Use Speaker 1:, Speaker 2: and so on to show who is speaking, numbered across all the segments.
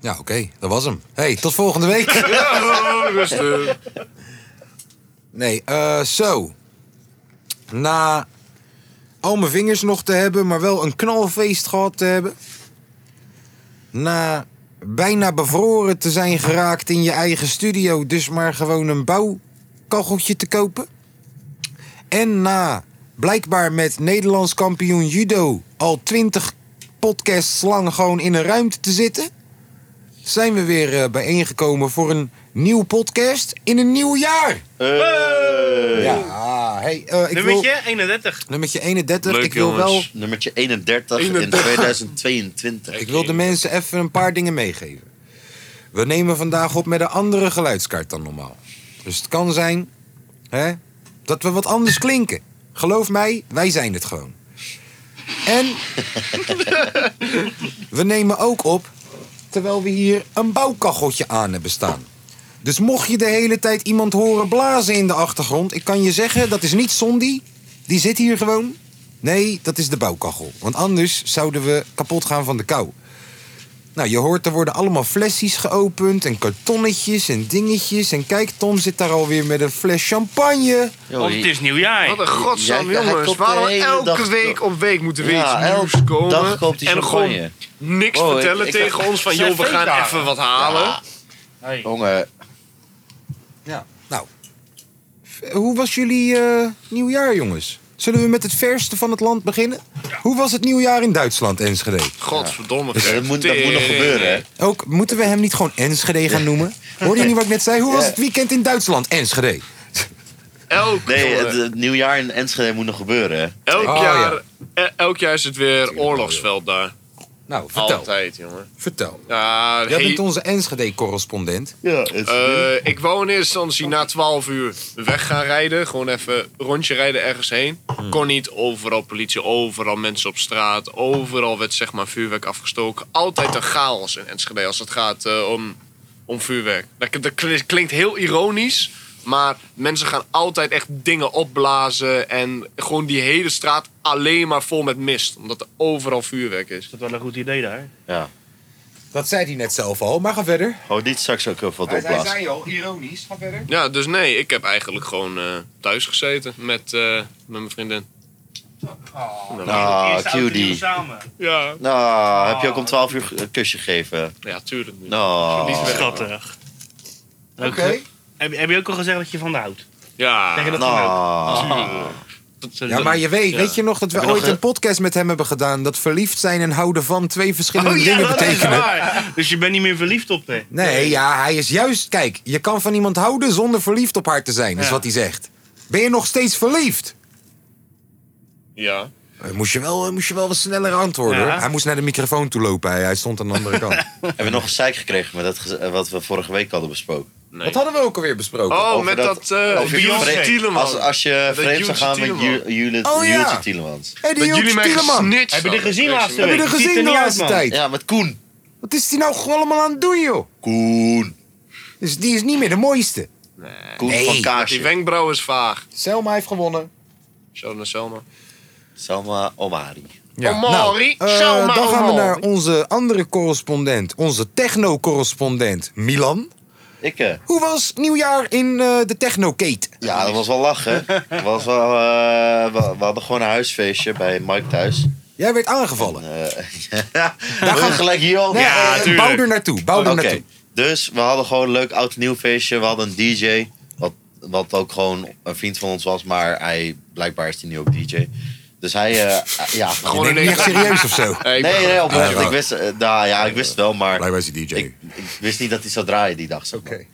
Speaker 1: Nou, oké, dat was hem. hey, tot volgende week. eh, Nee, eh, zo. Na al mijn vingers nog te hebben, maar wel een knalfeest gehad te hebben. Na bijna bevroren te zijn geraakt in je eigen studio, dus maar gewoon een bouwkacheltje te kopen. En na blijkbaar met Nederlands kampioen judo al twintig podcasts lang gewoon in een ruimte te zitten zijn we weer eh, bijeengekomen voor een nieuwe podcast in een nieuw jaar. Ja, hey, eh, ik wil...
Speaker 2: Nummertje 31.
Speaker 1: Nummertje 31.
Speaker 2: Leuk,
Speaker 1: ik wil wel...
Speaker 2: jongens.
Speaker 3: Nummertje 31 in 2022.
Speaker 1: Ik wil de mensen even een paar dingen meegeven. We nemen vandaag op met een andere geluidskaart dan normaal. Dus het kan zijn hè, dat we wat anders klinken. Geloof mij, wij zijn het gewoon. En we nemen ook op terwijl we hier een bouwkacheltje aan hebben staan. Dus mocht je de hele tijd iemand horen blazen in de achtergrond, ik kan je zeggen, dat is niet Sondi. Die zit hier gewoon. Nee, dat is de bouwkachel. Want anders zouden we kapot gaan van de kou. Nou, je hoort, er worden allemaal flesjes geopend en kartonnetjes en dingetjes. En kijk, Tom zit daar alweer met een fles champagne.
Speaker 2: Want Oh, het is nieuwjaar.
Speaker 4: Wat een godsam,
Speaker 3: Jij- hij
Speaker 4: jongens.
Speaker 3: koopt de
Speaker 4: Waarom
Speaker 3: hele
Speaker 4: elke
Speaker 3: dag-
Speaker 4: week op week moeten we
Speaker 3: Ja,
Speaker 4: iets nieuws
Speaker 3: elke
Speaker 4: komen?
Speaker 3: dag koopt hij
Speaker 4: en
Speaker 3: champagne.
Speaker 4: gewoon niks
Speaker 3: Oh, ik-
Speaker 4: vertellen
Speaker 3: ik-
Speaker 4: tegen ons van,
Speaker 2: Zijn
Speaker 4: joh, we gaan
Speaker 2: feestdagen.
Speaker 4: even wat halen.
Speaker 3: Jongen,
Speaker 1: Nou, v- hoe was jullie eh, nieuwjaar, jongens? Zullen we met het verste van het land beginnen? Hoe was het nieuwjaar in Duitsland, Enschede?
Speaker 4: Godverdomme.
Speaker 3: ja, dat, moet, dat moet nog
Speaker 4: Tering.
Speaker 3: gebeuren, hè?
Speaker 1: Ook, moeten we hem niet gewoon Enschede gaan noemen? Hoorde je niet wat ik net zei? Hoe was het weekend in Duitsland, Enschede?
Speaker 4: Elk,
Speaker 3: Nee,
Speaker 4: jongen,
Speaker 3: het, het nieuwjaar in Enschede moet nog gebeuren, hè?
Speaker 4: elk,
Speaker 1: Oh,
Speaker 4: jaar,
Speaker 1: ja.
Speaker 4: eh, elk jaar is het weer oorlogsveld daar.
Speaker 1: Nou, vertel.
Speaker 4: Altijd, jongen.
Speaker 1: Vertel.
Speaker 4: Ja,
Speaker 1: Jij
Speaker 4: hey,
Speaker 1: bent onze Enschede-correspondent.
Speaker 3: Ja, het
Speaker 4: eh, ik wou in eerste instantie na 12 uur weg gaan rijden. Gewoon even een rondje rijden ergens heen. Kon niet. Overal politie, overal mensen op straat. Overal werd zeg maar vuurwerk afgestoken. Altijd een chaos in Enschede als het gaat eh, om, om vuurwerk. Dat, k- dat kli- klinkt heel ironisch. Maar mensen gaan altijd echt dingen opblazen. En gewoon die hele straat alleen maar vol met mist. Omdat er overal vuurwerk is.
Speaker 2: Dat is wel een goed idee daar.
Speaker 3: ja.
Speaker 1: Dat zei hij net zelf al, maar ga verder.
Speaker 3: Gewoon niet Oh, straks ook even wat opblazen.
Speaker 1: al, ironisch. Ga verder.
Speaker 4: Ja, dus nee, ik heb eigenlijk gewoon eh, thuis gezeten met, eh, met mijn vriendin.
Speaker 3: Ah,
Speaker 2: Eerste oud en nieuw
Speaker 3: cutie.
Speaker 2: samen.
Speaker 4: Ja.
Speaker 3: Nou, heb je ook om 12 uur een kusje gegeven?
Speaker 4: Ah. Ja, tuurlijk. niet.
Speaker 3: Nou,
Speaker 2: Schattig. Oké.
Speaker 1: Oké.
Speaker 2: Heb, heb je ook al gezegd dat je van de houdt? Zeg
Speaker 4: Ja.
Speaker 2: je dat dan ook?
Speaker 3: Ah, nou.
Speaker 1: Ja, maar je weet, weet je nog dat we
Speaker 3: Heb je
Speaker 1: ooit
Speaker 3: nog,
Speaker 1: een podcast met hem hebben gedaan... dat verliefd zijn en houden van twee verschillende
Speaker 2: Oh, ja,
Speaker 1: dingen
Speaker 2: dat is
Speaker 1: betekenen?
Speaker 2: waar. Dus je bent niet meer verliefd op haar.
Speaker 1: Nee, ja, hij is juist... Kijk, je kan van iemand houden zonder verliefd op haar te zijn, is
Speaker 2: Ja.
Speaker 1: wat hij zegt. Ben je nog steeds verliefd?
Speaker 4: Ja.
Speaker 1: Eh, Moest je wel, eh, moest je wel wat sneller antwoorden.
Speaker 2: Ja.
Speaker 1: hoor. Hij moest naar de microfoon toe lopen. Hij, hij stond aan de andere kant.
Speaker 3: Hebben we nog een zeik gekregen met dat gez- eh, wat we vorige week hadden besproken?
Speaker 4: Nee.
Speaker 1: Wat hadden we ook alweer besproken?
Speaker 4: Oh,
Speaker 3: Over
Speaker 4: met
Speaker 3: dat-
Speaker 4: dat, eh
Speaker 3: Of je
Speaker 4: Beyoncé
Speaker 3: vreemd-
Speaker 4: Tieleman.
Speaker 3: Als, als je
Speaker 4: Dat
Speaker 3: vreemd zou
Speaker 4: Jultje
Speaker 3: gaan met
Speaker 4: Tieleman.
Speaker 3: Ju- Juli-
Speaker 1: Oh, ja.
Speaker 3: Jultje Tielemans.
Speaker 1: Hé, die
Speaker 4: Dat jullie
Speaker 1: Joost
Speaker 4: mij
Speaker 1: Tieleman.
Speaker 4: gesnitcht
Speaker 2: Heb je er
Speaker 4: hadden.
Speaker 2: gezien laatste
Speaker 4: Deze
Speaker 1: Heb
Speaker 2: week?
Speaker 1: je er
Speaker 2: Die ziet
Speaker 1: gezien
Speaker 2: er
Speaker 1: de
Speaker 2: niet uit,
Speaker 1: laatste
Speaker 2: man.
Speaker 1: tijd?
Speaker 3: Ja, met Koen.
Speaker 1: Wat is die nou allemaal aan het doen, joh?
Speaker 3: Koen.
Speaker 1: Dus die is niet meer de mooiste.
Speaker 3: Koen
Speaker 1: Nee.
Speaker 3: van
Speaker 4: week. Die
Speaker 3: Kaasje.
Speaker 4: wenkbrauw is vaag.
Speaker 1: Selma heeft gewonnen.
Speaker 4: Zo naar Selma.
Speaker 3: Salma Omari.
Speaker 4: Oh, Omari,
Speaker 1: eh,
Speaker 4: Selma
Speaker 1: dan gaan we
Speaker 4: Omari.
Speaker 1: naar onze andere correspondent, onze techno-correspondent Milan.
Speaker 3: Ik, eh,
Speaker 1: Hoe was nieuwjaar in eh, de Technocate?
Speaker 3: ja, dat was wel lachen. Dat was wel, eh, we, we hadden gewoon een huisfeestje bij Mike thuis.
Speaker 1: Jij werd aangevallen.
Speaker 3: Ja, we gaan gelijk hier al.
Speaker 1: Nee, eh,
Speaker 2: tuurlijk.
Speaker 1: bouw er naartoe. Bouw er
Speaker 3: Oké,
Speaker 1: naartoe.
Speaker 3: dus we hadden gewoon een leuk oud en nieuw feestje. We hadden een DJ, wat, wat ook gewoon een vriend van ons was, maar hij, blijkbaar is hij nu ook DJ. Dus hij, eh, ja,
Speaker 1: Je
Speaker 3: gewoon...
Speaker 1: neemt
Speaker 4: in
Speaker 1: niet echt
Speaker 4: één-
Speaker 1: serieus of zo.
Speaker 4: Hey,
Speaker 3: Nee, nee, oprecht.
Speaker 1: Ah,
Speaker 3: Ik wist, eh, nou, ja, ik wist het wel, maar
Speaker 1: Blijkbaar is hij DJ.
Speaker 3: ik, ik wist niet dat hij zou draaien die dag. Zeg maar.
Speaker 1: Oké.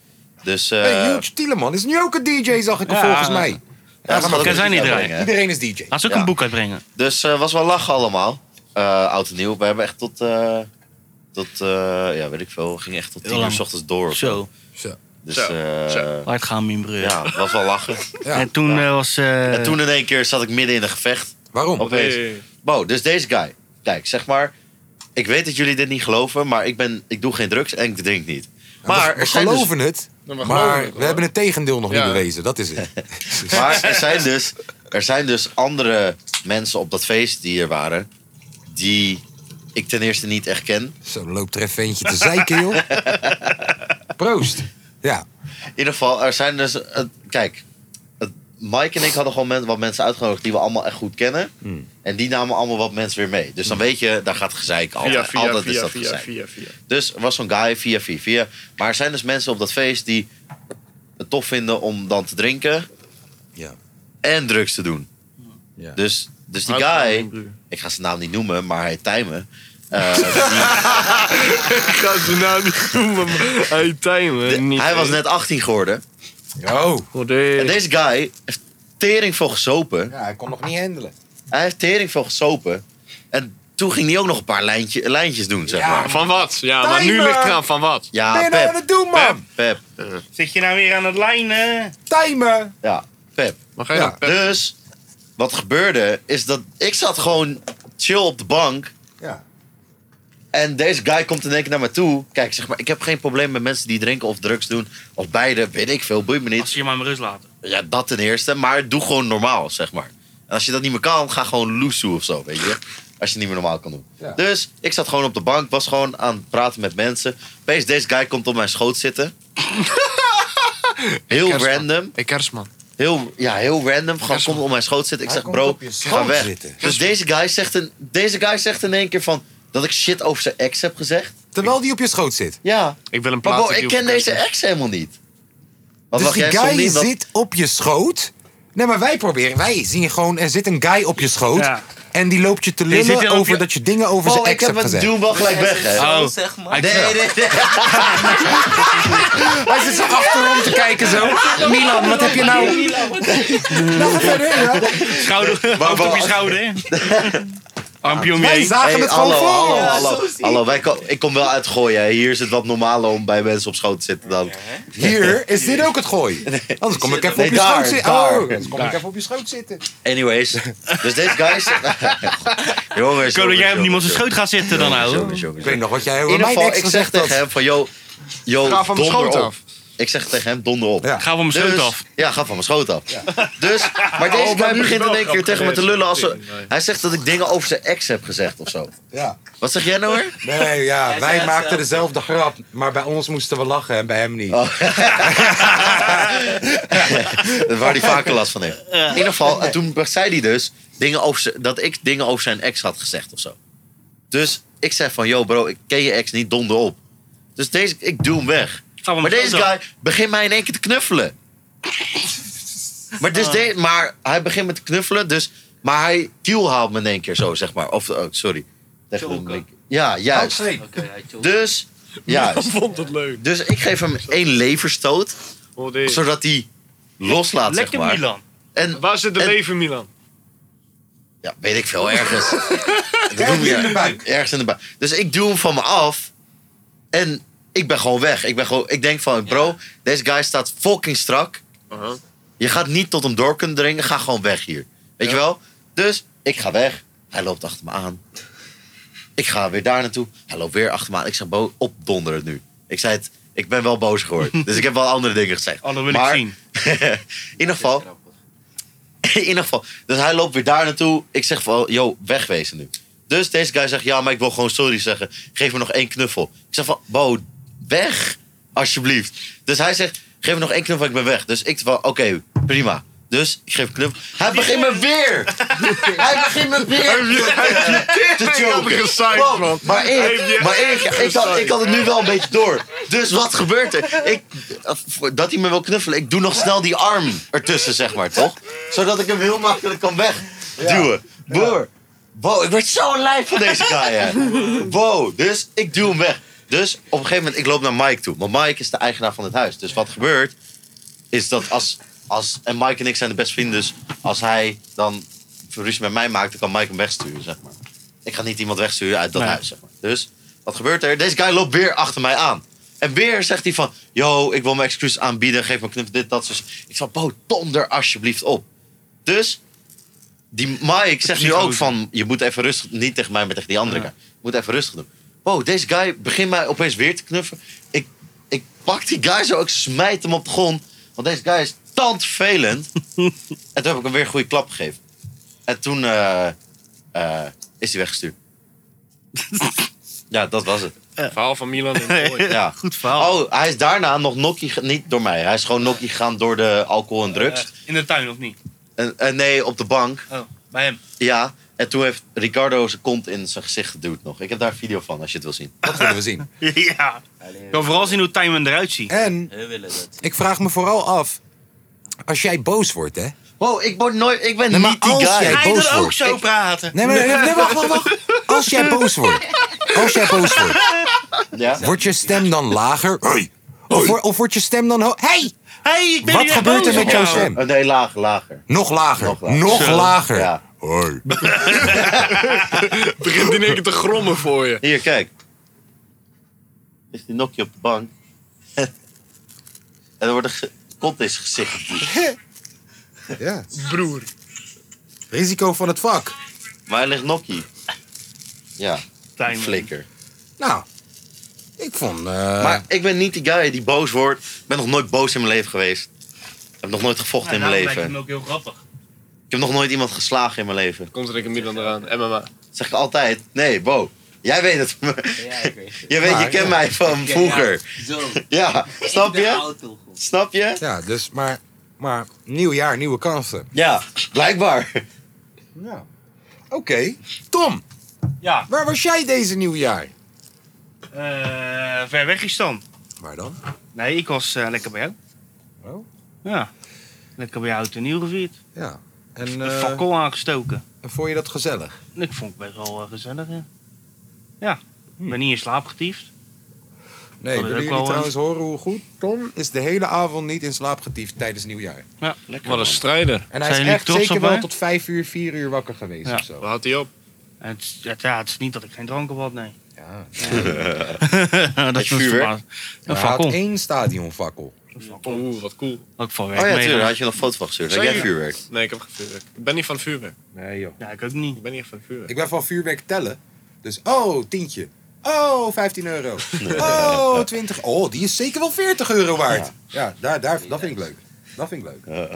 Speaker 3: Dus, eh
Speaker 1: hey, Huge Tieleman is nu ook een DJ, zag ik er
Speaker 2: Ja,
Speaker 1: volgens
Speaker 2: ja.
Speaker 1: mij.
Speaker 3: ja, ze gaat ook
Speaker 2: Kan zij niet
Speaker 3: muziek
Speaker 2: draaien?
Speaker 3: uitbrengen, hè.
Speaker 1: Iedereen is DJ.
Speaker 2: Laat ze ook
Speaker 3: Ja.
Speaker 2: een boek uitbrengen.
Speaker 3: Dus eh was wel lachen allemaal. Eh, oud en nieuw. We hebben echt tot eh, tot, eh, ja, weet ik veel, ging echt tot
Speaker 2: Heel
Speaker 3: tien uur
Speaker 2: lang.
Speaker 3: s ochtends door.
Speaker 2: Zo,
Speaker 3: Dus
Speaker 4: Zo,
Speaker 3: eh,
Speaker 4: zo.
Speaker 2: hard gaan, mijn broer.
Speaker 3: ja, was wel lachen.
Speaker 1: Ja.
Speaker 2: En toen eh, was... eh,
Speaker 3: en toen in één keer zat ik midden in een gevecht.
Speaker 1: Waarom?
Speaker 3: Opeens.
Speaker 4: Hey.
Speaker 3: Wow, dus deze guy. Kijk, zeg maar. Ik weet dat jullie dit niet geloven, maar ik, ben, ik doe geen drugs en ik drink niet. Maar
Speaker 1: we
Speaker 3: er zijn dus,
Speaker 1: geloven het,
Speaker 4: Ja,
Speaker 1: maar,
Speaker 4: maar geloven het,
Speaker 1: we
Speaker 4: hoor.
Speaker 1: hebben het tegendeel nog
Speaker 4: Ja.
Speaker 1: niet bewezen. Dat is het.
Speaker 3: maar er, zijn dus, er zijn dus andere mensen op dat feest die er waren. Die ik ten eerste niet echt ken.
Speaker 1: Zo loopt er even eentje te zeiken, joh. Proost. Ja,
Speaker 3: In ieder geval, er zijn dus. eh, kijk, het- Mike en ik hadden gewoon men- wat mensen uitgenodigd die we allemaal echt goed kennen.
Speaker 1: Hmm.
Speaker 3: En die namen allemaal wat mensen weer mee. Dus dan weet je, daar gaat gezeik altijd.
Speaker 4: Via, via,
Speaker 3: altijd is
Speaker 4: via,
Speaker 3: dat
Speaker 4: via,
Speaker 3: gezeik.
Speaker 4: via, via.
Speaker 3: Dus er was zo'n guy via via via. Maar er zijn dus mensen op dat feest die het tof vinden om dan te drinken.
Speaker 1: Ja.
Speaker 3: En drugs te doen.
Speaker 1: Ja.
Speaker 3: Dus, dus die
Speaker 4: Houdt van mijn
Speaker 3: guy,
Speaker 4: broer.
Speaker 3: ik ga zijn naam niet noemen, maar hij timen. Eh,
Speaker 4: Ik ga zijn naam niet noemen, maar hij timen.
Speaker 3: de-
Speaker 4: niet
Speaker 3: hij was
Speaker 4: eens.
Speaker 3: net 18 geworden.
Speaker 1: Oh.
Speaker 3: En
Speaker 4: Goddee.
Speaker 3: deze guy heeft tering veel gesopen.
Speaker 1: Ja, hij kon nog niet handelen.
Speaker 3: Hij heeft tering veel gesopen. En toen ging hij ook nog een paar lijntje, lijntjes doen, zeg
Speaker 1: Ja.
Speaker 3: maar.
Speaker 4: Van wat? Ja, maar nu
Speaker 1: Timer.
Speaker 4: ligt eraan van wat. Eh.
Speaker 1: ben
Speaker 3: Ja,
Speaker 1: je nou aan
Speaker 3: Pep.
Speaker 1: het doen, man?
Speaker 3: Pep.
Speaker 2: Zit je nou weer aan het lijnen?
Speaker 1: Timer.
Speaker 3: Ja, Pep.
Speaker 4: Maar ga je
Speaker 1: Ja.
Speaker 4: dan per-
Speaker 3: Dus, wat gebeurde, is dat ik zat gewoon chill op de bank.
Speaker 1: Ja.
Speaker 3: En deze guy komt in één keer naar me toe. Kijk, zeg maar, ik heb geen probleem met mensen die drinken of drugs doen. Of beide, weet ik veel, boeit me
Speaker 2: Als
Speaker 3: niet.
Speaker 2: je maar met rust laten.
Speaker 3: Ja, dat ten eerste. Maar doe gewoon normaal, zeg maar. En als je dat niet meer kan, ga gewoon loes toe of zo, weet je. Als je het niet meer normaal kan doen.
Speaker 1: Ja.
Speaker 3: Dus ik zat gewoon op de bank, was gewoon aan het praten met mensen. Opeens, deze guy komt op mijn schoot zitten. heel
Speaker 4: Kerstman.
Speaker 3: random.
Speaker 4: Hey, kerstman.
Speaker 3: Heel, ja, heel random. Gewoon
Speaker 4: Kerstman.
Speaker 3: komt op mijn schoot zitten. Ik
Speaker 1: Hij
Speaker 3: zeg,
Speaker 1: komt
Speaker 3: bro,
Speaker 1: op je
Speaker 3: ga
Speaker 1: schoot
Speaker 3: weg.
Speaker 1: zitten.
Speaker 3: Dus deze guy, zegt in, deze guy zegt in één keer van... dat ik shit over zijn ex heb gezegd.
Speaker 1: Terwijl die op je schoot zit.
Speaker 3: Ja.
Speaker 4: Ik wil een
Speaker 3: Maar
Speaker 4: plaat.
Speaker 3: bro, ik ken deze ex helemaal niet. Wat
Speaker 1: dus
Speaker 3: dacht
Speaker 1: die
Speaker 3: jij
Speaker 1: guy
Speaker 3: Sondien, dat-
Speaker 1: zit op je schoot. Nee, maar wij proberen. Wij zien gewoon, er zit een guy op je schoot.
Speaker 2: Ja.
Speaker 1: En die loopt je te
Speaker 2: zit
Speaker 1: lullen
Speaker 2: hier op
Speaker 1: over
Speaker 2: je-
Speaker 1: dat je dingen over zijn
Speaker 3: Bro, ik
Speaker 1: ex
Speaker 3: heb
Speaker 1: hebt
Speaker 3: het
Speaker 1: gezegd.
Speaker 3: doen wel gelijk weg, hè.
Speaker 2: Oh.
Speaker 5: Zeg maar.
Speaker 3: Nee, nee, nee.
Speaker 1: Hij zit zo achterom te kijken zo. Milan, wat heb je nou... Nou, ga verder, ja.
Speaker 2: Schouder, hand op je schouder. Armpje om je
Speaker 1: Wij
Speaker 2: heen.
Speaker 1: zagen
Speaker 3: Hey,
Speaker 1: het
Speaker 3: hallo,
Speaker 1: gewoon voor
Speaker 3: hallo,
Speaker 1: ons.
Speaker 3: hallo, hallo. Wij ko- ik kom wel uit gooien. hè. Hier is het wat normaler om bij mensen op schoot te zitten dan.
Speaker 1: Hier is dit ook het gooi. Anders kom ik even
Speaker 3: Nee,
Speaker 1: op je
Speaker 3: daar,
Speaker 1: schoot zitten.
Speaker 3: daar.
Speaker 1: Oh, anders kom ik even op je schoot zitten.
Speaker 3: Anyways, dus deze guys. jongens,
Speaker 2: Ik hoop dat jij op niemand
Speaker 3: jongens,
Speaker 2: zijn
Speaker 3: jongens,
Speaker 2: schoot gaat zitten dan,
Speaker 3: jongens,
Speaker 2: ouwe.
Speaker 3: jongens, jongens.
Speaker 1: Ik weet nog wat jij
Speaker 3: In
Speaker 1: over
Speaker 3: ieder
Speaker 1: mijn
Speaker 3: geval,
Speaker 1: ex
Speaker 3: ik zeg
Speaker 1: gezegd
Speaker 3: tegen
Speaker 1: had.
Speaker 3: hem van, yo, yo,
Speaker 4: Ga van mijn
Speaker 3: donder
Speaker 4: schoot
Speaker 3: op.
Speaker 4: af.
Speaker 3: Ik zeg tegen hem, donder op.
Speaker 1: Ja.
Speaker 2: Ga van mijn
Speaker 3: Dus-
Speaker 2: schoot af.
Speaker 3: Ja, ga van mijn schoot af. Dus, maar deze
Speaker 4: Oh, maar
Speaker 3: guy
Speaker 4: nu is
Speaker 3: begint
Speaker 4: wel
Speaker 3: in één keer
Speaker 4: grappig
Speaker 3: tegen me te
Speaker 4: geweest.
Speaker 3: lullen. Als ze-
Speaker 4: Nee.
Speaker 3: hij zegt dat ik dingen over zijn ex heb gezegd of zo.
Speaker 1: Ja.
Speaker 3: Wat zeg jij nou hoor?
Speaker 1: Nee, ja, wij
Speaker 5: zei
Speaker 1: maakten dezelfde
Speaker 5: hetzelfde.
Speaker 1: grap, maar bij ons moesten we lachen en bij hem niet.
Speaker 3: Oh. Waar hij vaker last van heeft. In ieder geval, en toen zei hij dus dingen over, z- dat ik dingen over zijn ex had gezegd of zo. Dus ik zeg van, yo bro, ik ken je ex niet, donder op. Dus deze, ik duw hem weg.
Speaker 2: Ga van
Speaker 3: Maar
Speaker 2: mijn
Speaker 3: deze
Speaker 2: schoot af.
Speaker 3: guy begint mij in één keer te knuffelen. Maar,
Speaker 5: Ah.
Speaker 3: dus de- maar hij begint met te knuffelen, dus, maar hij kiel haalt me in één keer zo, zeg maar. Of, oh, sorry. Tegen de
Speaker 5: Chonken.
Speaker 3: mic. Ja, juist.
Speaker 1: Oké.
Speaker 5: Oké, hij chillt.
Speaker 3: Dus, juist.
Speaker 4: vond het leuk.
Speaker 3: Dus ik geef hem één leverstoot,
Speaker 4: Goddee.
Speaker 3: zodat hij loslaat, zeg
Speaker 2: Lekker
Speaker 3: maar.
Speaker 2: Milan.
Speaker 3: En
Speaker 4: Waar zit de
Speaker 3: En-
Speaker 4: leven, Milan?
Speaker 3: Ja, weet ik veel, ergens. Dat
Speaker 1: Ergens
Speaker 3: doen we-
Speaker 1: in de buik.
Speaker 3: Ergens in de buik. Dus ik duw hem van me af. En ik ben gewoon weg. Ik, ben gewoon, ik denk van, bro, deze guy staat fucking strak.
Speaker 4: Aha.
Speaker 3: Je gaat niet tot hem door kunnen dringen. Ga gewoon weg hier. Weet je wel? Dus ik ga weg. Hij loopt achter me aan. Ik ga weer daar naartoe. Hij loopt weer achter me aan. Ik zeg, Bo, opdonder het nu. Ik zei het, ik ben wel boos geworden. dus ik heb wel andere dingen gezegd.
Speaker 2: Oh, dat wil
Speaker 3: Maar-
Speaker 2: ik zien.
Speaker 3: in ieder geval, in ieder geval. Dus hij loopt weer daar naartoe. Ik zeg van, yo, wegwezen nu. Dus deze guy zegt, ja, maar ik wil gewoon sorry zeggen. Geef me nog één knuffel. Ik zeg van, bo, weg, alsjeblieft. Dus hij zegt, geef me nog één knuffel, ik ben weg. Dus ik van, oké, prima. Dus ik geef hem knuffel. Hij begint me weer. hij begint me weer te choken. Wow,
Speaker 4: man.
Speaker 3: Maar
Speaker 4: Heb je
Speaker 3: ik, maar ik,
Speaker 4: echt
Speaker 3: ik, had,
Speaker 4: gezaaid?
Speaker 3: ik had het nu wel een beetje door. Dus wat gebeurt er? Ik, eh, dat hij me wil knuffelen, ik doe nog snel die arm ertussen, zeg maar, toch? Zodat ik hem heel makkelijk kan wegduwen. Broer, wow, ik werd zo'n lijf van deze guy, hè. Wow, dus ik duw hem weg. Dus op een gegeven moment, ik loop naar Mike toe. Maar Mike is de eigenaar van het huis. Dus wat gebeurt, is dat als... als en Mike en ik zijn de beste vrienden, dus als hij dan ruzie met mij maakt... dan kan Mike hem wegsturen, zeg maar. Ik ga niet iemand wegsturen uit dat
Speaker 2: Nee.
Speaker 3: huis, zeg maar. Dus... Wat gebeurt er? Deze guy loopt weer achter mij aan. En weer zegt hij van, yo, ik wil mijn excuses aanbieden. Geef me een knuffel, dit, dat. Zo. Ik zal Bo, donder alsjeblieft op. Dus, die Mike zegt nu ook van, je moet even rustig, niet tegen mij, maar tegen die andere guy. Je moet even rustig doen. Wow, deze guy begint mij opeens weer te knuffelen. Ik, ik pak die guy zo, ik smijt hem op de grond. Want deze guy is tandvelend. en toen heb ik hem weer een goede klap gegeven. En toen eh, eh, is hij weggestuurd. ja, dat was het.
Speaker 4: Verhaal van Milan in het kooi.
Speaker 3: Ja.
Speaker 2: Goed verhaal.
Speaker 3: Oh, hij is daarna nog nokkie, ge- niet door mij. Hij is gewoon nokkie gegaan door de alcohol en drugs.
Speaker 2: Eh, in de tuin of niet?
Speaker 3: En, en nee, op de bank.
Speaker 2: Oh, bij hem.
Speaker 3: Ja. En toen heeft Ricardo zijn kont in zijn gezicht geduwd nog. Ik heb daar een video van als je het wil zien.
Speaker 1: Dat willen we zien.
Speaker 2: ja. Ik wil vooral zien hoe Tijmen eruit ziet.
Speaker 1: En
Speaker 5: We willen dat.
Speaker 1: ik vraag me vooral af, als jij boos wordt, hè?
Speaker 3: Wow, ik, word nooit, ik ben
Speaker 1: Nee, maar
Speaker 3: niet die
Speaker 1: als
Speaker 3: guy.
Speaker 1: jij-
Speaker 2: Ga je
Speaker 1: boos
Speaker 2: er ook
Speaker 1: wordt.
Speaker 2: zo
Speaker 3: Ik-
Speaker 2: praten?
Speaker 1: Nee, maar, nee, nee, wacht, wacht, wacht. Als jij boos wordt, als jij boos wordt,
Speaker 3: Ja?
Speaker 1: wordt je stem dan lager? Hoi. Of, wo- of wordt je stem dan ho- Hey!
Speaker 2: hey, ik ben
Speaker 1: Wat
Speaker 2: hier
Speaker 1: gebeurt
Speaker 2: boos
Speaker 1: er met
Speaker 2: op
Speaker 1: jouw
Speaker 2: jou.
Speaker 1: stem?
Speaker 3: Oh, nee, lager, lager.
Speaker 1: Nog lager. Nog
Speaker 3: Nog
Speaker 1: lager.
Speaker 3: lager. Ja.
Speaker 1: Hoi.
Speaker 4: Begint in één keer te grommen voor je.
Speaker 3: Hier, kijk. Is die nokkie op de bank. en er wordt een ge- kont in zijn gezicht geduwd.
Speaker 1: Ja.
Speaker 4: Broer.
Speaker 1: Risico van het vak.
Speaker 3: Maar hij ligt nokkie. Ja,
Speaker 2: Tijmen.
Speaker 3: flikker.
Speaker 1: Nou, ik vond... eh,
Speaker 3: Maar ik ben niet die guy die boos wordt. Ik ben nog nooit boos in mijn leven geweest. Ik heb nog nooit gevochten
Speaker 2: Ja,
Speaker 3: in mijn
Speaker 2: daarom
Speaker 3: leven.
Speaker 2: lijkt hem ook heel grappig.
Speaker 3: Ik heb nog nooit iemand geslagen in mijn leven.
Speaker 4: Komt er een keer Milan eraan. MMA.
Speaker 3: Dat zeg ik altijd. Nee, Bo. Jij weet het.
Speaker 5: Ja, ik weet het.
Speaker 3: Je weet, je kent mij van
Speaker 5: Ja,
Speaker 3: vroeger.
Speaker 5: ja, Zo.
Speaker 3: Ja, snap
Speaker 5: Ik ben
Speaker 3: je?
Speaker 5: oud toch, goed.
Speaker 3: Snap je?
Speaker 1: Ja, dus maar, maar nieuw jaar, nieuwe kansen.
Speaker 3: Ja, blijkbaar.
Speaker 1: Ja. Oké. Tom,
Speaker 2: Ja,
Speaker 1: waar was jij deze nieuwjaar?
Speaker 2: eh, ver weg is dan.
Speaker 1: Waar dan?
Speaker 2: Nee, ik was eh, lekker bij jou.
Speaker 1: Oh.
Speaker 2: Ja. Lekker bij jou oud en nieuw gevierd.
Speaker 1: Ja. En
Speaker 2: Een
Speaker 1: eh,
Speaker 2: fakkel aangestoken.
Speaker 1: vond je dat gezellig?
Speaker 2: Ik vond het best wel eh, gezellig, hè. Ja. Ik ben niet in slaap getiefd.
Speaker 1: Hm. Nee,
Speaker 2: Oh, dat
Speaker 1: willen
Speaker 2: ook
Speaker 1: jullie
Speaker 2: wel,
Speaker 1: trouwens horen hoe goed Tom is de hele avond niet in slaap getiefd tijdens nieuwjaar.
Speaker 2: Ja.
Speaker 4: Wat een strijder.
Speaker 1: En hij
Speaker 2: Zijn
Speaker 1: is
Speaker 2: jullie
Speaker 1: echt
Speaker 2: trots
Speaker 1: zeker
Speaker 2: op
Speaker 1: wel
Speaker 2: mij?
Speaker 1: tot vijf uur, vier uur wakker geweest
Speaker 2: Ja.
Speaker 1: of zo.
Speaker 4: Waar had hij op?
Speaker 2: En Het, is- het- ja, het is niet dat ik geen drank op had, nee.
Speaker 1: Ja.
Speaker 2: dat is
Speaker 3: vuurwerk?
Speaker 2: verbaasd. Een
Speaker 1: Hij had
Speaker 2: fakkel.
Speaker 1: één stadionfakkel.
Speaker 4: Oeh, wat cool.
Speaker 2: Ook van werk
Speaker 3: Oh ja,
Speaker 2: mee.
Speaker 3: tuurlijk. Had je nog een foto van gestuurd. Heb
Speaker 4: Zeker.
Speaker 3: jij vuurwerk?
Speaker 4: Nee, ik heb geen vuurwerk. Ik ben niet van vuurwerk.
Speaker 1: Nee joh.
Speaker 2: Ja, ik ook niet.
Speaker 4: Ik ben niet echt van vuurwerk.
Speaker 1: Ik ben van vuurwerk tellen. Dus, oh, tientje. Oh, 15 euro. Oh, 20. Oh, die is zeker wel 40 euro waard. Ja, daar, daar, dat vind ik leuk. Dat vind ik leuk.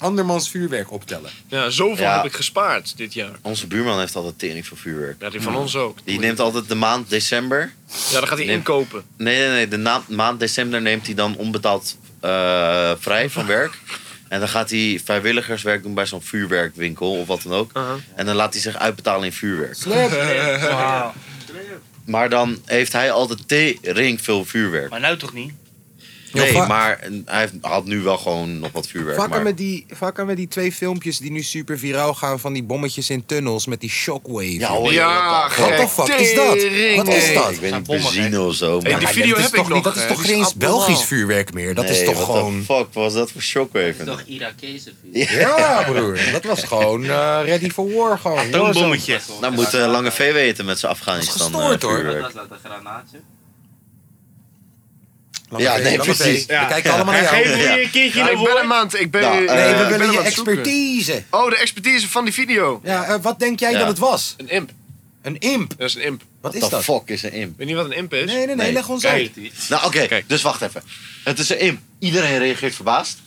Speaker 1: Andermans vuurwerk optellen.
Speaker 4: Ja, zoveel
Speaker 3: Ja.
Speaker 4: heb ik gespaard dit jaar.
Speaker 3: Onze buurman heeft altijd tering voor vuurwerk.
Speaker 4: Ja, die van ons ook.
Speaker 3: Die neemt altijd de maand december.
Speaker 4: Ja, dan gaat hij
Speaker 3: Neem-
Speaker 4: inkopen.
Speaker 3: Nee, nee, nee. De na- maand december neemt hij dan onbetaald eh, vrij van werk. En dan gaat hij vrijwilligerswerk doen bij zo'n vuurwerkwinkel of wat dan ook. En dan laat hij zich uitbetalen in vuurwerk.
Speaker 2: Wauw.
Speaker 3: Maar dan heeft hij altijd tering veel vuurwerk.
Speaker 2: Maar nou toch niet?
Speaker 3: Nee,
Speaker 1: va-
Speaker 3: maar hij heeft- had nu wel gewoon nog wat vuurwerk.
Speaker 1: Vaker
Speaker 3: Maar
Speaker 1: met, die, vaker met die twee filmpjes die nu super viraal gaan van die bommetjes in tunnels met die shockwave.
Speaker 3: Ja, hoor.
Speaker 4: Ja,
Speaker 1: What the fuck is dat? Wat is
Speaker 3: Nee,
Speaker 1: dat?
Speaker 3: ik weet
Speaker 2: Zijn
Speaker 3: niet,
Speaker 2: bommen,
Speaker 3: benzine of zo.
Speaker 4: Hey,
Speaker 3: maar-
Speaker 4: die
Speaker 1: Maar
Speaker 4: video
Speaker 1: dat is
Speaker 4: heb ik
Speaker 1: toch
Speaker 4: nog,
Speaker 1: niet- Dat is
Speaker 4: hè?
Speaker 1: toch
Speaker 4: Die
Speaker 1: geen
Speaker 4: is
Speaker 1: eens Belgisch
Speaker 4: abnormaal.
Speaker 1: vuurwerk meer? Dat is
Speaker 3: Nee,
Speaker 1: toch
Speaker 3: what the
Speaker 1: gewoon...
Speaker 3: fuck was dat voor
Speaker 5: Het is
Speaker 3: shockwave?
Speaker 5: toch Irakese vuur?
Speaker 1: Ja, broer. Dat was gewoon eh, ready for war. Gewoon.
Speaker 2: Toonbommetje.
Speaker 3: Nou moet eh, Lange V weten met zijn
Speaker 1: Dat is
Speaker 3: Afghanistan
Speaker 1: gestoord,
Speaker 3: eh,
Speaker 1: hoor.
Speaker 5: Dat was
Speaker 3: vuurwerk.
Speaker 5: laat een granaatje.
Speaker 1: Lange
Speaker 3: Ja,
Speaker 1: V,
Speaker 3: nee,
Speaker 1: Lange V.
Speaker 3: precies.
Speaker 1: We
Speaker 2: Ja.
Speaker 1: kijken allemaal naar jou.
Speaker 2: Geef me hier een keertje
Speaker 4: Ja,
Speaker 2: de
Speaker 4: ik ben
Speaker 2: woord.
Speaker 4: een maand. Ik ben,
Speaker 3: Nou,
Speaker 4: ik
Speaker 3: eh,
Speaker 1: Nee,
Speaker 4: ben
Speaker 1: we
Speaker 4: hem
Speaker 1: willen
Speaker 4: aan
Speaker 1: je
Speaker 4: het zoeken.
Speaker 1: expertise.
Speaker 4: Oh, de expertise van die video.
Speaker 1: Ja, eh, wat denk jij
Speaker 3: Ja.
Speaker 1: dat het was?
Speaker 4: Een imp.
Speaker 1: Een imp.
Speaker 4: Dat is een imp.
Speaker 1: Wat is
Speaker 3: What the
Speaker 1: dat?
Speaker 3: fuck is een imp?
Speaker 4: Weet je wat een imp is?
Speaker 1: Nee, nee, nee,
Speaker 3: Nee.
Speaker 1: leg ons
Speaker 4: Kijk.
Speaker 1: uit.
Speaker 3: Nou, oké,
Speaker 4: Kijk.
Speaker 3: dus wacht even. Het is een imp. Iedereen reageert verbaasd.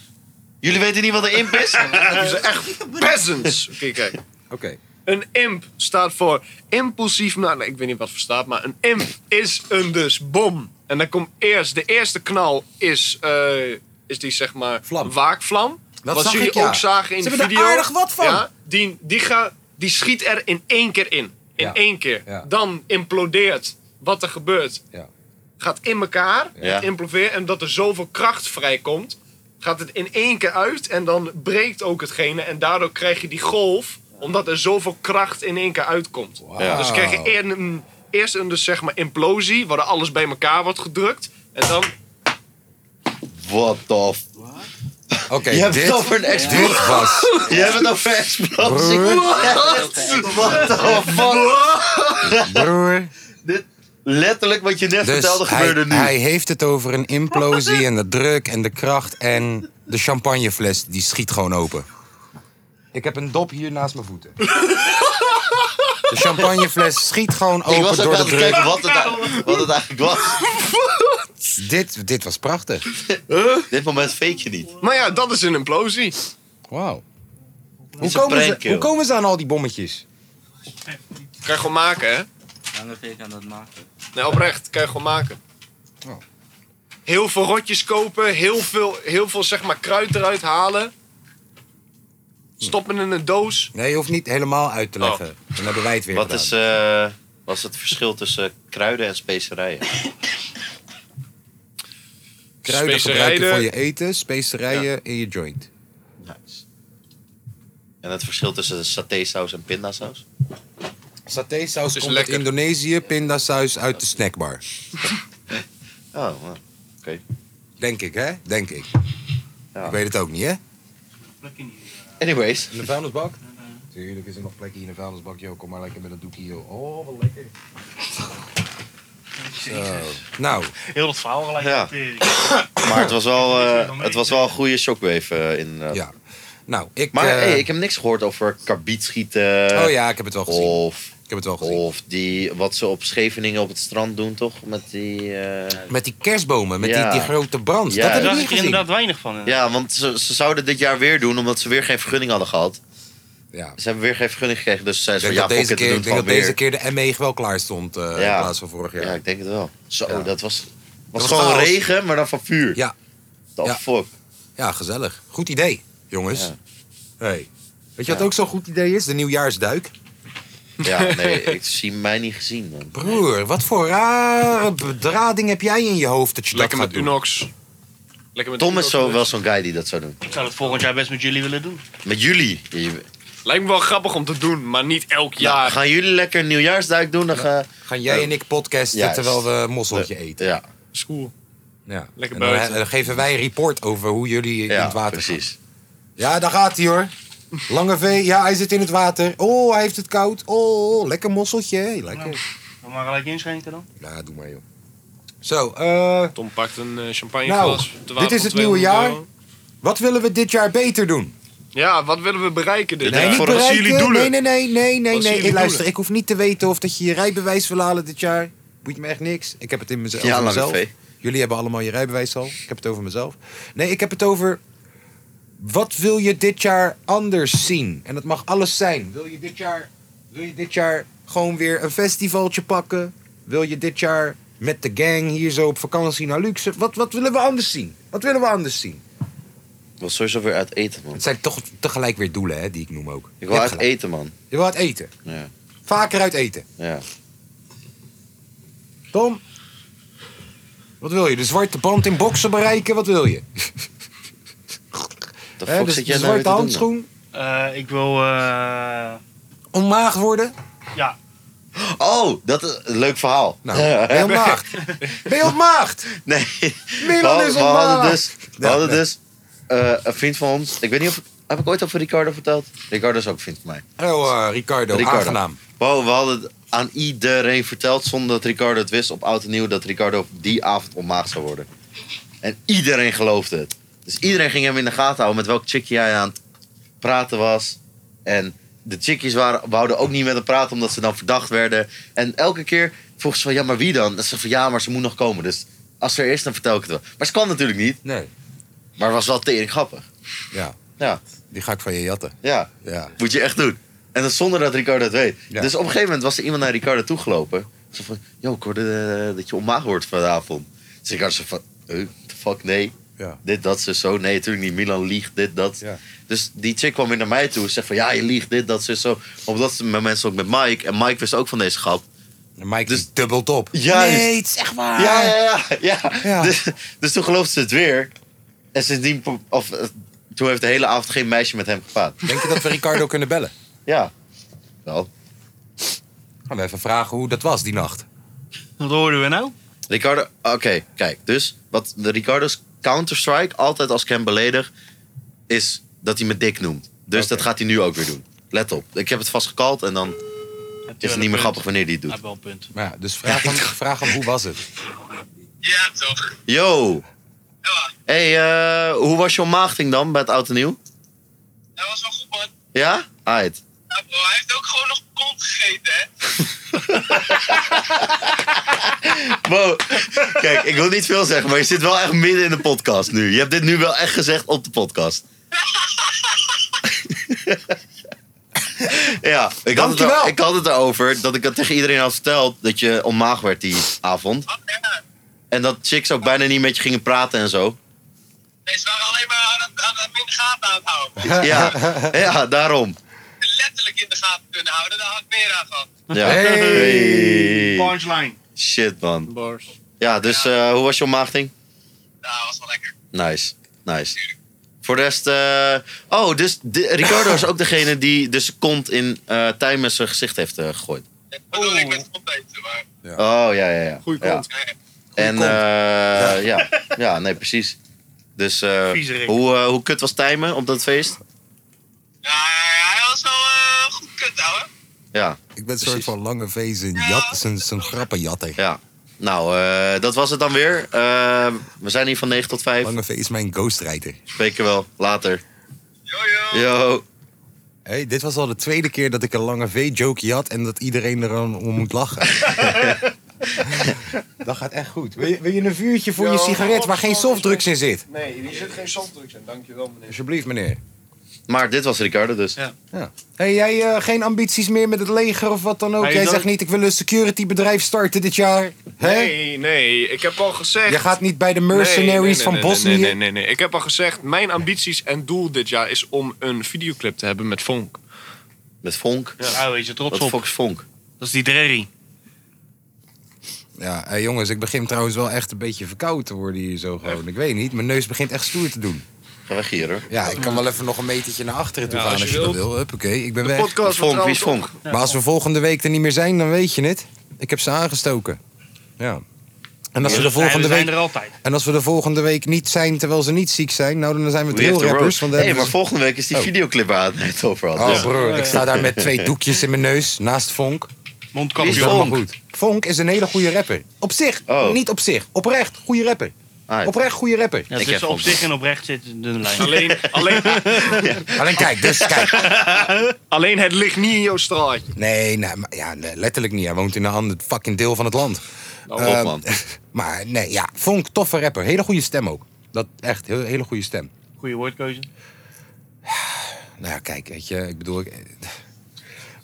Speaker 3: Jullie weten niet wat een imp is?
Speaker 4: Dat is echt peasants. Oké, kijk.
Speaker 1: Oké.
Speaker 4: Een imp staat voor impulsief. Nou, nee, ik weet niet wat voor staat, maar een imp is een dus bom. En dan komt eerst, de eerste knal is, eh, is die zeg maar
Speaker 1: Vlam.
Speaker 4: waakvlam.
Speaker 1: Dat
Speaker 4: wat
Speaker 1: zag
Speaker 4: jullie
Speaker 1: ik, ja.
Speaker 4: ook zagen in
Speaker 1: Ze
Speaker 4: de
Speaker 1: hebben
Speaker 4: video.
Speaker 1: er aardig wat van.
Speaker 4: Ja, die, die, ga, die schiet er in één keer in. In
Speaker 1: Ja.
Speaker 4: één keer.
Speaker 1: Ja.
Speaker 4: Dan implodeert wat er gebeurt.
Speaker 1: Ja.
Speaker 4: Gaat in elkaar,
Speaker 3: Ja.
Speaker 4: het implodeert en dat er zoveel kracht vrijkomt, gaat het in één keer uit en dan breekt ook hetgene en daardoor krijg je die golf, omdat er zoveel kracht in één keer uitkomt.
Speaker 1: Ja.
Speaker 4: Dus krijg je eer- een- eerst een dus zeg maar implosie, waar alles bij elkaar wordt gedrukt en dan
Speaker 3: What the f...
Speaker 1: Oké,
Speaker 3: Je hebt het
Speaker 1: dit,
Speaker 3: over een explosie.
Speaker 1: dit was...
Speaker 3: Je hebt het over een explosie.
Speaker 1: Broer.
Speaker 3: What the fuck?
Speaker 1: Broer.
Speaker 3: Dit, Letterlijk wat je net vertelde
Speaker 1: Dus hij,
Speaker 3: gebeurde nu.
Speaker 1: hij heeft het over een implosie en de druk en de kracht en de champagnefles die schiet gewoon open. Ik heb een dop hier naast mijn voeten. De champagnefles schiet gewoon
Speaker 3: ik
Speaker 1: open
Speaker 3: was ook
Speaker 1: door
Speaker 3: aan
Speaker 1: de
Speaker 3: het
Speaker 1: druk.
Speaker 3: kijken wat het, eigenlijk- wat het eigenlijk was.
Speaker 1: Dit, dit was prachtig.
Speaker 3: Dit moment fake je niet.
Speaker 4: Maar ja, dat is een implosie.
Speaker 1: Wauw. Hoe
Speaker 3: is een
Speaker 1: komen,
Speaker 3: prank,
Speaker 1: ze,
Speaker 3: joh.
Speaker 1: hoe komen ze aan al die bommetjes?
Speaker 4: Kan je gewoon maken, hè?
Speaker 5: Lange V kan dat maken.
Speaker 4: Nee, oprecht. Kan je gewoon maken.
Speaker 1: Oh.
Speaker 4: Heel veel rotjes kopen. Heel veel, heel veel zeg maar, kruid eruit halen. Stoppen in een doos.
Speaker 1: Nee, je hoeft niet helemaal uit
Speaker 3: Oh,
Speaker 1: te leggen. Dan hebben wij het weer
Speaker 3: Wat
Speaker 1: gedaan.
Speaker 3: is, eh, was het verschil tussen kruiden en specerijen?
Speaker 1: Kruiden gebruiken
Speaker 4: specerijen?
Speaker 1: van je eten, specerijen in je joint.
Speaker 3: Nice. En het verschil tussen satésaus en pindasaus?
Speaker 1: Satésaus
Speaker 4: is
Speaker 1: komt uit
Speaker 4: lekker.
Speaker 1: Indonesië, pindasaus uit de snackbar.
Speaker 3: Oh, man.
Speaker 1: Denk ik, hè? Denk ik.
Speaker 3: Ja.
Speaker 1: Ik weet het ook niet, hè?
Speaker 2: Plek in die-
Speaker 3: Anyways.
Speaker 1: In de vuilnisbak? Tuurlijk is er nog plekje in de vuilnisbak, joh. Kom maar lekker met een doekje, joh. Oh, wat lekker. Zo. Nou,
Speaker 2: Heel dat verhaal gelijk.
Speaker 3: Ja.
Speaker 2: met, eh,
Speaker 3: Maar het was wel, eh, het was wel een goede shockwave eh, in. eh.
Speaker 1: ja. Nou, ik...
Speaker 3: Maar
Speaker 1: eh,
Speaker 3: hey, ik heb niks gehoord over karbietschieten.
Speaker 1: Oh ja, ik heb het wel gezien.
Speaker 3: Of,
Speaker 1: Ik heb het wel gezien.
Speaker 3: of die, wat ze op Scheveningen op het strand doen, toch? Met die. eh,
Speaker 1: Met die kerstbomen, met
Speaker 3: Ja.
Speaker 1: die, die grote brand.
Speaker 3: Ja.
Speaker 1: Dat
Speaker 2: Daar
Speaker 1: heb ik
Speaker 2: zag
Speaker 1: niet
Speaker 2: ik er
Speaker 1: gezien.
Speaker 2: inderdaad weinig van. eh.
Speaker 3: Ja, want ze, ze zouden dit jaar weer doen omdat ze weer geen vergunning hadden gehad.
Speaker 1: Ja.
Speaker 3: Ze hebben weer geen vergunning gekregen, dus ze
Speaker 1: Ik
Speaker 3: zeiden
Speaker 1: denk
Speaker 3: van ja,
Speaker 1: dat,
Speaker 3: fuck
Speaker 1: deze
Speaker 3: it, we
Speaker 1: keer,
Speaker 3: doen
Speaker 1: ik
Speaker 3: het
Speaker 1: denk
Speaker 3: gewoon
Speaker 1: dat
Speaker 3: weer.
Speaker 1: deze keer de ME wel klaar stond eh,
Speaker 3: Ja.
Speaker 1: in plaats van vorig jaar.
Speaker 3: Ja,
Speaker 1: Ja,
Speaker 3: ik denk het wel. Zo,
Speaker 1: Ja.
Speaker 3: dat was, was
Speaker 1: was
Speaker 3: gewoon
Speaker 1: chaos.
Speaker 3: regen, maar dan van vuur.
Speaker 1: Ja.
Speaker 3: The
Speaker 1: Ja.
Speaker 3: fuck.
Speaker 1: gezellig. Goed idee, jongens.
Speaker 3: Ja.
Speaker 1: Hey. Weet je
Speaker 3: Ja.
Speaker 1: wat ook zo'n goed idee is? De nieuwjaarsduik.
Speaker 3: Ja, nee, ik zie mij niet gezien, man.
Speaker 1: Broer, wat voor rare bedrading heb jij in je hoofd dat je
Speaker 4: Lekker
Speaker 1: dat
Speaker 4: met
Speaker 1: gaat doen?
Speaker 4: Unox. Lekker met
Speaker 3: Tom is
Speaker 4: Unox.
Speaker 3: zo, wel zo'n guy die dat zou doen.
Speaker 2: Ik zou dat volgend jaar best met jullie willen doen.
Speaker 3: Met jullie. Je-
Speaker 4: Lijkt me wel grappig om te doen, maar niet elk
Speaker 3: Ja,
Speaker 4: jaar.
Speaker 3: gaan jullie lekker een nieuwjaarsduik doen? Dan ga...
Speaker 1: Gaan jij en ik podcasten
Speaker 3: Juist.
Speaker 1: terwijl we een mosseltje eten.
Speaker 3: Ja,
Speaker 4: School.
Speaker 1: Ja.
Speaker 4: Lekker
Speaker 1: en dan,
Speaker 4: buiten.
Speaker 1: he- Eh, dan geven wij een report over hoe jullie in
Speaker 3: ja
Speaker 1: het water
Speaker 3: precies.
Speaker 1: gaan. Ja, daar gaat hij hoor. Lange V, ja, hij zit in het water. Oh, hij heeft het koud. Oh, lekker mosseltje. hé, Lekker.
Speaker 2: Dan maar gelijk inschenken dan.
Speaker 1: Ja, doe maar joh. Zo, eh,
Speaker 4: Tom pakt een eh,
Speaker 1: Nou,
Speaker 4: champagneglas. te
Speaker 1: dit
Speaker 4: waarde
Speaker 1: is
Speaker 4: van
Speaker 1: het nieuwe
Speaker 4: 200
Speaker 1: jaar.
Speaker 4: euro.
Speaker 1: wat willen we dit jaar beter doen?
Speaker 4: Ja, wat willen we bereiken dit
Speaker 3: Nee,
Speaker 4: jaar?
Speaker 3: niet
Speaker 4: Wat zijn
Speaker 1: bereiken.
Speaker 4: jullie doelen?
Speaker 1: Nee, nee, nee, nee, nee.
Speaker 4: Wat zijn
Speaker 1: nee.
Speaker 4: jullie
Speaker 1: Ik luister,
Speaker 4: doelen?
Speaker 1: ik hoef niet te weten of dat je je rijbewijs wil halen dit jaar. Boeit me echt niks. Ik heb het in mezelf.
Speaker 3: Ja,
Speaker 1: over
Speaker 3: lange
Speaker 1: mezelf.
Speaker 3: V.
Speaker 1: Jullie hebben allemaal je rijbewijs al. Ik heb het over mezelf. Nee, ik heb het over. Wat wil je dit jaar anders zien? En dat mag alles zijn. Wil je dit jaar, wil je dit jaar gewoon weer een festivaltje pakken? Wil je dit jaar met de gang hier zo op vakantie naar Luxe? Wat, wat willen we anders zien? Wat willen we anders zien?
Speaker 3: Ik wil sowieso weer uit eten, man.
Speaker 1: Het zijn toch tegelijk weer doelen, hè, die ik noem ook. Je
Speaker 3: Ik
Speaker 1: hebt
Speaker 3: wil uit
Speaker 1: gelijk.
Speaker 3: eten, man.
Speaker 1: Je wil uit eten.
Speaker 3: Ja.
Speaker 1: Vaker uit eten.
Speaker 3: Ja.
Speaker 1: Tom, wat wil je? De zwarte band in boksen bereiken? Wat wil je?
Speaker 3: De
Speaker 1: Hè,
Speaker 3: fuck
Speaker 1: de de
Speaker 3: zit jij nou weer
Speaker 1: zwarte
Speaker 3: te doen,
Speaker 1: handschoen?
Speaker 2: Eh, ik wil... eh,
Speaker 1: Onmaagd worden?
Speaker 3: man? Oh, dat is een leuk verhaal.
Speaker 1: Nou, ben je ontmaagd? Ben je ontmaagd?
Speaker 3: Nee, we,
Speaker 1: Milan
Speaker 3: hadden-
Speaker 1: is
Speaker 3: we hadden
Speaker 1: ontmaagd!
Speaker 3: dus, we
Speaker 1: Ja,
Speaker 3: hadden
Speaker 1: nee.
Speaker 3: dus eh, een vriend van ons. Ik weet niet of. Heb ik ooit over Ricardo verteld? Ricardo is ook een vriend van mij.
Speaker 1: Oh, eh, Ricardo,
Speaker 3: Ricardo.
Speaker 1: aangenaam.
Speaker 3: Wow, we hadden het aan iedereen verteld zonder dat Ricardo het wist op oud en nieuw dat Ricardo op die avond ontmaagd zou worden. En iedereen geloofde het. Dus iedereen ging hem in de gaten houden met welk chickie hij aan het praten was. En de chickies waren, wouden ook niet met hem praten omdat ze dan verdacht werden. En elke keer vroeg ze van ja, maar wie dan? En ze van ja, maar ze moet nog komen. Dus als ze er is, dan vertel ik het wel. Maar ze kwam natuurlijk niet.
Speaker 1: Nee,
Speaker 3: Maar het was wel tering grappig.
Speaker 1: die ga ik van je jatten.
Speaker 3: Ja.
Speaker 1: Ja.
Speaker 3: Moet je echt doen. En dat zonder dat Ricardo het weet.
Speaker 1: Ja.
Speaker 3: Dus op een gegeven moment was er iemand naar Ricardo toegelopen. Zo van, yo, ik hoorde eh, dat je onmaag wordt vanavond. Dus Ricardo zo van, eh, the fuck, nee.
Speaker 1: Ja.
Speaker 3: Dit, dat, ze zo. Nee, natuurlijk niet. Milan liegt, dit, dat.
Speaker 1: Ja.
Speaker 3: Dus die chick kwam weer naar mij toe en zegt van, ja, je liegt, dit, dat, ze zo. Op dat moment ook met Mike. En Mike wist ook van deze grap.
Speaker 1: En Mike
Speaker 3: Dus-
Speaker 1: dus, dubbelt op.
Speaker 3: Juist.
Speaker 1: Nee, het is echt waar.
Speaker 3: Ja, ja, ja. ja.
Speaker 1: Ja.
Speaker 3: Dus, dus toen geloofde ze het weer. En sindsdien, pro- of, eh, toen heeft de hele avond geen meisje met hem gepraat.
Speaker 1: Denk je dat we Ricardo kunnen bellen?
Speaker 3: Ja. Wel.
Speaker 1: Gaan we even vragen hoe dat was die nacht.
Speaker 2: Wat hoorden we nou?
Speaker 3: Ricardo, oké, kijk. Dus wat de Ricardo's Counter-Strike altijd als ik hem beledig, is dat hij me dik noemt. Dus dat gaat hij nu ook weer doen. Let op. Ik heb het vast gekald en dan Het is niet meer grappig wanneer die het
Speaker 2: Hij
Speaker 3: doet.
Speaker 2: heeft wel een punt.
Speaker 1: Maar ja, dus vraag hem, vraag hem hoe was het?
Speaker 6: Ja, toch.
Speaker 3: Yo!
Speaker 6: Ja,
Speaker 3: Hey, eh, hoe was jouw maagding dan bij het oud en nieuw?
Speaker 6: dat was wel goed, man.
Speaker 3: Ja? Aight.
Speaker 6: Ja, bro, hij heeft ook gewoon nog kont gegeten, hè?
Speaker 3: Wow. Kijk, ik wil niet veel zeggen, maar je zit wel echt midden in de podcast nu. Je hebt dit nu wel echt gezegd op de podcast. ja, ik had, het
Speaker 1: Dankjewel.
Speaker 3: er, ik had het erover dat ik het tegen iedereen had verteld dat je onmaag werd die avond.
Speaker 6: Oh, ja.
Speaker 3: En dat chicks ook bijna niet met je gingen praten en zo.
Speaker 6: Nee, ze waren alleen maar aan het, aan het in de gaten aan het houden.
Speaker 3: Ja, ja daarom.
Speaker 6: Letterlijk in de gaten kunnen houden, daar had ik meer aan gehad.
Speaker 3: Ja.
Speaker 1: Hey.
Speaker 3: Hey.
Speaker 2: Punchline.
Speaker 3: Shit, man. Ja, dus eh, hoe was je maagding?
Speaker 6: Nou, dat was wel lekker.
Speaker 3: Nice, nice. Voor de rest... eh, oh, dus di- Ricardo is ook degene die dus zijn kont in eh Tijmen zijn gezicht heeft eh, gegooid.
Speaker 6: Dat bedoel ik met kont eten, maar...
Speaker 3: Oh, ja, ja, ja.
Speaker 4: Goeie
Speaker 3: ja.
Speaker 4: kont.
Speaker 3: En
Speaker 1: kont.
Speaker 3: eh, ja. ja, nee, precies. Dus eh,
Speaker 2: Viezerik.
Speaker 3: hoe, eh, hoe kut was Tijmen op dat feest?
Speaker 6: Ja, hij was wel eh, goed kut, ouwe.
Speaker 3: Ja,
Speaker 1: Ik ben een soort
Speaker 3: Precies.
Speaker 1: van lange vezen, jat, zijn, zijn grappenjatter.
Speaker 3: ja. Nou, eh, dat was het dan weer. Eh, we zijn hier van 9 tot 5.
Speaker 1: Lange V is mijn ghostwriter.
Speaker 3: Spreken wel. Later.
Speaker 6: Yo, yo.
Speaker 3: Yo.
Speaker 1: Hey, dit was al de tweede keer dat ik een lange V-joke had en dat iedereen er aan om moet lachen. dat gaat echt goed. Wil je, wil je een vuurtje voor je
Speaker 4: Ja,
Speaker 1: sigaret waar geen softdrugs in zit?
Speaker 4: Nee, hier zit geen softdrugs in. Dankjewel, meneer.
Speaker 1: Alsjeblieft, meneer.
Speaker 3: Maar dit was Ricardo dus.
Speaker 2: Ja.
Speaker 1: Hey, jij eh, geen ambities meer met het leger of wat dan ook?
Speaker 2: Nee,
Speaker 1: jij
Speaker 2: dat-
Speaker 1: zegt niet, ik wil een securitybedrijf starten dit jaar. Hè?
Speaker 4: Nee, nee, ik heb al gezegd.
Speaker 1: Je gaat niet bij de mercenaries
Speaker 4: Nee, nee, nee,
Speaker 1: van
Speaker 4: nee,
Speaker 1: Bosnië.
Speaker 4: Nee, nee, nee, nee. Ik heb al gezegd, mijn ambities en doel dit jaar is om een videoclip te hebben met Vonk.
Speaker 3: Met Vonk.
Speaker 2: Nou, wees je trots
Speaker 3: Wat
Speaker 2: op.
Speaker 3: fuck is Vonk?
Speaker 2: Dat is die Drerry.
Speaker 1: Ja, hey, jongens, ik begin trouwens wel echt een beetje verkoud te worden hier zo gewoon. Ik weet niet, mijn neus begint echt stoer te doen.
Speaker 3: Ga weg hier hoor.
Speaker 1: Ja, ik kan wel even nog een metertje naar achteren toe
Speaker 4: Ja,
Speaker 1: gaan als
Speaker 4: als
Speaker 1: je,
Speaker 4: je
Speaker 1: dat
Speaker 4: wilt.
Speaker 1: wil. Huppakee, ik ben weg.
Speaker 3: Wie is Vonk? Wie is Vonk?
Speaker 1: Maar als we volgende week er niet meer zijn, dan weet je het. Ik heb ze aangestoken. Ja. En als, we de volgende
Speaker 2: we zijn
Speaker 1: week,
Speaker 2: er altijd.
Speaker 1: en als we de volgende week niet zijn terwijl ze niet ziek zijn, nou dan zijn we
Speaker 3: Wie heeft de
Speaker 1: drillrappers.
Speaker 3: road?
Speaker 1: want dan
Speaker 3: hey,
Speaker 1: hebben
Speaker 3: maar
Speaker 1: ze-
Speaker 3: volgende week is die
Speaker 1: Oh.
Speaker 3: videoclip waar hij het over had.
Speaker 1: Oh
Speaker 3: Dus-
Speaker 1: broer, ik sta daar met twee doekjes in mijn neus naast Vonk.
Speaker 3: Wie is
Speaker 2: Mondkapje.
Speaker 1: Maar
Speaker 3: Vonk?
Speaker 1: goed, Vonk is een hele goede rapper. Op zich,
Speaker 3: Oh.
Speaker 1: niet op zich. Oprecht, goede rapper.
Speaker 3: Ah, ja.
Speaker 1: Oprecht, goede rapper.
Speaker 2: Ja,
Speaker 3: Ik
Speaker 2: dus
Speaker 3: heb
Speaker 2: op
Speaker 3: Vonk.
Speaker 2: zich en oprecht zit in de lijn.
Speaker 4: Alleen, alleen,
Speaker 1: Alleen kijk, dus kijk.
Speaker 4: alleen het ligt niet in jouw straatje.
Speaker 1: Nee, nee maar, ja, nee, letterlijk niet. Hij woont in een ander fucking deel van het land.
Speaker 3: Nou, op,
Speaker 1: Ehm,
Speaker 3: man.
Speaker 1: Maar nee, ja, Vonk, toffe rapper. Hele goede stem ook. Dat echt, heel, hele goede stem.
Speaker 2: Goeie woordkeuze.
Speaker 1: Nou ja, kijk, weet je, ik bedoel... ik- eh,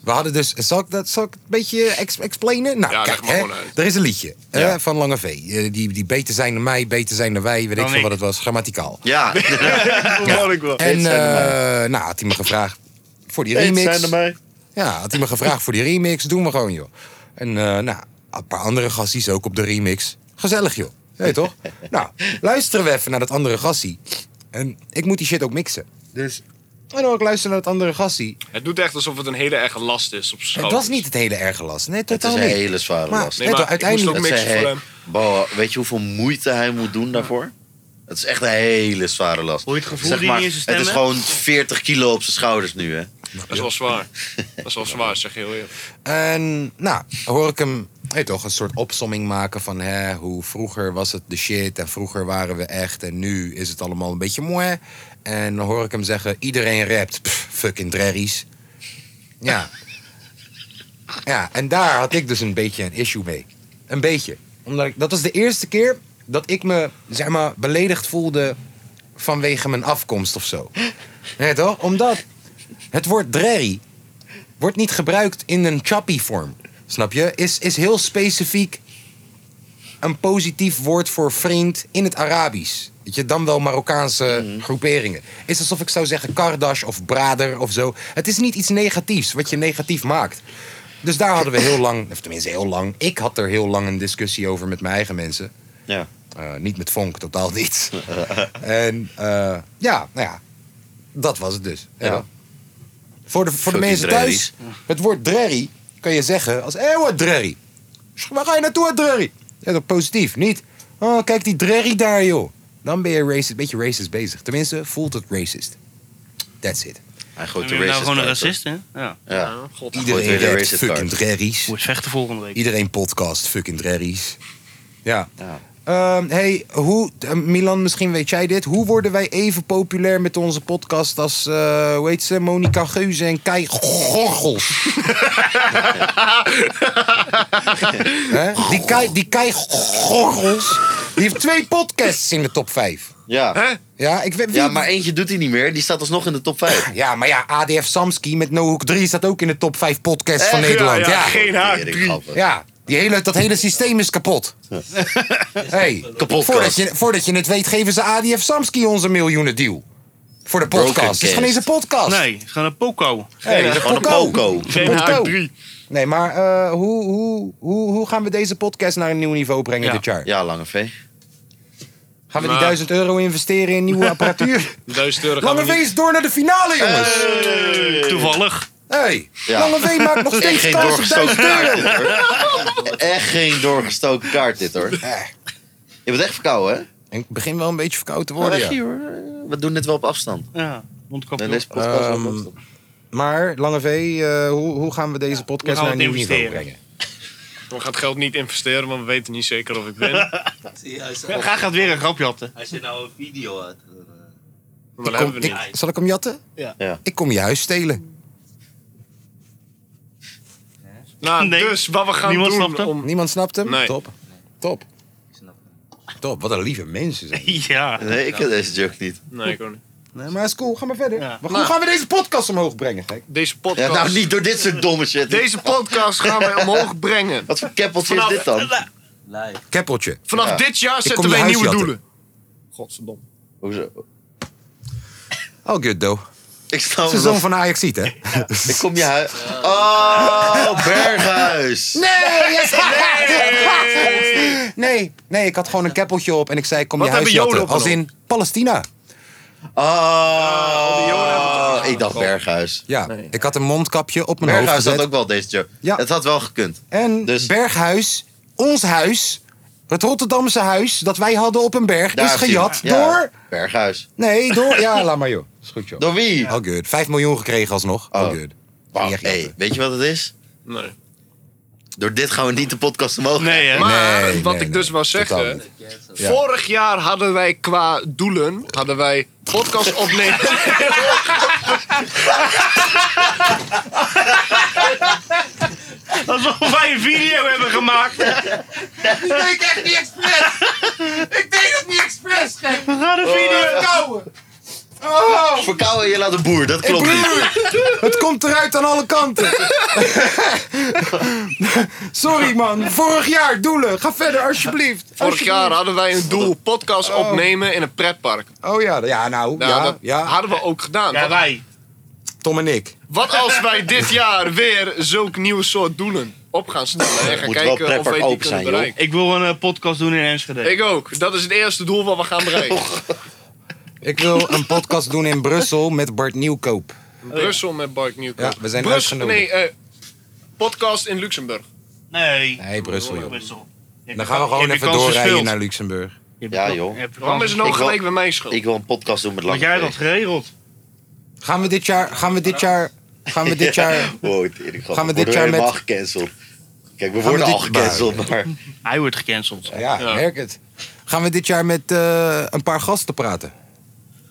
Speaker 1: We hadden dus... Zal ik, dat, zal ik het een beetje ex explainen? Nou,
Speaker 4: Ja, leg
Speaker 1: kijk,
Speaker 4: maar
Speaker 1: hè,
Speaker 4: gewoon uit.
Speaker 1: er is een liedje hè,
Speaker 3: Ja.
Speaker 1: van Lange V. Eh, Die, die beter zijn dan mij, beter zijn dan wij, weet
Speaker 2: Dan
Speaker 1: ik veel
Speaker 2: ik.
Speaker 1: wat het was, grammaticaal.
Speaker 3: Ja,
Speaker 1: En
Speaker 3: Beter zijn dan
Speaker 1: eh, nou, had hij me gevraagd voor die
Speaker 3: Eens
Speaker 1: remix.
Speaker 3: zijn erbij.
Speaker 1: Ja, had hij me gevraagd voor die remix. Doen we gewoon, joh. En eh, nou, een paar andere gasties ook op de remix. Gezellig, joh. Weet je toch? nou, luisteren we even naar dat andere gassie. En ik moet die shit ook mixen. Dus... En dan ook luisteren naar dat andere gassie.
Speaker 4: Het doet echt alsof het een hele erge last is op
Speaker 1: Het
Speaker 4: schouders.
Speaker 1: was niet het hele erge last. Nee,
Speaker 3: Het is
Speaker 1: totaal
Speaker 3: een
Speaker 1: niet.
Speaker 3: hele zware
Speaker 1: Maar-
Speaker 3: last.
Speaker 4: Nee, maar
Speaker 1: uiteindelijk-
Speaker 4: uiteindelijk... Ik
Speaker 3: Dat
Speaker 4: moest ook
Speaker 3: zei
Speaker 4: mixen voor
Speaker 3: hij,
Speaker 4: hem.
Speaker 3: "Bo, weet je hoeveel moeite hij moet doen daarvoor? Het is echt een hele zware last.
Speaker 2: Hoor je het gevoel
Speaker 3: Zeg
Speaker 2: die
Speaker 3: maar,
Speaker 2: niet in zijn stem
Speaker 3: Het is
Speaker 2: hebt?
Speaker 3: gewoon 40 kilo op zijn schouders nu, hè?
Speaker 4: Dat is wel zwaar. Dat is wel zwaar, zeg je heel eerlijk.
Speaker 1: En nou, hoor ik hem hey, toch, een soort opsomming maken van hè, hoe vroeger was het de shit en vroeger waren we echt en nu is het allemaal een beetje mooi. En dan hoor ik hem zeggen: iedereen rapt, pff, fucking drerries. Ja. ja, en daar had ik dus een beetje een issue mee. Een beetje. Omdat ik, dat was de eerste keer dat ik me, zeg maar, beledigd voelde vanwege mijn afkomst of zo. Nee, toch? Omdat het woord drerry wordt niet gebruikt in een chappie vorm. Snap je? Is, is heel specifiek een positief woord voor vriend in het Arabisch. Weet je, dan wel Marokkaanse groeperingen. Is alsof ik zou zeggen kardash of brader of zo. Het is niet iets negatiefs wat je negatief maakt. Dus daar hadden we heel lang, of tenminste heel lang. Ik had er heel lang een discussie over met mijn eigen mensen.
Speaker 3: Ja.
Speaker 1: Eh, niet met vonk, totaal niet. en eh, ja, nou ja, dat was het dus. Ja.
Speaker 3: Ja.
Speaker 1: Voor de, voor de
Speaker 3: Fucking
Speaker 1: mensen
Speaker 3: drerries.
Speaker 1: thuis, het woord drerry kan je zeggen als hé, wat drerry. Sch- Waar ga je naartoe, wat drerry? Ja, dat positief, niet. Oh, kijk die drerry daar, joh. Dan ben je racist, een beetje racist bezig. Tenminste, voelt het racist. That's it.
Speaker 3: Hij
Speaker 2: Dan
Speaker 3: gooit de
Speaker 2: ben je nou
Speaker 3: racist
Speaker 2: gewoon een
Speaker 3: card,
Speaker 2: racist, hè? Ja.
Speaker 3: hoor. Ja.
Speaker 4: Ja, God,
Speaker 3: Gooit
Speaker 1: Iedereen
Speaker 3: weer de
Speaker 1: redt
Speaker 3: racist
Speaker 1: fucking drerries.
Speaker 2: Wordt vechten volgende week.
Speaker 1: Iedereen podcast fucking drerries. Ja.
Speaker 3: Ja.
Speaker 1: Ehm, hey, hoe, eh, Milan, misschien weet jij dit. Hoe worden wij even populair met onze podcast als, eh hoe heet ze, Monica Geuze en Kai Gorgels? Hè? die, Kai, die Kai Gorgels, die heeft twee podcasts in de top 5.
Speaker 3: Ja.
Speaker 1: Ja, ik weet, wie-
Speaker 3: ja, maar eentje doet hij niet meer. Die staat alsnog in de top 5.
Speaker 1: ja, maar ja, ADF Samski met No Hook 3 staat ook in de top 5 podcasts van
Speaker 3: Echt?
Speaker 1: Nederland.
Speaker 4: ja,
Speaker 1: ja.
Speaker 4: geen haar. drie.
Speaker 1: Ja, die hele, dat hele systeem is kapot. Hey,
Speaker 3: Kapot,
Speaker 1: voordat
Speaker 3: Kas.
Speaker 1: je, voordat je het weet, geven ze ADF Samski onze miljoenen deal. Voor de
Speaker 3: Broken
Speaker 1: podcast. Het is gewoon
Speaker 3: cast.
Speaker 1: deze podcast.
Speaker 2: Nee, het is gewoon een poko.
Speaker 1: Hey, dat is
Speaker 3: Gewoon een
Speaker 1: Poco.
Speaker 3: poko.
Speaker 4: Geen
Speaker 1: Poco.
Speaker 4: haar drie.
Speaker 1: Nee, maar eh, hoe, hoe, hoe, hoe gaan we deze podcast naar een nieuw niveau brengen
Speaker 2: Ja. Nou.
Speaker 1: dit jaar?
Speaker 3: Ja, Lange V.
Speaker 1: Gaan we die
Speaker 4: Maar-
Speaker 1: 1000 euro investeren in nieuwe apparatuur?
Speaker 4: Duizend euro gaan we
Speaker 1: Lange V
Speaker 4: niet...
Speaker 1: is door naar de finale, jongens.
Speaker 2: Toevallig.
Speaker 1: Hey,
Speaker 3: Eh, Ja.
Speaker 1: Lange V maakt nog
Speaker 3: Echt
Speaker 1: steeds
Speaker 3: geen
Speaker 1: kans op 1000
Speaker 3: doorgestoken kaart
Speaker 1: euro.
Speaker 3: dit hoor. Echt geen doorgestoken kaart dit hoor. Je bent echt verkouden hè?
Speaker 1: Ik begin wel een beetje verkoud te
Speaker 3: Ga
Speaker 1: worden,
Speaker 3: weg
Speaker 1: ja.
Speaker 3: hier hoor. We doen dit wel op afstand.
Speaker 2: Ja,
Speaker 3: Nee,
Speaker 2: mondkapje.
Speaker 3: deze podcast wel
Speaker 1: Ehm,
Speaker 3: op afstand.
Speaker 1: Maar, Lange V, eh, hoe, hoe gaan we deze
Speaker 2: we
Speaker 1: podcast
Speaker 2: gaan
Speaker 1: naar een
Speaker 2: het
Speaker 1: nieuw niveau
Speaker 2: investeren.
Speaker 1: brengen?
Speaker 4: We gaan het geld niet investeren, want we weten niet zeker of ik ben.
Speaker 2: Ja, Ga gaat weer een grapje hatten.
Speaker 5: Als je nou een video had.
Speaker 4: Maar dat
Speaker 1: Kom,
Speaker 4: hebben we niet.
Speaker 1: ik- zal ik hem jatten?
Speaker 2: Ja.
Speaker 3: Ja.
Speaker 1: Ik kom je huis stelen.
Speaker 4: Nou,
Speaker 2: Nee.
Speaker 4: dus wat we gaan
Speaker 2: Niemand
Speaker 4: doen
Speaker 2: snapt hem.
Speaker 4: om...
Speaker 1: Niemand snapt hem?
Speaker 4: Nee.
Speaker 1: Top. Top. Top, wat een lieve mensen zijn.
Speaker 2: Ja.
Speaker 3: Nee, ik ken deze joke niet.
Speaker 4: Nee, ik ook niet.
Speaker 1: Nee, maar is cool, ga maar verder.
Speaker 2: Ja.
Speaker 1: Maar
Speaker 4: Nou.
Speaker 1: hoe gaan we deze podcast omhoog brengen, gek?
Speaker 4: Deze
Speaker 3: Ja,
Speaker 4: podcast...
Speaker 3: nou, niet door dit soort domme shit.
Speaker 4: Deze podcast gaan wij omhoog brengen.
Speaker 3: Wat voor keppeltje is dit dan?
Speaker 5: Live.
Speaker 1: Keppeltje.
Speaker 4: Vanaf
Speaker 3: Ja.
Speaker 4: dit jaar
Speaker 1: kom
Speaker 4: zetten
Speaker 1: je
Speaker 4: wij
Speaker 1: huis
Speaker 4: nieuwe
Speaker 1: jatten.
Speaker 4: doelen. Godverdomme.
Speaker 3: Hoezo?
Speaker 1: All Oh, good, though.
Speaker 3: Ik snap
Speaker 1: Dat is
Speaker 3: het
Speaker 1: de zoon
Speaker 3: nog.
Speaker 1: van Ajaxiet, hè?
Speaker 3: Ik kom je huis. Oh, Berghuis.
Speaker 1: Nee, yes. nee, nee, ik had gewoon een keppeltje op en ik zei, ik kom
Speaker 4: Wat
Speaker 1: je huis
Speaker 4: hebben Joden
Speaker 1: jatten. Als in Palestina.
Speaker 3: Oh, Ah, ik dacht Berghuis.
Speaker 1: Ja, ik had een mondkapje op mijn hoofd
Speaker 3: Berghuis had
Speaker 1: gezet.
Speaker 3: ook wel deze joke.
Speaker 1: Ja.
Speaker 3: Het had wel gekund.
Speaker 1: En
Speaker 3: Dus-
Speaker 1: Berghuis, ons huis, het Rotterdamse huis dat wij hadden op een berg,
Speaker 3: Daar
Speaker 1: is
Speaker 3: heb je hem.
Speaker 1: gejat
Speaker 3: Ja,
Speaker 1: door...
Speaker 3: Berghuis.
Speaker 1: Nee, door... Ja, laat maar, joh. Is goed, joh.
Speaker 3: Door wie?
Speaker 1: All good. 5 miljoen gekregen alsnog. All
Speaker 3: Oh.
Speaker 1: good.
Speaker 3: Wauw,
Speaker 1: Niet echt
Speaker 3: hey,
Speaker 1: jatten.
Speaker 3: weet je wat het is?
Speaker 4: Nee.
Speaker 3: Door dit gaan we niet de podcast omhoog.
Speaker 2: Nee, hè?
Speaker 4: Maar
Speaker 1: Nee,
Speaker 4: wat
Speaker 1: nee,
Speaker 4: ik
Speaker 1: nee,
Speaker 4: dus wil
Speaker 1: totaal
Speaker 4: zeggen.
Speaker 1: niet. Ja.
Speaker 4: Vorig jaar hadden wij qua doelen. hadden wij podcast opnemen.
Speaker 2: Alsof wij een video hebben gemaakt. Ik deed echt niet expres. Ik deed het niet expres, We gaan een video
Speaker 1: Oh.
Speaker 3: Verkouden je laat een boer, dat klopt niet.
Speaker 1: Het komt eruit aan alle kanten. Sorry, man. Vorig jaar doelen. Ga verder, alsjeblieft.
Speaker 4: Vorig jaar hadden wij een doel: podcast opnemen in een pretpark.
Speaker 1: Oh ja, ja nou,
Speaker 4: Nou,
Speaker 1: ja,
Speaker 4: dat
Speaker 1: ja.
Speaker 4: hadden we ook gedaan.
Speaker 2: Ja,
Speaker 4: Wat,
Speaker 2: wij.
Speaker 1: Tom en ik.
Speaker 4: wat als wij dit jaar weer zulk nieuw soort doelen op gaan stellen? En gaan
Speaker 3: Moet wel
Speaker 4: kijken of
Speaker 3: pretpark
Speaker 4: wij die
Speaker 3: open
Speaker 4: kunnen
Speaker 3: zijn, joh.
Speaker 4: bereiken.
Speaker 2: Ik wil een eh, podcast doen in Enschede.
Speaker 4: Ik ook. Dat is het eerste doel wat we gaan bereiken.
Speaker 1: Ik wil een podcast doen in Brussel met Bart Nieuwkoop.
Speaker 4: Brussel met Bark Nieuwkoop.
Speaker 1: Ja, we zijn
Speaker 4: Brussel,
Speaker 1: uitgenodigd.
Speaker 4: Nee, eh, podcast in Luxemburg.
Speaker 2: Nee.
Speaker 1: Nee, Brussel, joh.
Speaker 2: Brussel.
Speaker 1: Dan gaan we gewoon even doorrijden naar Luxemburg.
Speaker 3: Ja, joh.
Speaker 4: Waarom is het nou
Speaker 3: Ik wil-
Speaker 4: gelijk bij mij schuld?
Speaker 3: Ik wil een podcast doen met
Speaker 2: Had
Speaker 3: Lange
Speaker 2: jij
Speaker 3: V.
Speaker 2: dat geregeld?
Speaker 1: Gaan we dit jaar... Gaan we dit jaar... Gaan we dit jaar...
Speaker 3: Wow,
Speaker 1: Gaan
Speaker 3: we dit jaar met... gecanceld. Kijk, we worden
Speaker 1: dit-
Speaker 3: al gecanceld, maar...
Speaker 2: Hij wordt gecanceld.
Speaker 1: Ja, merk het. Gaan we dit jaar met eh, een paar gasten praten?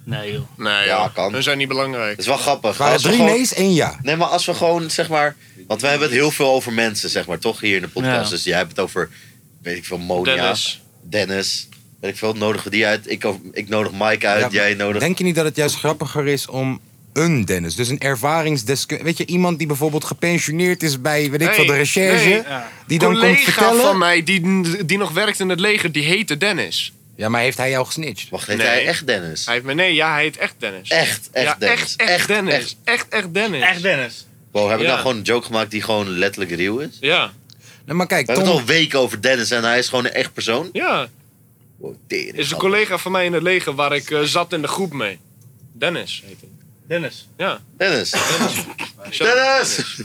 Speaker 2: Nee, joh.
Speaker 4: Nee,
Speaker 3: Ja,
Speaker 4: ja,
Speaker 3: kan.
Speaker 4: Hun zijn niet belangrijk.
Speaker 3: Het is wel grappig.
Speaker 1: Waren
Speaker 3: Als we
Speaker 1: drie
Speaker 3: gewoon-
Speaker 1: nee's, één ja.
Speaker 3: Nee, maar als we gewoon, zeg maar... Want we hebben het heel veel over mensen, zeg maar, toch? Hier in de podcast.
Speaker 2: Ja.
Speaker 3: Dus jij hebt het over, weet ik veel, Monia.
Speaker 4: Dennis.
Speaker 3: Dennis. Weet ik veel, nodigen we die uit. Ik, ik nodig Mike uit,
Speaker 1: Ja,
Speaker 3: jij nodig...
Speaker 1: Denk je niet dat het juist grappiger is om een Dennis, dus een ervaringsdeskundige... Weet je, iemand die bijvoorbeeld gepensioneerd is bij, weet ik
Speaker 4: Nee,
Speaker 1: veel, de recherche...
Speaker 4: nee,
Speaker 2: ja.
Speaker 1: Die dan komt
Speaker 4: collega van
Speaker 1: vertellen...
Speaker 4: mij die, die nog werkt in het leger, die heette Dennis.
Speaker 1: Ja, maar heeft hij jou gesnitcht?
Speaker 3: Wacht, heet
Speaker 4: Nee.
Speaker 3: hij echt Dennis?
Speaker 4: Hij heeft me, nee, ja, hij heet echt Dennis.
Speaker 3: Echt, echt
Speaker 4: ja,
Speaker 3: Dennis.
Speaker 4: Echt, echt, Dennis.
Speaker 3: echt.
Speaker 4: Echt, echt, Dennis.
Speaker 2: Echt Dennis.
Speaker 3: Wow, heb ik
Speaker 4: Ja.
Speaker 3: nou gewoon een joke gemaakt die gewoon letterlijk real is?
Speaker 4: Ja,
Speaker 1: Nee, maar kijk,
Speaker 3: We hebben het al
Speaker 1: Tom...
Speaker 3: een week over Dennis en hij is gewoon een echt persoon.
Speaker 4: ja.
Speaker 3: Wow, tering,
Speaker 4: Is een
Speaker 3: grappig.
Speaker 4: collega van mij in het leger waar ik eh, zat in de groep mee. Dennis heet hij.
Speaker 2: Dennis.
Speaker 4: Ja.
Speaker 3: Dennis.
Speaker 4: Ik zat-
Speaker 3: Dennis!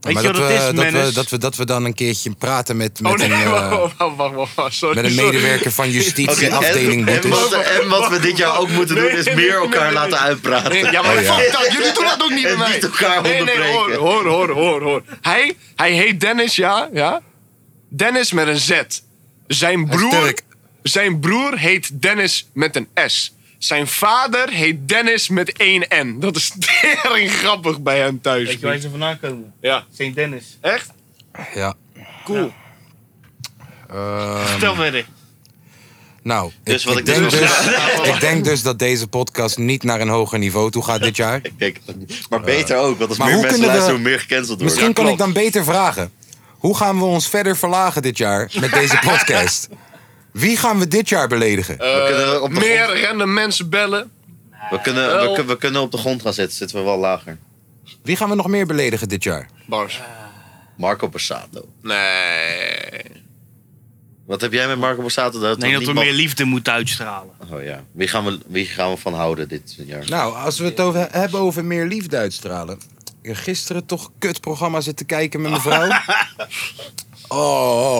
Speaker 2: Weet
Speaker 1: maar
Speaker 2: je
Speaker 1: dat,
Speaker 2: wat het
Speaker 1: we,
Speaker 2: is,
Speaker 1: dat, we,
Speaker 2: Mennis?
Speaker 1: dat, we, dat we dan een keertje praten met, met,
Speaker 4: Oh nee,
Speaker 1: een, eh,
Speaker 4: wacht, wacht, wacht, wacht, wacht, sorry,
Speaker 1: met een
Speaker 4: sorry.
Speaker 1: medewerker van justitie,
Speaker 3: Oké, en-
Speaker 1: afdeling
Speaker 3: en,
Speaker 1: boetes.
Speaker 3: wat, en wat we dit jaar ook moeten doen, is
Speaker 4: Nee,
Speaker 3: meer
Speaker 4: nee,
Speaker 3: elkaar
Speaker 4: nee,
Speaker 3: laten uitpraten.
Speaker 4: Nee, ja, maar
Speaker 1: Oh, ja.
Speaker 4: fuck dat. Jullie doen dat ook niet
Speaker 3: En
Speaker 4: bij mij.
Speaker 3: niet elkaar
Speaker 4: nee, nee, hoor,
Speaker 3: onderbreken.
Speaker 4: hoor, hoor, hoor, hoor. Hij, hij heet Dennis, ja, ja. Dennis met een Z. Zijn
Speaker 1: is
Speaker 4: broer,
Speaker 1: Turk.
Speaker 4: zijn broer heet Dennis met een S. Zijn vader heet Dennis met één N. Dat is tering grappig bij hem thuis.
Speaker 2: Weet je waar ze vandaan komen?
Speaker 4: Ja.
Speaker 2: St. Dennis.
Speaker 4: Echt?
Speaker 1: Ja.
Speaker 4: Cool.
Speaker 1: Ehm,
Speaker 2: Vertel verder.
Speaker 1: nou,
Speaker 3: Dus
Speaker 1: ik,
Speaker 3: wat
Speaker 1: ik
Speaker 3: ik dus
Speaker 1: denk
Speaker 3: wil
Speaker 1: dus, ik denk dus dat deze podcast niet naar een hoger niveau toe gaat dit jaar.
Speaker 3: Ik denk het niet. Maar beter ook, want als
Speaker 1: maar
Speaker 3: meer
Speaker 1: hoe kunnen
Speaker 3: mensen
Speaker 1: we-
Speaker 3: luisteren, hoe meer gecanceld worden.
Speaker 1: Misschien kan ik
Speaker 4: klopt.
Speaker 1: dan beter vragen. Hoe gaan we ons verder verlagen dit jaar met deze podcast? Wie gaan we dit jaar beledigen?
Speaker 3: we kunnen op de
Speaker 4: Eh, Meer
Speaker 3: grond-
Speaker 4: random mensen bellen.
Speaker 3: we, kunnen, we,
Speaker 4: wel.
Speaker 3: kun- we kunnen op de grond gaan zitten, zitten we wel lager.
Speaker 1: Wie gaan we nog meer beledigen dit jaar?
Speaker 4: Bars.
Speaker 3: Marco Borsato.
Speaker 4: Nee.
Speaker 3: Wat heb jij met Marco Borsato? Dat
Speaker 2: Ik denk dat we
Speaker 3: niet
Speaker 2: meer
Speaker 3: mag-
Speaker 2: liefde moeten uitstralen.
Speaker 3: Oh ja, wie gaan, we, wie gaan we van houden dit jaar?
Speaker 1: Nou, als we het over, hebben over meer liefde uitstralen. Ik heb Gisteren toch een kutprogramma zitten kijken met mijn vrouw. Oh,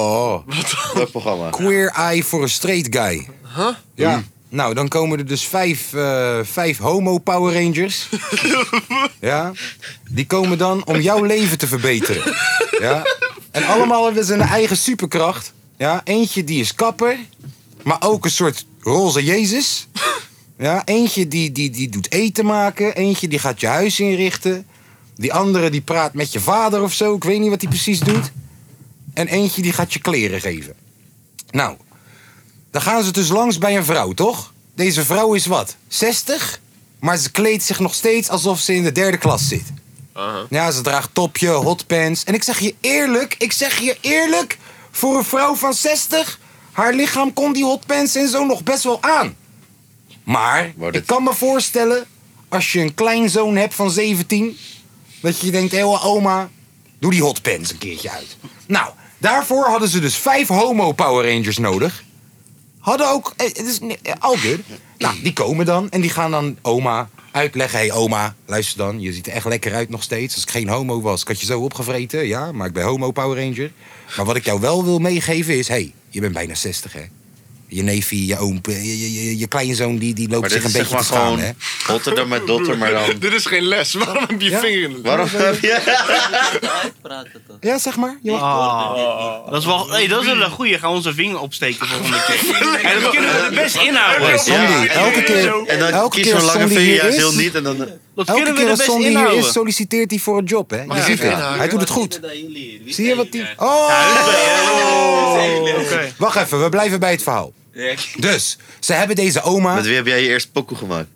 Speaker 1: oh, oh.
Speaker 3: Welk programma?
Speaker 1: Queer Eye voor een Straight Guy. Huh? Ja. Nou, dan komen er dus vijf, eh, vijf homo Power Rangers. ja. Die komen dan om jouw leven te verbeteren. Ja. En allemaal hebben ze een eigen superkracht. Ja. Eentje die is kapper. Maar ook een soort roze Jezus. Ja. Eentje die, die, die doet eten maken. Eentje die gaat je huis inrichten. Die andere die praat met je vader of zo. Ik weet niet wat hij precies doet. En eentje die gaat je kleren geven. Nou, dan gaan ze dus langs bij een vrouw, toch? Deze vrouw is wat? 60? Maar ze kleedt zich nog steeds alsof ze in de derde klas zit. Ja, ze draagt topje, hotpants. En ik zeg je eerlijk, ik zeg je eerlijk, voor een vrouw van 60, haar lichaam kon die hotpants en zo nog best wel aan. Maar
Speaker 3: Maar dit-
Speaker 1: ik kan me voorstellen, als je een kleinzoon hebt van 17, dat je denkt, hé oma, doe die hotpants een keertje uit. Nou, daarvoor hadden ze dus vijf homo Power Rangers nodig. Hadden ook, eh, het is ni- eh, al good. Nou, die komen dan en die gaan dan oma uitleggen. Hé hey, oma, luister dan, je ziet er echt lekker uit nog steeds. Als ik geen homo was, ik had je zo opgevreten, ja, maar ik ben homo Power Ranger. Maar wat ik jou wel wil meegeven is, hé, hey, je bent bijna 60 hè. Je neefie, je oom, eh, je, je, je, je kleinzoon, die, die loopt
Speaker 3: Maar
Speaker 1: zich
Speaker 3: dit
Speaker 1: een
Speaker 3: is
Speaker 1: beetje
Speaker 3: zeg maar
Speaker 1: te schamen, hè.
Speaker 3: gewoon hotter dan met dotter, maar dan...
Speaker 4: Dit is geen les. Waarom heb je
Speaker 1: Ja?
Speaker 4: vinger in de
Speaker 3: Waarom heb je...
Speaker 5: Uitpraten toch?
Speaker 1: Ja, zeg maar. Je mag-
Speaker 2: Ah. Dat is wel, hey, dat is wel een goeie. Gaan we onze vinger opsteken volgende keer. En dat kunnen we er best inhouden.
Speaker 1: Hey, Sandy,
Speaker 3: Ja.
Speaker 1: elke keer,
Speaker 3: En dan
Speaker 1: elke
Speaker 3: kies
Speaker 1: keer
Speaker 3: zo'n
Speaker 1: als
Speaker 3: lange
Speaker 1: Sandy
Speaker 3: vinger
Speaker 1: hier
Speaker 3: juist heel
Speaker 1: is...
Speaker 3: niet en dan...
Speaker 2: Dat
Speaker 1: eh, Elke
Speaker 2: kunnen we
Speaker 1: keer
Speaker 2: er
Speaker 1: als
Speaker 2: best
Speaker 1: Sandy hier is,
Speaker 2: inhouden.
Speaker 1: solliciteert hij voor een job, hè? Je
Speaker 4: ja,
Speaker 1: ziet het.
Speaker 4: inhaken.
Speaker 1: Hij doet het goed. Zie je wat die... Oh!
Speaker 2: Oh!
Speaker 1: Wacht even, we blijven bij het verhaal. Dus, ze hebben deze oma...
Speaker 3: Met wie heb jij je eerst pokoe gemaakt?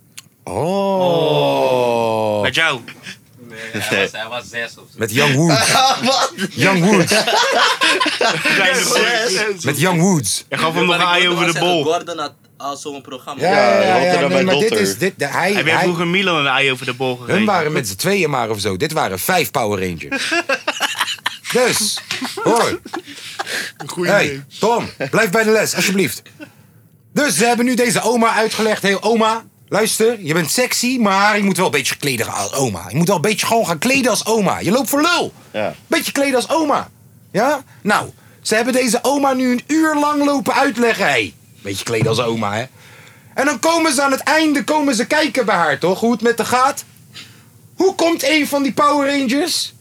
Speaker 1: Oh!
Speaker 2: Met jou.
Speaker 5: Nee, hij was, hij was zes of zo.
Speaker 1: Met Young Woods. Young Woods. Met Young Woods.
Speaker 2: Hij gaf hem nog een ei over de bol.
Speaker 5: Gordon had al zo'n programma.
Speaker 3: ja, ja, Rotterdam bij
Speaker 1: maar dit
Speaker 3: Dotter.
Speaker 1: is... Dit, de- hij,
Speaker 2: Heb jij
Speaker 1: hij-
Speaker 2: vroeger Milan een ei over de bol gegeven?
Speaker 1: hun waren met z'n tweeën maar of zo. Dit waren vijf Power Rangers. dus, hoor.
Speaker 4: Goeie idee.
Speaker 1: Hey, Tom, blijf bij de les, alsjeblieft. Dus ze hebben nu deze oma uitgelegd. Hé, hey, oma, luister, je bent sexy, maar je moet wel een beetje kleden als oma. Je moet wel een beetje gewoon gaan kleden als oma. Je loopt voor lul.
Speaker 3: Ja.
Speaker 1: Beetje kleden als oma. Ja? Nou, ze hebben deze oma nu een uur lang lopen uitleggen. Hé, hey, beetje kleden als oma, hè. En dan komen ze aan het einde, komen ze kijken bij haar, toch? Hoe het met haar gaat. Hoe komt een van die Power Rangers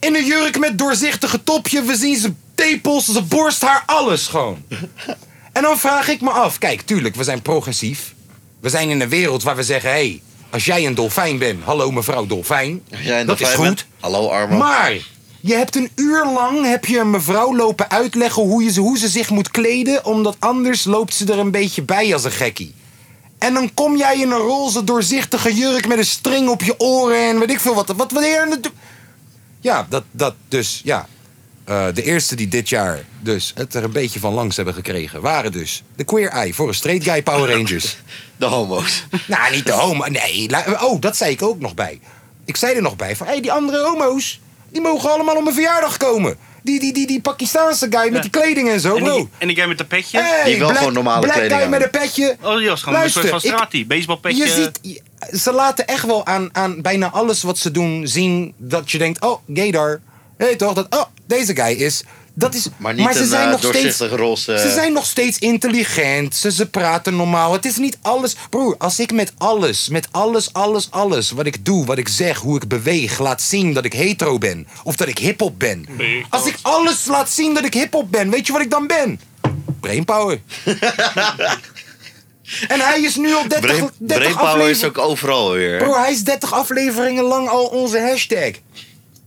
Speaker 1: in een jurk met doorzichtige topje? We zien zijn tepels, zijn borst, haar, alles gewoon. En dan vraag ik me af, kijk, tuurlijk, we zijn progressief. We zijn in een wereld waar we zeggen, hé, hey, als jij een dolfijn bent, hallo mevrouw dolfijn,
Speaker 3: Als jij een
Speaker 1: dat is
Speaker 3: dolfijn
Speaker 1: goed.
Speaker 3: bent, Hallo Armo.
Speaker 1: Maar je hebt een uur lang heb je een mevrouw lopen uitleggen hoe, je, ze- hoe ze zich moet kleden, omdat anders loopt ze er een beetje bij als een gekkie. En dan kom jij in een roze doorzichtige jurk met een string op je oren en weet ik veel wat. Wat wanneer? aan het- Ja, dat, dat dus, ja. Eh, de eerste die dit jaar dus het er een beetje van langs hebben gekregen waren dus de Queer Eye voor een Straight Guy Power Rangers.
Speaker 3: De homo's.
Speaker 1: Nou, niet de homo. Nee. la- Oh, dat zei ik ook nog bij. Ik zei er nog bij van, hé, hey, die andere homo's, die mogen allemaal op mijn verjaardag komen. Die, die, die, die Pakistaanse guy met die kleding en zo,
Speaker 2: En
Speaker 1: bro.
Speaker 2: die, en die guy met dat petje?
Speaker 1: Hey,
Speaker 3: Die wel
Speaker 1: black,
Speaker 3: gewoon normale
Speaker 1: black
Speaker 3: kleding
Speaker 1: guy
Speaker 3: aan.
Speaker 1: met een petje.
Speaker 2: Oh, die was gewoon
Speaker 1: Luister,
Speaker 2: een soort van
Speaker 1: ik-
Speaker 2: Strati. Baseballpetje.
Speaker 1: Je ziet, je- ze laten echt wel aan, aan bijna alles wat ze doen zien dat je denkt, oh, gaydar. Hé toch? Dat, oh, deze guy is. Dat is
Speaker 3: Maar niet
Speaker 1: ze
Speaker 3: een
Speaker 1: zijn
Speaker 3: eh,
Speaker 1: nog steeds.
Speaker 3: doorzichtig roze...
Speaker 1: Ze zijn nog steeds intelligent. Ze, ze praten normaal. Het is niet alles. Broer, als ik met alles, met alles, alles, alles. wat ik doe, wat ik zeg, hoe ik beweeg. laat zien dat ik hetero ben. of dat ik hip-hop ben. Als ik alles laat zien dat ik hip-hop ben, weet je wat ik dan ben? Brainpower. en hij is nu al 30,
Speaker 3: Brain,
Speaker 1: 30
Speaker 3: brainpower is
Speaker 1: afleveringen.
Speaker 3: ook overal weer.
Speaker 1: Broer, hij is 30 afleveringen lang al onze hashtag.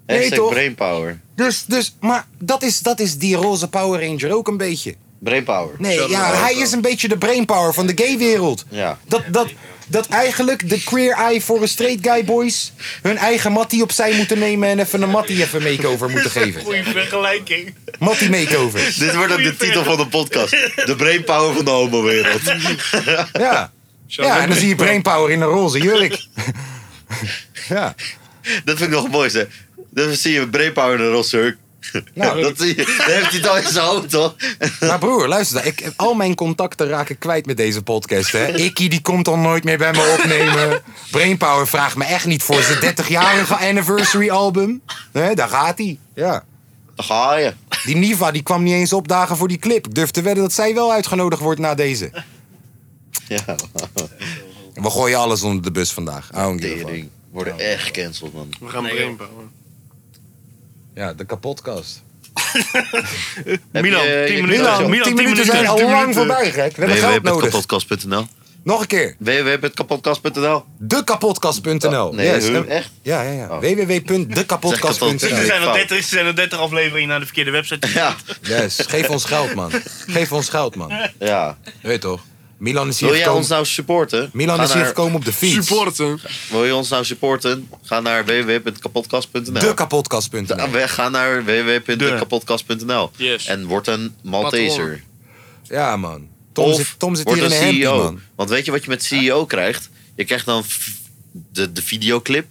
Speaker 3: Hij
Speaker 1: Nee,
Speaker 3: is
Speaker 1: toch?
Speaker 3: brainpower.
Speaker 1: Dus, dus, maar dat is, dat is die roze Power Ranger ook een beetje.
Speaker 3: Brainpower.
Speaker 1: Nee,
Speaker 4: Zelfde
Speaker 1: ja,
Speaker 4: auto.
Speaker 1: hij is een beetje de brainpower van de gaywereld.
Speaker 3: Ja.
Speaker 1: Dat, dat, dat eigenlijk de queer eye voor de straight guy boys hun eigen mattie opzij moeten nemen en even een mattie even makeover moeten geven.
Speaker 2: Goeie vergelijking.
Speaker 1: Mattie makeover.
Speaker 3: Dit wordt ook de titel van de podcast. De brainpower van de homo-wereld.
Speaker 1: Ja. ja, en dan zie je brainpower in een roze jurk. Ja.
Speaker 3: Dat vind ik nog het mooiste. Dan zie je brainpower in een roze hurk.
Speaker 1: Nou,
Speaker 3: dat zie je. Dan heeft hij het al in zijn hoofd, toch?
Speaker 1: Maar broer, luister, dan, ik, al mijn contacten raken kwijt met deze podcast. Hè. Ikkie die komt al nooit meer bij me opnemen. Brainpower vraagt me echt niet voor zijn 30-jarige anniversary album. Hè, daar gaat hij. Ja.
Speaker 3: Dan ga je.
Speaker 1: Die Niva die kwam niet eens opdagen voor die clip. Ik durf te wedden dat zij wel uitgenodigd wordt na deze.
Speaker 3: Ja,
Speaker 1: We gooien alles onder de bus vandaag. I don't give a fuck.
Speaker 3: tering. Worden echt gecanceld, man.
Speaker 4: We gaan
Speaker 2: Nee,
Speaker 4: brainpower.
Speaker 1: Ja, de kapotkast.
Speaker 2: Milan,
Speaker 3: je-
Speaker 2: 10
Speaker 3: je-
Speaker 2: minuten.
Speaker 1: Milan,
Speaker 2: Milan,
Speaker 1: 10 minuten,
Speaker 2: 10 minuten,
Speaker 1: zijn al
Speaker 2: 10
Speaker 1: lang
Speaker 2: minuten.
Speaker 1: voorbij, gek. We hebben geld nodig.
Speaker 3: www.kapotkast.nl
Speaker 1: Nog een keer.
Speaker 3: www.kapotkast.nl
Speaker 1: Dekapotkast.nl.
Speaker 3: Nee,
Speaker 1: yes.
Speaker 3: huh?
Speaker 1: en-
Speaker 3: echt?
Speaker 1: Oh, Ja, ja, ja.
Speaker 3: Oh. Zeg
Speaker 1: www.dekapotkast.nl.
Speaker 3: het
Speaker 2: Ze zijn al
Speaker 3: Fout.
Speaker 2: 30, ze zijn al 30 afleveringen naar de verkeerde website.
Speaker 3: Ja,
Speaker 1: Yes, geef ons geld, man. Geef ons geld, man. Je
Speaker 3: ja.
Speaker 1: Weet toch? Milan is hier
Speaker 3: Wil jij
Speaker 1: gekomen,
Speaker 3: ons nou supporten?
Speaker 1: Milan
Speaker 3: Ga
Speaker 1: is hier
Speaker 3: naar-
Speaker 1: gekomen op de fiets.
Speaker 4: Supporten.
Speaker 3: Wil je ons nou supporten? Ga naar www.kapotkast.nl.
Speaker 1: Dekapotkast.nl.
Speaker 3: Ah, We gaan naar www.kapotkast.nl.
Speaker 4: Yes.
Speaker 3: En wordt een Malteser.
Speaker 1: Ja, man. Tom
Speaker 3: of
Speaker 1: zit, Tom zit
Speaker 3: wordt E
Speaker 1: hier in een
Speaker 3: een
Speaker 1: hempie,
Speaker 3: CEO.
Speaker 1: man.
Speaker 3: Want weet je wat je met CEO krijgt? Je krijgt dan f- de, de videoclip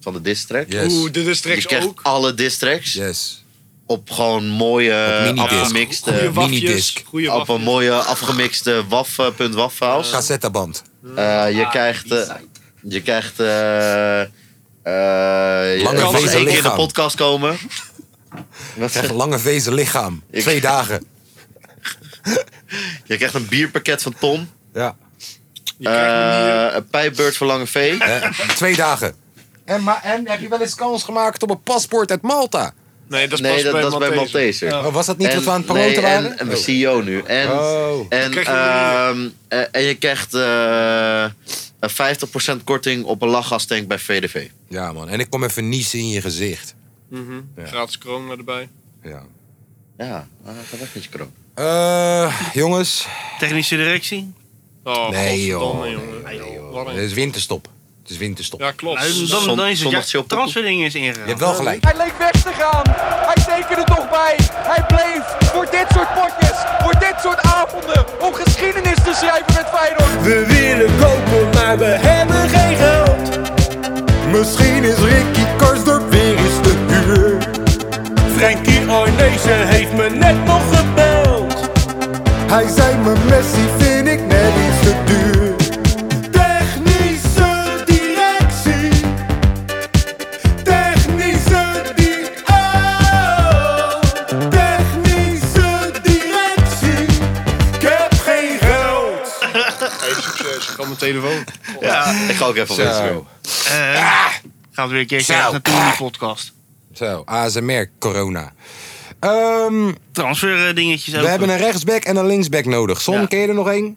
Speaker 3: van de distrack.
Speaker 1: Yes,
Speaker 4: Oeh, dit is
Speaker 3: Je
Speaker 4: straks
Speaker 3: krijgt
Speaker 4: ook.
Speaker 3: alle distracks
Speaker 1: yes.
Speaker 3: op gewoon mooie
Speaker 1: Op minidisc.
Speaker 3: afgemixte...
Speaker 4: Goeie wafjes.
Speaker 1: minidisc.
Speaker 4: Goeie
Speaker 3: Op een
Speaker 4: wafjes.
Speaker 3: mooie afgemixte eh, waf.waffiles.
Speaker 1: Cassettaband.
Speaker 3: Eh,
Speaker 1: Ah,
Speaker 3: je krijgt... eh, je krijgt... eh eh, je
Speaker 1: Lange
Speaker 3: kan nog
Speaker 1: vezel
Speaker 3: één keer in de
Speaker 1: lichaam.
Speaker 3: podcast komen. Wat
Speaker 1: Krijg een lange vezen lichaam.
Speaker 3: Ik-
Speaker 1: Twee dagen.
Speaker 3: Je krijgt een bierpakket van Tom.
Speaker 1: Ja.
Speaker 4: Je krijgt hem hier.
Speaker 3: eh, een pijpbeurt van Lange V.
Speaker 1: Eh, twee dagen. En, maar, en heb je wel eens kans gemaakt op een paspoort uit Malta?
Speaker 4: Nee, dat is
Speaker 3: Nee,
Speaker 4: pas
Speaker 3: dat,
Speaker 4: bij
Speaker 3: dat is bij
Speaker 4: Maltese.
Speaker 3: Malteser.
Speaker 1: Oh, was dat niet
Speaker 3: En-
Speaker 1: wat we aan het
Speaker 3: nee,
Speaker 1: promoten
Speaker 3: en-
Speaker 1: waren?
Speaker 3: En we CEO nu. En,
Speaker 1: Oh.
Speaker 3: en,
Speaker 4: krijg je
Speaker 3: ehm, eh, en je krijgt eh, een 50% korting op een lachgastank bij VDV.
Speaker 1: Ja, man. En ik kom even niezen in je gezicht.
Speaker 4: Mhm.
Speaker 1: Ja.
Speaker 4: Gratis corona erbij.
Speaker 1: Ja.
Speaker 3: Ja, maar dat gaat echt met je kroon.
Speaker 1: Eh, jongens.
Speaker 2: Technische directie.
Speaker 4: Oh,
Speaker 1: Nee, joh.
Speaker 4: godverdomme,
Speaker 1: Nee,
Speaker 4: jongen.
Speaker 1: joh.
Speaker 4: Wat
Speaker 1: Het
Speaker 4: een-
Speaker 1: is winterstop. Het is winterstop.
Speaker 4: Ja, klopt.
Speaker 2: Nou, Dan, dan is het
Speaker 3: zondag
Speaker 2: ja,
Speaker 3: chill.
Speaker 2: transferding is
Speaker 1: Je
Speaker 2: ingegaan.
Speaker 1: hebt wel gelijk.
Speaker 7: Hij leek weg te gaan. Hij tekende toch bij. Hij bleef voor dit soort potjes, voor dit soort avonden, om geschiedenis te schrijven met Feyenoord.
Speaker 8: We willen kopen, maar we hebben geen geld. Misschien is Ricky Karsdorp weer eens te huur. Frankie Arnezen heeft me net nog gebeld. Hij zei mijn Messi vind ik net iets te duur. Technische directie. Technische di- oh. Technische directie. Ik heb geen geld.
Speaker 4: Hey, succes. Ik ga op mijn telefoon.
Speaker 3: Ja, ik ga ook even op
Speaker 1: Zo.
Speaker 3: Instagram.
Speaker 2: Eh, Gaan we weer een keer
Speaker 1: Zo.
Speaker 2: kijken naartoe in de podcast.
Speaker 1: Zo, ASMR, corona. Ehm,
Speaker 2: Transfer eh, dingetjes
Speaker 1: we hebben een rechtsback en een linksback nodig. Son,
Speaker 2: Ja.
Speaker 1: ken je er nog één?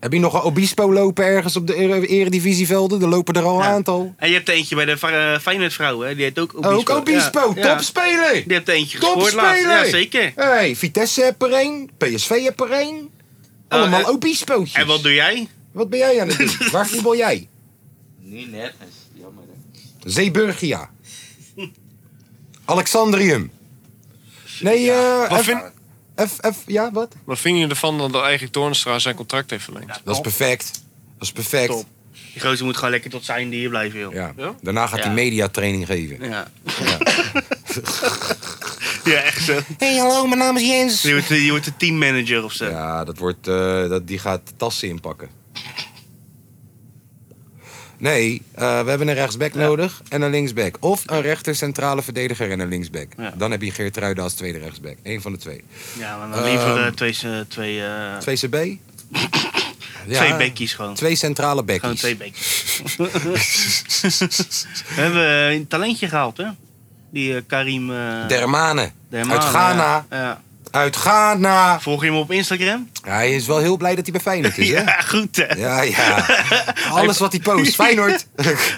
Speaker 1: heb je nog een Obispo lopen ergens op de ere- eredivisievelden? Er lopen er al een
Speaker 2: Ja.
Speaker 1: aantal.
Speaker 2: En je hebt er eentje bij de Va- eh, Feyenoord vrouwen. hè? Die heet ook Obispo.
Speaker 1: Ook Obispo,
Speaker 2: Ja. Ja.
Speaker 1: topspeler!
Speaker 2: Die hebt er eentje gescoord laatst.
Speaker 1: Topspeler!
Speaker 2: Ja, zeker.
Speaker 1: Hey, Vitesse heb er één, PSV heb er één. Allemaal
Speaker 2: eh,
Speaker 1: Obispootjes.
Speaker 2: En wat doe jij?
Speaker 1: Wat ben jij aan het doen? Waar voetbal jij?
Speaker 5: Nu nergens. Jammer hè.
Speaker 1: Zeeburgia. Alexandrium. Nee, eh...
Speaker 4: Wat
Speaker 1: F-
Speaker 4: vind-
Speaker 1: F, F, ja, wat?
Speaker 4: Wat vind je ervan dat eigenlijk Toornstra zijn contract heeft verlengd?
Speaker 1: Dat is perfect. Dat is perfect.
Speaker 4: Top.
Speaker 2: Die gozer moet gewoon lekker tot zijn hier blijven, joh.
Speaker 1: Ja.
Speaker 4: Ja?
Speaker 1: Daarna gaat hij
Speaker 2: Ja.
Speaker 1: mediatraining geven.
Speaker 2: Ja. ja, echt zo.
Speaker 1: Hey, hallo, mijn naam is Jens.
Speaker 2: Die wordt, die wordt de teammanager of zo.
Speaker 1: Ja, dat wordt, eh, dat, die gaat tassen inpakken. Nee, eh, we hebben een rechtsback nodig en een linksback. Of een rechter centrale verdediger en een linksback. Dan heb je Geert Ruida als tweede rechtsback. Eén van de twee.
Speaker 2: Ja, maar dan liever eh,
Speaker 1: Ehm,
Speaker 2: twee, eh, twee, eh,
Speaker 1: Twee CB?
Speaker 2: Twee bekkies gewoon.
Speaker 1: Twee centrale bekkies.
Speaker 2: Gewoon twee bekjes. We hebben eh, een talentje gehaald, hè? Die eh, Karim... eh,
Speaker 1: Dermane.
Speaker 2: Dermane,
Speaker 1: Uit Ghana.
Speaker 2: Ja. Ja.
Speaker 1: Uit Ghana.
Speaker 2: Volg je hem op Instagram?
Speaker 1: Hij is wel heel blij dat hij bij Feyenoord is, hè?
Speaker 2: Ja, goed hè.
Speaker 1: Ja, ja. Alles wat hij post. Feyenoord.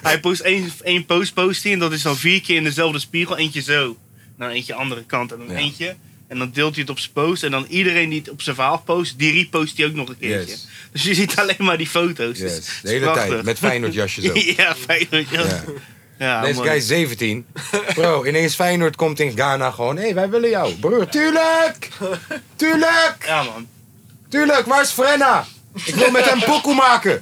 Speaker 2: Hij post één, één post, post hij en dat is dan vier keer in dezelfde spiegel. Eentje zo, dan eentje andere kant en dan
Speaker 1: Ja.
Speaker 2: eentje. En dan deelt hij het op zijn post en dan iedereen die het op zijn verhaal post, die repost hij ook nog een keertje.
Speaker 1: Yes.
Speaker 2: Dus je ziet alleen maar die foto's. Dus
Speaker 1: Yes, de
Speaker 2: het is
Speaker 1: hele
Speaker 2: prachtig.
Speaker 1: tijd, met Feyenoord jasjes ook.
Speaker 2: ja, Feyenoord jasjes.
Speaker 1: Ja.
Speaker 2: Ja,
Speaker 1: Deze
Speaker 2: mooi.
Speaker 1: guy is 17. Bro, ineens Feyenoord komt in Ghana gewoon. Hé, hey, wij willen jou. Broer, tuurlijk! Tuurlijk!
Speaker 2: Ja, man.
Speaker 1: Tuurlijk, waar is Frenna? Ik wil met hem pokoe maken.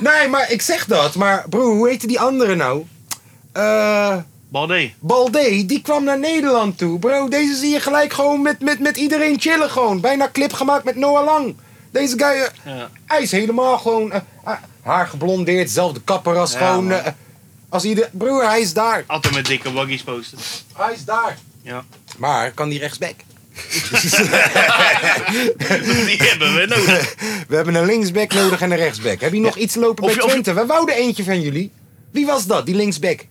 Speaker 1: nee, maar ik zeg dat. Maar broer, hoe heette die andere nou? Eh...
Speaker 2: Balde.
Speaker 1: Balde, die kwam naar Nederland toe. Bro, deze zie je gelijk gewoon met, met, met iedereen chillen gewoon. Bijna clip gemaakt met Noah Lang. Deze guy, eh,
Speaker 2: Ja.
Speaker 1: hij is helemaal gewoon... eh, eh, haar geblondeerd, zelfde kapper als
Speaker 2: Ja,
Speaker 1: gewoon...
Speaker 2: man.
Speaker 1: eh, als ieder... Broer, hij is daar.
Speaker 2: Altijd met dikke waggies posten.
Speaker 1: Hij is daar.
Speaker 2: Ja.
Speaker 1: Maar kan die rechtsback?
Speaker 2: Die hebben we nodig.
Speaker 1: We hebben een linksback nodig en een rechtsback. Heb je nog iets lopen
Speaker 2: Of
Speaker 1: bij
Speaker 2: je- of je-
Speaker 1: Twente? We wouden eentje van jullie. Wie was dat, die linksback?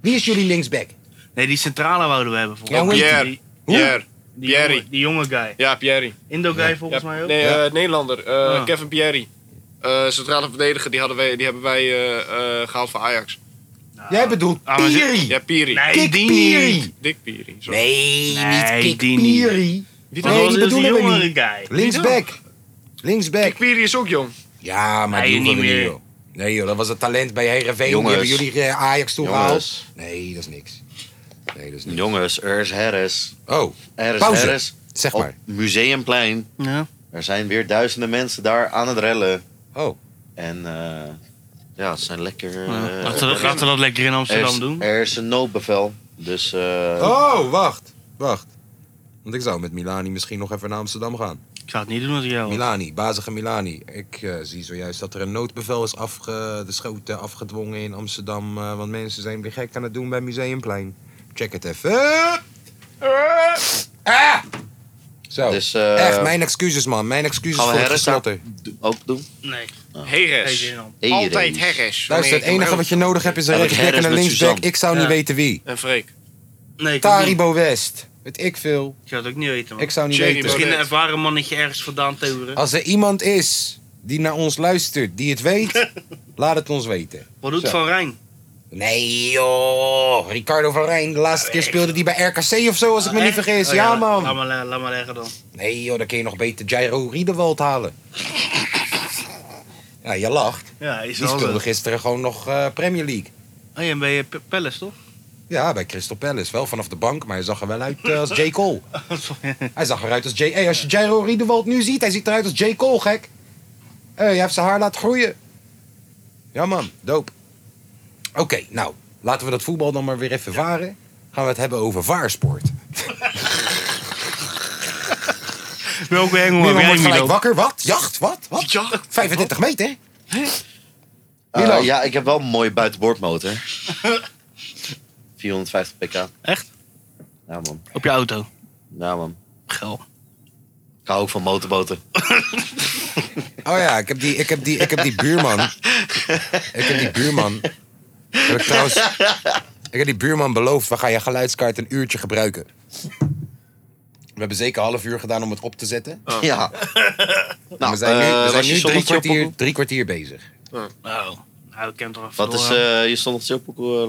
Speaker 1: Wie is jullie linksback?
Speaker 2: Nee, die centrale wouden we hebben volgens
Speaker 1: Ja, hoe heet
Speaker 4: Pierre.
Speaker 2: Die,
Speaker 4: Pierre.
Speaker 2: die, jonge,
Speaker 4: Pierre.
Speaker 2: die jonge guy.
Speaker 4: Ja, Pierre.
Speaker 2: Indo guy volgens mij ook.
Speaker 4: Nee,
Speaker 1: Ja.
Speaker 4: eh, Nederlander. eh,
Speaker 2: Ah.
Speaker 4: Kevin Pierre. Eh, centrale verdediger, die, hadden wij, die hebben wij eh, eh, gehaald van Ajax.
Speaker 1: Jij bedoelt
Speaker 2: Ah, maar ze-
Speaker 1: Piri.
Speaker 4: Ja, Pierre.
Speaker 2: Nee,
Speaker 1: Kik
Speaker 2: die
Speaker 1: Piri.
Speaker 2: niet.
Speaker 4: Dick Pierre. sorry.
Speaker 1: Nee,
Speaker 2: Nee,
Speaker 1: niet Kik
Speaker 2: die niet.
Speaker 1: Piri.
Speaker 4: Die
Speaker 2: Dat
Speaker 1: Nee,
Speaker 2: was
Speaker 1: die
Speaker 2: dus die
Speaker 1: bedoelen we
Speaker 2: jongere
Speaker 1: niet.
Speaker 2: guy.
Speaker 1: Linksback. Linksback.
Speaker 4: Dick Pierre is ook jong.
Speaker 1: Ja, maar
Speaker 2: Nee,
Speaker 1: die hoeven
Speaker 2: niet
Speaker 1: we niet,
Speaker 2: meer.
Speaker 1: joh. Nee joh, dat was het talent bij Heerenveen. Die
Speaker 3: Jongens.
Speaker 1: hebben jullie eh, Ajax toegehaald.
Speaker 3: Jongens.
Speaker 1: Nee, dat is niks. Nee, dat is niks.
Speaker 3: Jongens, er is herres.
Speaker 1: Oh,
Speaker 3: Er is
Speaker 1: Pauze.
Speaker 3: herres.
Speaker 1: zeg
Speaker 3: Op
Speaker 1: maar.
Speaker 3: Museumplein.
Speaker 2: Ja.
Speaker 3: Er zijn weer duizenden mensen daar aan het rellen.
Speaker 1: Oh.
Speaker 3: En eh, ja, het zijn lekker... eh,
Speaker 2: Laten we- Laten we dat lekker in
Speaker 3: er,
Speaker 2: Amsterdam
Speaker 3: is,
Speaker 2: doen.
Speaker 3: er is een noodbevel. Dus eh,
Speaker 1: Oh, wacht. Wacht. Want ik zou met Milani misschien nog even naar Amsterdam gaan.
Speaker 2: Ik zou het niet doen als ik jou was.
Speaker 1: Milani, bazige Milani. Ik eh, zie zojuist dat er een noodbevel is afgeschoten, eh, afgedwongen in Amsterdam. eh, want mensen zijn weer gek aan het doen bij Museumplein. Check het even. Eh. Ah! Zo.
Speaker 3: Dus, eh,
Speaker 1: Echt, mijn excuses man. Mijn excuses
Speaker 3: gaan
Speaker 1: voor
Speaker 3: we
Speaker 1: het
Speaker 3: herres daar
Speaker 1: geslotter.
Speaker 3: ook doen.
Speaker 2: Nee, geen
Speaker 4: Heres.
Speaker 2: zin om.
Speaker 3: Hey,
Speaker 4: Altijd
Speaker 3: Rees.
Speaker 4: herres.
Speaker 1: Luister, het
Speaker 4: Nee, ik
Speaker 1: enige
Speaker 4: ben
Speaker 1: wat je nodig hebt is een
Speaker 3: Ja, dat
Speaker 1: rechtsback en
Speaker 3: herres
Speaker 1: een
Speaker 3: met
Speaker 1: linksback.
Speaker 3: Suzanne.
Speaker 1: Ik zou niet
Speaker 2: Ja.
Speaker 1: weten wie.
Speaker 4: ook- En Freek.
Speaker 2: Nee, ik, ook niet.
Speaker 1: Taribo West. Weet ik veel.
Speaker 2: ik zou het ook niet weten, man.
Speaker 1: Ik zou niet
Speaker 4: Jerry
Speaker 1: weten.
Speaker 2: Misschien een
Speaker 4: Baudet.
Speaker 2: ervaren mannetje ergens vandaan toveren.
Speaker 1: Als er iemand is die naar ons luistert, die het weet, laat het ons weten.
Speaker 2: Wat doet
Speaker 1: Zo.
Speaker 2: Van Rijn?
Speaker 1: Nee joh, Ricardo van Rijn, de laatste keer speelde die bij RKC of zo, als ik me niet
Speaker 2: Echt?
Speaker 1: vergis.
Speaker 2: Oh,
Speaker 1: ja,
Speaker 2: Laat
Speaker 1: man.
Speaker 2: maar, le- laat maar leggen dan.
Speaker 1: Nee joh, dan kun je nog beter Jairo Riedewald halen. Ja, je lacht.
Speaker 2: Ja, is
Speaker 1: Die
Speaker 2: wel
Speaker 1: speelde
Speaker 2: zo.
Speaker 1: gisteren gewoon nog eh, Premier League.
Speaker 2: Oh, jij bent bij Palace, toch?
Speaker 1: Ja, bij Crystal Palace. Wel vanaf de bank, maar hij zag er wel uit eh, als J. Cole.
Speaker 2: Oh,
Speaker 1: Hij zag eruit als J. Hey, als je Jairo Riedewald nu ziet, hij ziet eruit als J. Cole, gek. Hé, hij heeft zijn haar laten groeien. Ja, man, doop. Oké, nou, laten we dat voetbal dan maar weer even varen. Gaan we het hebben over vaarsport.
Speaker 2: Welke hengel
Speaker 1: Niemand
Speaker 2: heb
Speaker 1: wordt
Speaker 2: jij,
Speaker 1: gelijk
Speaker 2: Milo?
Speaker 1: wakker. Wat? Jacht? Wat? Wat?
Speaker 4: Jacht?
Speaker 1: 35 meter?
Speaker 3: Eh,
Speaker 1: Milan.
Speaker 3: ja, ik heb wel een mooie buitenboordmotor. 450 pk.
Speaker 2: Echt?
Speaker 3: Ja man,
Speaker 2: Op je auto.
Speaker 3: ja man.
Speaker 2: Gel.
Speaker 3: Ik hou ook van motorboten.
Speaker 1: Oh ja, ik heb die, ik heb die, ik heb die buurman. Ik heb die buurman. Heb ik, trouwens, ik heb die buurman beloofd, we gaan je geluidskaart een uurtje gebruiken. We hebben zeker een half uur gedaan om het op te zetten.
Speaker 3: Ja.
Speaker 1: En
Speaker 3: Nou,
Speaker 1: we zijn nu,
Speaker 3: eh,
Speaker 1: we
Speaker 3: was
Speaker 1: zijn
Speaker 3: je
Speaker 1: nu drie,
Speaker 3: zondagje op-
Speaker 1: kwartier, drie kwartier bezig.
Speaker 2: Nou, nou, ik ken toch even
Speaker 3: Wat is eh je zondagje op? Uh,
Speaker 1: Nee joh, nog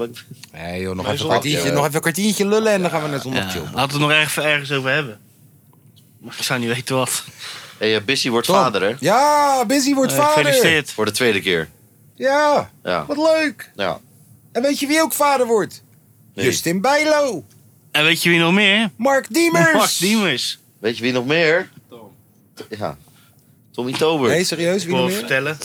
Speaker 4: Nee,
Speaker 1: even, een
Speaker 4: zondag,
Speaker 1: kwartiertje,
Speaker 3: ja.
Speaker 1: nog even een kwartiertje lullen en dan gaan we naar zondag
Speaker 2: eh, Laten
Speaker 1: chillen.
Speaker 2: we het nog erg- ergens over hebben. Maar ik zou niet weten wat.
Speaker 3: hey, eh, Bissy wordt
Speaker 1: Tom.
Speaker 3: vader hè?
Speaker 1: Ja, Busy wordt
Speaker 2: Eh,
Speaker 1: vader.
Speaker 2: Gefeliciteerd.
Speaker 3: Voor de tweede keer.
Speaker 1: Ja,
Speaker 3: Ja.
Speaker 1: wat leuk.
Speaker 3: ja.
Speaker 1: En weet je wie ook vader wordt?
Speaker 3: Nee.
Speaker 1: Justin Bijlo.
Speaker 2: En weet je wie nog meer?
Speaker 1: Mark Diemers.
Speaker 2: Mark Diemers.
Speaker 3: Weet je wie nog meer?
Speaker 5: Tom.
Speaker 3: Ja. Tommy Tober.
Speaker 1: Nee,
Speaker 3: Nee,
Speaker 1: serieus,
Speaker 2: Ik
Speaker 1: wie nog
Speaker 2: wil
Speaker 1: meer?
Speaker 2: vertellen.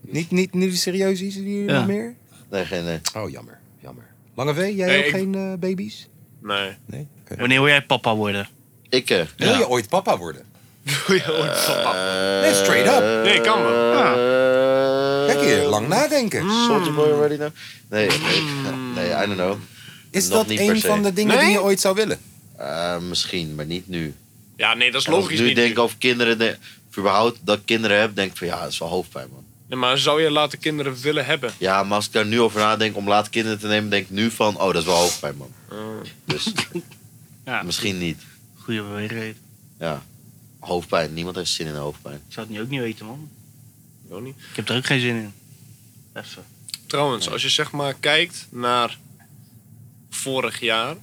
Speaker 1: Niet, niet, niet serieus, is er hier
Speaker 2: Ja.
Speaker 1: nog meer?
Speaker 3: geen nee.
Speaker 1: Oh, jammer. jammer. Lange V, jij
Speaker 4: Nee,
Speaker 1: ook
Speaker 4: ik-
Speaker 1: geen eh, baby's?
Speaker 4: Nee.
Speaker 1: Nee? Oké.
Speaker 2: Wanneer wil jij papa worden?
Speaker 3: Ik eh.
Speaker 1: Wil je ooit papa worden?
Speaker 4: Doe je ooit van pap.
Speaker 1: Nee, straight up.
Speaker 4: Nee, kan wel.
Speaker 3: eh,
Speaker 1: Kijk hier, lang nadenken.
Speaker 3: Soldier Boy already now? nou? Nee, nee,
Speaker 2: Hmm.
Speaker 3: nee, I don't know.
Speaker 1: Is
Speaker 3: Nog
Speaker 1: dat
Speaker 3: niet
Speaker 1: een
Speaker 3: per se.
Speaker 1: van de dingen die je ooit zou willen?
Speaker 3: Eh, misschien, maar niet nu.
Speaker 4: Ja, nee, dat is
Speaker 3: En als
Speaker 4: logisch
Speaker 3: ik nu
Speaker 4: niet.
Speaker 3: denk ik over kinderen, de, of überhaupt dat ik kinderen heb, denk ik van ja, dat is wel hoofdpijn, man.
Speaker 4: Nee, maar zou je later kinderen willen hebben?
Speaker 3: Ja, maar als ik daar nu over nadenk om later kinderen te nemen, denk ik nu van, oh, dat is wel hoofdpijn, man. Dus misschien niet.
Speaker 2: Goeie beweegreden.
Speaker 3: Ja, hoofdpijn. Niemand heeft zin in hoofdpijn.
Speaker 2: Ik zou het nu ook niet weten, man.
Speaker 4: Ook niet.
Speaker 2: Ik heb er ook geen zin in. Even.
Speaker 4: Trouwens, als je zeg maar kijkt naar vorig jaar.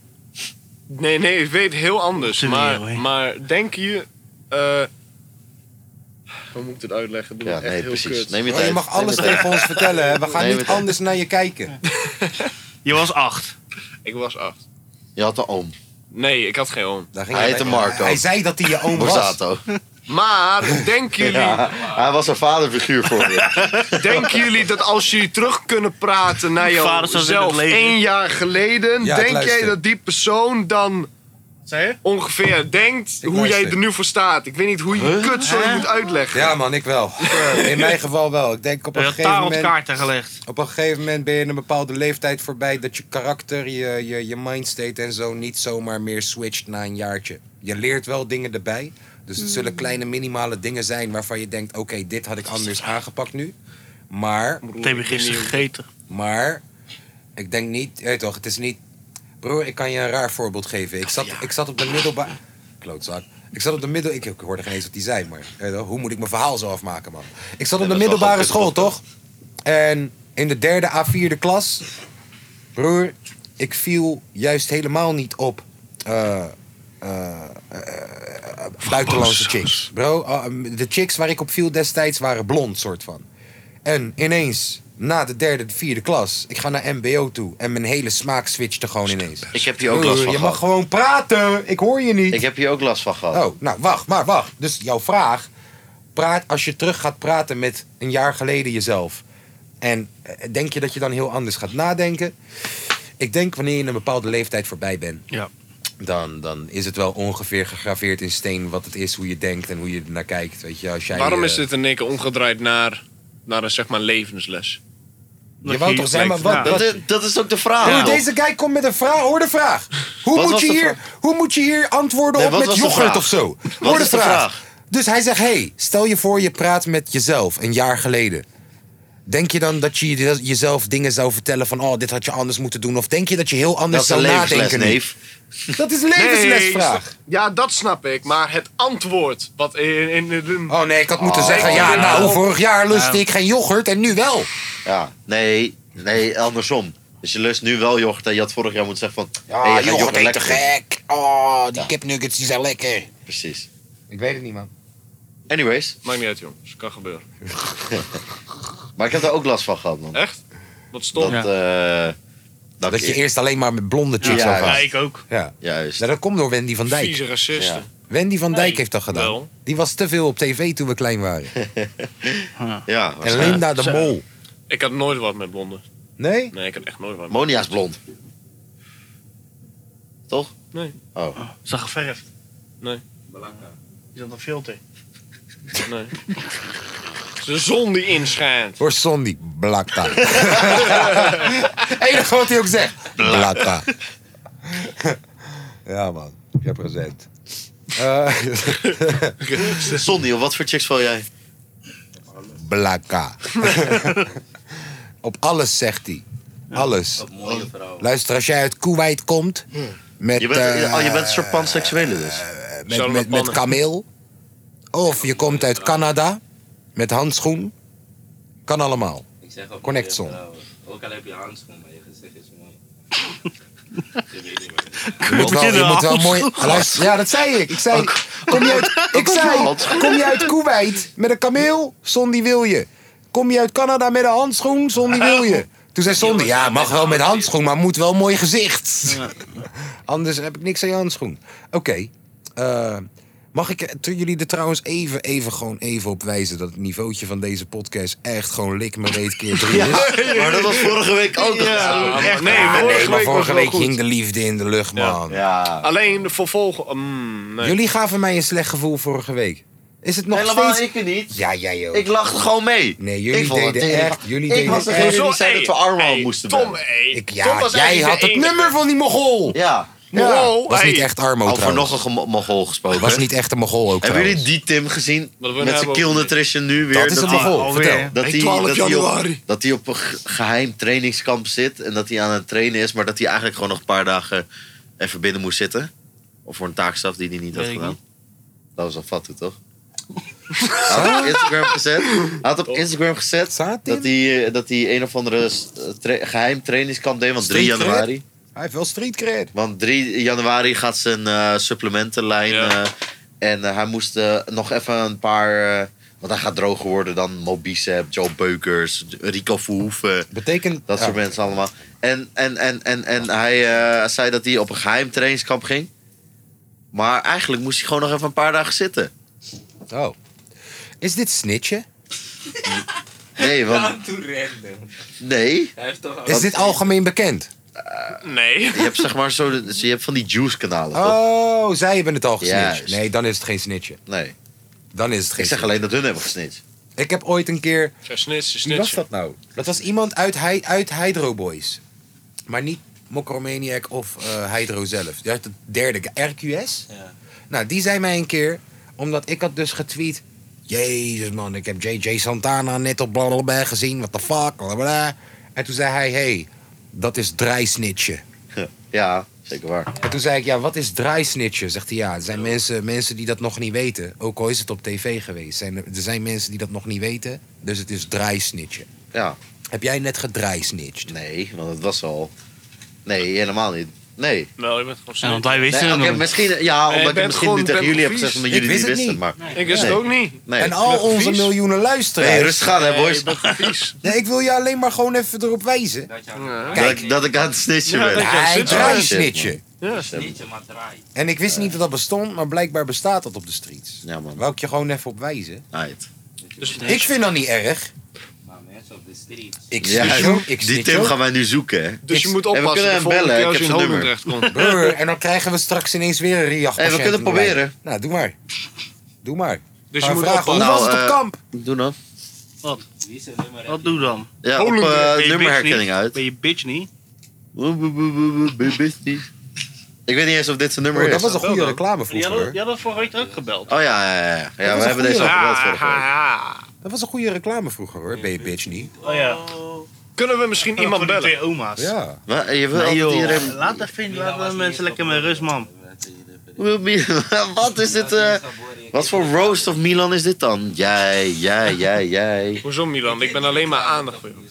Speaker 4: Nee, nee, ik weet heel anders.
Speaker 2: Op de
Speaker 4: Maar,
Speaker 2: wereld, hè?
Speaker 4: maar denk je. eh, hoe moet ik dit uitleggen? Doe
Speaker 3: Ja,
Speaker 4: echt
Speaker 3: nee,
Speaker 4: heel
Speaker 3: precies.
Speaker 4: Kut.
Speaker 3: Neem je
Speaker 1: Maar Oh, je
Speaker 3: tijd.
Speaker 1: mag alles
Speaker 3: Neem je
Speaker 1: tegen ons vertellen. Hè? We gaan
Speaker 3: Neem
Speaker 1: niet
Speaker 3: het even.
Speaker 1: anders naar je kijken.
Speaker 2: Je was acht.
Speaker 4: Ik was acht.
Speaker 3: Je had een oom.
Speaker 4: Nee, ik had geen oom.
Speaker 1: Daar ging
Speaker 3: Hij
Speaker 1: je
Speaker 3: heette
Speaker 1: bij-
Speaker 3: Marco.
Speaker 1: Hij zei dat hij je oom was.
Speaker 3: Borsato.
Speaker 4: Maar denken jullie,
Speaker 3: Ja, hij was een vaderfiguur voor me.
Speaker 4: denken jullie dat als jullie terug kunnen praten naar
Speaker 2: Vader zat in het
Speaker 4: jouzelf
Speaker 2: leger.
Speaker 4: één jaar geleden,
Speaker 1: Ja, ik
Speaker 4: denk jij
Speaker 1: luister.
Speaker 4: dat die persoon dan
Speaker 2: Zei je?
Speaker 4: ongeveer denkt hoe jij
Speaker 1: luister.
Speaker 4: er nu voor staat? Ik weet niet hoe je je kutzooi moet uitleggen. Eh.
Speaker 1: Ja man, ik wel. In mijn geval wel. Ik denk op een
Speaker 2: Je had
Speaker 1: gegeven
Speaker 2: tarot
Speaker 1: moment...
Speaker 2: kaarten gelegd.
Speaker 1: Op een gegeven moment ben je een bepaalde leeftijd voorbij dat je karakter, je, je, je mindstate en zo niet zomaar meer switcht na een jaartje. Je leert wel dingen erbij. Dus het zullen kleine minimale dingen zijn waarvan je denkt: oké, dit had ik anders aangepakt nu. Maar,
Speaker 2: Dat heb je gisteren gegeten.
Speaker 1: maar, ik denk niet, je weet toch, het is niet. Broer, ik kan je een raar voorbeeld geven. Ik zat, ik zat op de middelbare. Klootzak. Ik zat op de middel. Ik, ik hoorde geen eens wat die zei, maar je weet toch, hoe moet ik mijn verhaal zo afmaken, man? Ik zat op de
Speaker 3: dat is wel
Speaker 1: middelbare
Speaker 3: goed,
Speaker 1: school,
Speaker 3: goed, goed.
Speaker 1: toch? En in de derde à vierde klas, broer, ik viel juist helemaal niet op eh, eh, eh,
Speaker 3: Oh,
Speaker 1: buitenlandse chicks. Bro, ah, de chicks waar ik op viel destijds waren blond, soort van. En ineens, na de derde, de vierde klas, ik ga naar MBO toe en mijn hele smaak switchte gewoon ineens.
Speaker 3: Ik heb hier ook last
Speaker 1: Broer,
Speaker 3: van
Speaker 1: je mag
Speaker 3: gehad.
Speaker 1: gewoon praten, ik hoor je niet.
Speaker 3: Ik heb hier ook last van gehad.
Speaker 1: Oh, nou, wacht, maar wacht. Dus jouw vraag, praat, als je terug gaat praten met een jaar geleden jezelf... en eh, denk je dat je dan heel anders gaat nadenken? Ik denk wanneer je een bepaalde leeftijd voorbij bent...
Speaker 2: Ja.
Speaker 1: Dan, dan is het wel ongeveer gegraveerd in steen wat het is, hoe je denkt en hoe je ernaar kijkt. Weet je, als jij,
Speaker 4: Waarom
Speaker 1: eh,
Speaker 4: is dit in één keer omgedraaid naar, naar een zeg maar levensles?
Speaker 1: Je wou toch zeggen, maar wat,
Speaker 2: Ja.
Speaker 1: wat,
Speaker 3: Dat, is, dat is ook de vraag.
Speaker 1: Broer,
Speaker 3: toch?
Speaker 1: deze guy komt met een vraag. Hoor de vraag. Hoe,
Speaker 3: Wat
Speaker 1: moet
Speaker 3: was
Speaker 1: je,
Speaker 3: de
Speaker 1: hier,
Speaker 3: vraag?
Speaker 1: hoe moet je hier antwoorden
Speaker 3: Nee,
Speaker 1: op met
Speaker 3: wat was de
Speaker 1: yoghurt
Speaker 3: vraag?
Speaker 1: of zo?
Speaker 3: Wat
Speaker 1: Hoor de
Speaker 3: is de
Speaker 1: vraag.
Speaker 3: vraag?
Speaker 1: Dus hij zegt, hey, stel je voor je praat met jezelf een jaar geleden. Denk je dan dat je je- jezelf dingen zou vertellen van... oh, dit had je anders moeten doen? Of denk je dat je heel
Speaker 3: Dat
Speaker 1: anders
Speaker 3: is een
Speaker 1: zou
Speaker 3: levensles,
Speaker 1: nadenken? nu?
Speaker 3: neef.
Speaker 1: Dat is
Speaker 4: is
Speaker 1: levenslesvraag.
Speaker 4: dat- Ja, dat snap ik. Maar het antwoord wat in... in, in- in-
Speaker 1: Oh nee, ik had moeten zeggen,
Speaker 4: ik
Speaker 1: ja,
Speaker 4: ben
Speaker 1: nou,
Speaker 4: wel-
Speaker 1: vorig jaar lustte ik geen yoghurt en nu wel.
Speaker 3: Ja, nee, nee, andersom. Dus je lust nu wel yoghurt en je had vorig jaar moeten zeggen van...
Speaker 1: Ja,
Speaker 3: hey, je gaat
Speaker 1: Ah, yoghurt eet te
Speaker 3: lekker doen.
Speaker 1: gek. Oh, die kipnuggets, die zijn lekker.
Speaker 3: Precies.
Speaker 1: Ik weet het niet, man.
Speaker 3: Anyways,
Speaker 4: Maakt niet uit, jongens. Kan gebeuren.
Speaker 3: maar ik heb daar ook last van gehad, man.
Speaker 4: Echt? Wat stom.
Speaker 3: Dat, eh, dat,
Speaker 1: Dat
Speaker 3: ik-
Speaker 1: je eerst alleen maar met blonde chicks
Speaker 3: Ja,
Speaker 1: ja,
Speaker 2: Ja, ik ook.
Speaker 1: Ja.
Speaker 3: Juist.
Speaker 1: Nou, dat komt door Wendy van Dijk.
Speaker 4: Vieze racisten.
Speaker 3: Ja.
Speaker 1: Wendy van Dijk
Speaker 4: Nee,
Speaker 1: heeft dat gedaan.
Speaker 4: wel.
Speaker 1: Die was te veel op tv toen we klein waren.
Speaker 3: Ja,
Speaker 1: En
Speaker 3: waarschijnlijk.
Speaker 1: Linda de Mol.
Speaker 4: Ik had nooit wat met blonden.
Speaker 1: Nee?
Speaker 4: Nee, ik had echt nooit wat met
Speaker 3: Monia is blond. Toch?
Speaker 4: Nee.
Speaker 3: Oh.
Speaker 2: Is dat geverfd?
Speaker 4: Nee.
Speaker 2: Is dat een filter?
Speaker 4: Nee. Het is de zon die inschijnt.
Speaker 1: Hoor Sondi. Blakta. Enige wat hij ook zegt. Blakta. ja man. Represent. Eh
Speaker 3: Sonny, op wat voor chicks val jij?
Speaker 1: blakka. op alles zegt hij. Alles.
Speaker 5: Wat mooie vrouw.
Speaker 1: Luister, als jij uit Kuwait komt... Met,
Speaker 3: Je bent,
Speaker 1: eh,
Speaker 3: oh, je bent een soort panseksuele dus.
Speaker 1: met,
Speaker 4: Zouden we
Speaker 1: met, met
Speaker 4: pannen?
Speaker 1: kameel. Of je komt uit Canada met handschoen. Kan allemaal.
Speaker 5: Ik zeg eh, al,
Speaker 1: Connect
Speaker 5: mooie
Speaker 1: song.
Speaker 5: vrouwen. Ook al heb je handschoen, maar je gezicht is mooi.
Speaker 1: Je moet wel, je moet
Speaker 5: Oh,
Speaker 1: wel mooi. Luister, ja, dat zei ik. Ik zei. Kom je uit, ik zei. Kom je uit Kuwait met een kameel? Sondi wil je. Kom je uit Canada met een handschoen? Sondi wil je. Toen zei Sondi, ja, mag wel met handschoen, maar moet wel een mooi gezicht. Anders heb ik niks aan je handschoen. Oké. eh, mag ik er- toen jullie er trouwens even, even, gewoon even op wijzen dat het niveautje van deze podcast echt gewoon lik me weet keer drie is?
Speaker 3: Maar dat was vorige week ook al. Ja,
Speaker 4: Echt? Nee,
Speaker 1: Ah,
Speaker 4: vorige
Speaker 1: nee, maar
Speaker 4: week was
Speaker 1: vorige
Speaker 4: wel
Speaker 1: week
Speaker 4: goed.
Speaker 1: ging de liefde in de lucht, man.
Speaker 3: ja.
Speaker 4: Alleen de vervolg... mm, nee.
Speaker 1: Jullie gaven mij een slecht gevoel vorige week. Is het nog
Speaker 3: Helemaal
Speaker 1: steeds...
Speaker 3: ik niet.
Speaker 1: Ja, jij ook.
Speaker 3: Ik lachte gewoon mee.
Speaker 1: Nee, jullie
Speaker 3: ik vond het
Speaker 1: deden
Speaker 3: erg.
Speaker 1: echt- jullie
Speaker 3: ik
Speaker 1: deden
Speaker 3: was degene
Speaker 1: echt-
Speaker 3: die zei dat we Armo moesten
Speaker 4: Tom,
Speaker 3: bellen.
Speaker 4: hé.
Speaker 1: Ik,
Speaker 4: Tom
Speaker 1: ja,
Speaker 4: was
Speaker 1: jij
Speaker 4: eigenlijk
Speaker 1: had
Speaker 4: de
Speaker 1: het
Speaker 4: enige.
Speaker 1: nummer van die mogol.
Speaker 3: Ja.
Speaker 1: Ja.
Speaker 4: Wow,
Speaker 1: Was
Speaker 4: hey.
Speaker 1: niet echt Armo
Speaker 3: Over
Speaker 1: trouwens.
Speaker 3: nog een gemo- mogol gesproken.
Speaker 1: Was niet echt een mogol ook
Speaker 3: Hebben jullie
Speaker 1: trouwens.
Speaker 3: die Tim gezien?
Speaker 4: Wat we nou
Speaker 3: Met zijn
Speaker 4: hebben
Speaker 3: kill
Speaker 4: over-
Speaker 3: nutrition nu weer.
Speaker 1: Dat is een
Speaker 3: hij-
Speaker 1: mogol,
Speaker 2: Alweer.
Speaker 1: vertel.
Speaker 3: Dat
Speaker 8: Hey,
Speaker 3: hij,
Speaker 8: 12
Speaker 3: dat, hij op,
Speaker 8: januari.
Speaker 3: dat hij op een ge- geheim trainingskamp zit en dat hij aan het trainen is, maar dat hij eigenlijk gewoon nog een paar dagen even binnen moest zitten. Of voor een taakstaf die hij niet had
Speaker 2: Weet ik
Speaker 3: gedaan. Dat was al fatsoen, toch? Hij had op Instagram gezet, hij had op Instagram gezet
Speaker 1: Staat die?
Speaker 3: dat hij, eh, dat hij een of andere s- eh, tra- geheim trainingskamp deed, want 3
Speaker 1: Street cred?
Speaker 3: januari.
Speaker 1: Hij heeft wel street cred.
Speaker 3: Want 3 januari gaat zijn eh supplementenlijn.
Speaker 4: Ja.
Speaker 3: eh, en eh, hij moest eh, nog even een paar. eh, want hij gaat droger worden dan Mobicep, Joe Beukers, Rico Verhoeven.
Speaker 1: Betekent...
Speaker 3: Dat
Speaker 1: ja.
Speaker 3: soort mensen allemaal. En, en, en, en, en hij eh, zei dat hij op een geheim trainingskamp ging. Maar eigenlijk moest hij gewoon nog even een paar dagen zitten.
Speaker 1: Oh. Is dit snitchen?
Speaker 3: Nee, want.
Speaker 5: Aan toe rennen.
Speaker 3: Nee.
Speaker 5: Hij heeft toch al...
Speaker 1: Is dit algemeen bekend?
Speaker 4: Nee.
Speaker 3: eh, Je hebt zeg maar zo. de- dus Je hebt van die juice-kanalen. toch?
Speaker 1: Oh, zij hebben het al gesnitcht.
Speaker 3: Juist.
Speaker 1: Nee, dan is het geen snitchen.
Speaker 3: Nee.
Speaker 1: Dan is het geen
Speaker 3: Ik zeg alleen dat hun hebben gesnitcht.
Speaker 1: snitchen. Ik heb ooit een keer...
Speaker 4: Ja, snitsen,
Speaker 1: Wie was
Speaker 4: snitsen.
Speaker 1: dat nou? Dat was iemand uit, Hy uit Hydro Boys. Maar niet Mokromaniac of eh, Hydro zelf. Ja, de derde, RQS.
Speaker 5: Ja.
Speaker 1: Nou, die zei mij een keer, omdat ik had dus getweet... Jezus man, ik heb JJ Santana net op blablabla gezien. What the fuck, blablabla. En toen zei hij, hey, dat is draaisnitje.
Speaker 3: Ja, zeker waar.
Speaker 1: En toen zei ik, ja, wat is draaisnitje? Zegt hij, ja, er zijn mensen, mensen die dat nog niet weten. Ook al is het op tv geweest. Zijn er, er zijn mensen die dat nog niet weten. Dus het is draaisnitje.
Speaker 3: Ja.
Speaker 1: Heb jij net gedraaisnitcht?
Speaker 3: Nee, want het was al. Nee, helemaal niet. Nee.
Speaker 4: Nou, je bent gewoon
Speaker 2: Ja,
Speaker 4: snitsen.
Speaker 2: want wij wisten
Speaker 3: nee
Speaker 2: het
Speaker 3: oké,
Speaker 2: nog niet.
Speaker 3: misschien, ja,
Speaker 4: je
Speaker 3: omdat
Speaker 4: bent
Speaker 3: ik het misschien
Speaker 4: gewoon-
Speaker 3: nu tegen
Speaker 4: bent
Speaker 3: jullie heb
Speaker 4: vies.
Speaker 3: gezegd, maar
Speaker 1: Ik
Speaker 3: jullie
Speaker 1: wist
Speaker 3: niet
Speaker 1: het
Speaker 3: wisten.
Speaker 1: niet.
Speaker 3: Maar,
Speaker 4: Ik wist het
Speaker 3: Nee.
Speaker 4: ook niet.
Speaker 3: nee.
Speaker 1: En al
Speaker 4: vlugge
Speaker 1: onze
Speaker 4: vies.
Speaker 1: miljoenen luisteraars.
Speaker 3: nee, rustig aan, hè,
Speaker 4: Nee, je
Speaker 3: boys.
Speaker 4: bent gewoon vies.
Speaker 1: Nee, ik wil je alleen maar gewoon even erop wijzen.
Speaker 5: Dat je
Speaker 4: Ja.
Speaker 5: aan
Speaker 3: Dat, ik, dat ik aan het snitchen
Speaker 4: Ja,
Speaker 3: ben.
Speaker 4: dat-
Speaker 1: Hij
Speaker 4: zit er.
Speaker 1: draaisnitje.
Speaker 4: Ja.
Speaker 5: Niet je maar draait.
Speaker 1: En ik wist niet dat dat bestond, maar blijkbaar bestaat dat op de streets.
Speaker 3: Ja, man.
Speaker 1: Wou ik je gewoon even op wijzen.
Speaker 3: Right.
Speaker 4: Dus
Speaker 1: Ik vind dat niet erg.
Speaker 5: Maar mensen op de street.
Speaker 1: Ik
Speaker 3: Ja,
Speaker 1: snitch ook, ik
Speaker 3: die
Speaker 1: snitch
Speaker 3: Tim
Speaker 1: ook.
Speaker 3: gaan wij nu zoeken, hè.
Speaker 4: Dus je moet
Speaker 3: kunnen
Speaker 4: oppassen de
Speaker 3: hem
Speaker 4: volgende
Speaker 3: bellen,
Speaker 4: keer
Speaker 3: ik
Speaker 4: als je
Speaker 3: heb
Speaker 4: in
Speaker 3: zijn
Speaker 4: Holland
Speaker 3: nummer.
Speaker 4: terecht komt.
Speaker 1: Brr, en dan krijgen we straks ineens weer een riach
Speaker 3: Hey, we kunnen het proberen.
Speaker 1: Nou, doe maar. Doe maar.
Speaker 4: Dus
Speaker 1: Ga
Speaker 4: je moet
Speaker 1: vragen, hoe
Speaker 4: oppassen.
Speaker 1: was
Speaker 3: Nou,
Speaker 1: het op
Speaker 3: eh,
Speaker 1: kamp?
Speaker 3: Doe dan.
Speaker 5: Wie is er nummer
Speaker 2: Wat doe dan?
Speaker 3: Ja, op
Speaker 4: Holland,
Speaker 3: eh,
Speaker 2: Ben je bitch
Speaker 3: nummerherkenning
Speaker 2: niet?
Speaker 3: uit.
Speaker 2: Ben je bitch niet?
Speaker 3: Woe, woe, woe, woe, woe, woe, woe, woe. Ik weet niet eens of dit zijn nummer
Speaker 1: Oh, dat
Speaker 3: is.
Speaker 1: was een
Speaker 2: Wel
Speaker 1: goede
Speaker 2: dan.
Speaker 1: reclame
Speaker 2: Je
Speaker 1: vroeger.
Speaker 2: had,
Speaker 1: hoor.
Speaker 2: je had dat vooruit ook gebeld.
Speaker 3: Oh ja, ja, ja. ja
Speaker 1: was
Speaker 3: we
Speaker 1: een
Speaker 3: hebben deze al
Speaker 1: goeie.
Speaker 3: gebeld vorige
Speaker 4: Ah,
Speaker 3: week.
Speaker 4: ah, ah.
Speaker 1: Dat was een goede reclame vroeger hoor, ben je bitch niet?
Speaker 2: Oh ja.
Speaker 4: Kunnen we misschien iemand
Speaker 2: Voor die
Speaker 4: bellen?
Speaker 2: twee oma's.
Speaker 1: Ja.
Speaker 3: Maar Je wil altijd iedereen...
Speaker 2: Laat dat vinden, laten we mensen lekker met rust, man.
Speaker 3: Wil Milan- Wat is dit? eh, wat voor roast of Milan is dit dan? Jij, jij, jij, jij.
Speaker 4: Hoezo Milan? Ik ben alleen maar aandacht voor jou.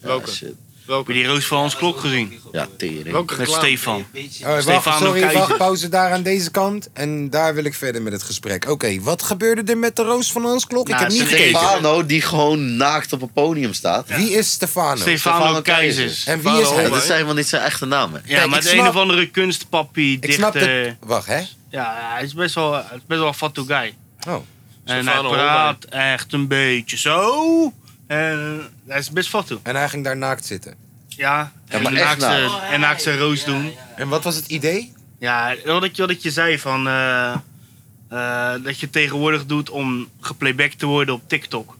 Speaker 3: Ja,
Speaker 4: Welke?
Speaker 3: shit.
Speaker 2: Heb je
Speaker 4: Welke?
Speaker 2: die roos van ons klok gezien?
Speaker 3: Ja, tering.
Speaker 4: Welke
Speaker 2: Met
Speaker 4: reclame?
Speaker 2: Stefan.
Speaker 1: Oh, wacht,
Speaker 2: Stefano
Speaker 1: sorry,
Speaker 2: Keizer.
Speaker 1: wacht, pauze daar aan deze kant. En daar wil ik verder met het gesprek. Oké, wat gebeurde er met de roos van ons klok?
Speaker 2: Nou,
Speaker 1: ik heb
Speaker 2: ze
Speaker 1: niet
Speaker 2: deden-
Speaker 1: gekeken.
Speaker 3: Stefano die gewoon naakt op een podium staat.
Speaker 1: Wie is Stefano?
Speaker 2: Stefano
Speaker 3: Stefano
Speaker 2: Keizers.
Speaker 3: Keizers.
Speaker 1: en wie is
Speaker 4: Stefano
Speaker 1: hij?
Speaker 3: Ja, dat is helemaal niet zijn echte naam. hè.
Speaker 2: Ja,
Speaker 1: Kijk,
Speaker 2: maar
Speaker 1: ik
Speaker 2: het een
Speaker 1: snap-
Speaker 2: of andere kunstpappie,
Speaker 1: Ik snap
Speaker 2: dichter.
Speaker 1: het. Wacht, hè?
Speaker 2: Ja, hij is best wel, hij is best wel een fatto guy.
Speaker 1: Oh.
Speaker 2: En hij
Speaker 4: Stefano
Speaker 2: praat echt een beetje zo. En hij is best fatto.
Speaker 1: En hij ging daar naakt zitten.
Speaker 2: Ja, en
Speaker 3: maar echt
Speaker 2: naakt
Speaker 3: nou.
Speaker 2: zijn- en naakt zijn roos doen.
Speaker 1: En wat was het idee?
Speaker 2: Ja, wat ik, wat ik je zei van... eh, eh, dat je tegenwoordig doet om geplaybacked te worden op TikTok.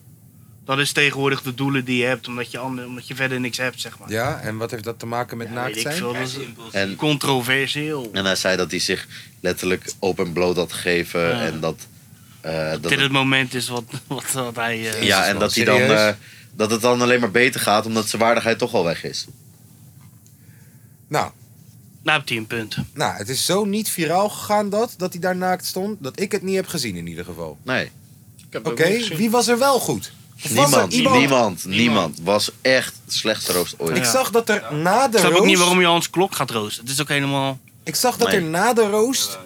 Speaker 2: Dat is tegenwoordig de doelen die je hebt, omdat je, ander, omdat je verder niks hebt, zeg maar.
Speaker 1: Ja, en wat heeft dat te maken met naakt
Speaker 2: Weet ik
Speaker 1: zijn?
Speaker 2: veel, dat is
Speaker 3: En,
Speaker 2: controversieel.
Speaker 3: en hij zei dat hij zich letterlijk open bloot had gegeven.
Speaker 2: Ja.
Speaker 3: En dat, eh, dat
Speaker 2: Dit
Speaker 3: het-
Speaker 2: het moment is wat, wat, wat hij... eh,
Speaker 3: ja, en
Speaker 1: man,
Speaker 3: dat, hij dan,
Speaker 1: serieus?
Speaker 3: eh, dat het dan alleen maar beter gaat omdat zijn waardigheid toch al weg is.
Speaker 1: Nou,
Speaker 2: Nou, hebt hij een punt.
Speaker 1: nou, het is zo niet viraal gegaan dat, dat hij daar naakt stond, dat ik het niet heb gezien in ieder geval.
Speaker 3: Nee,
Speaker 4: Ik heb
Speaker 1: Oké,
Speaker 4: het ook niet gezien.
Speaker 1: wie was er wel goed? Of was er
Speaker 3: niemand, niemand,
Speaker 1: iemand?
Speaker 3: niemand, Was echt het slechtste roost ooit.
Speaker 1: Ik zag dat er na de
Speaker 2: Ik snap
Speaker 1: roos...
Speaker 2: ook niet waarom je Hans Klok gaat roosten. Het is ook helemaal...
Speaker 1: Ik zag dat
Speaker 3: Nee.
Speaker 1: er na de roost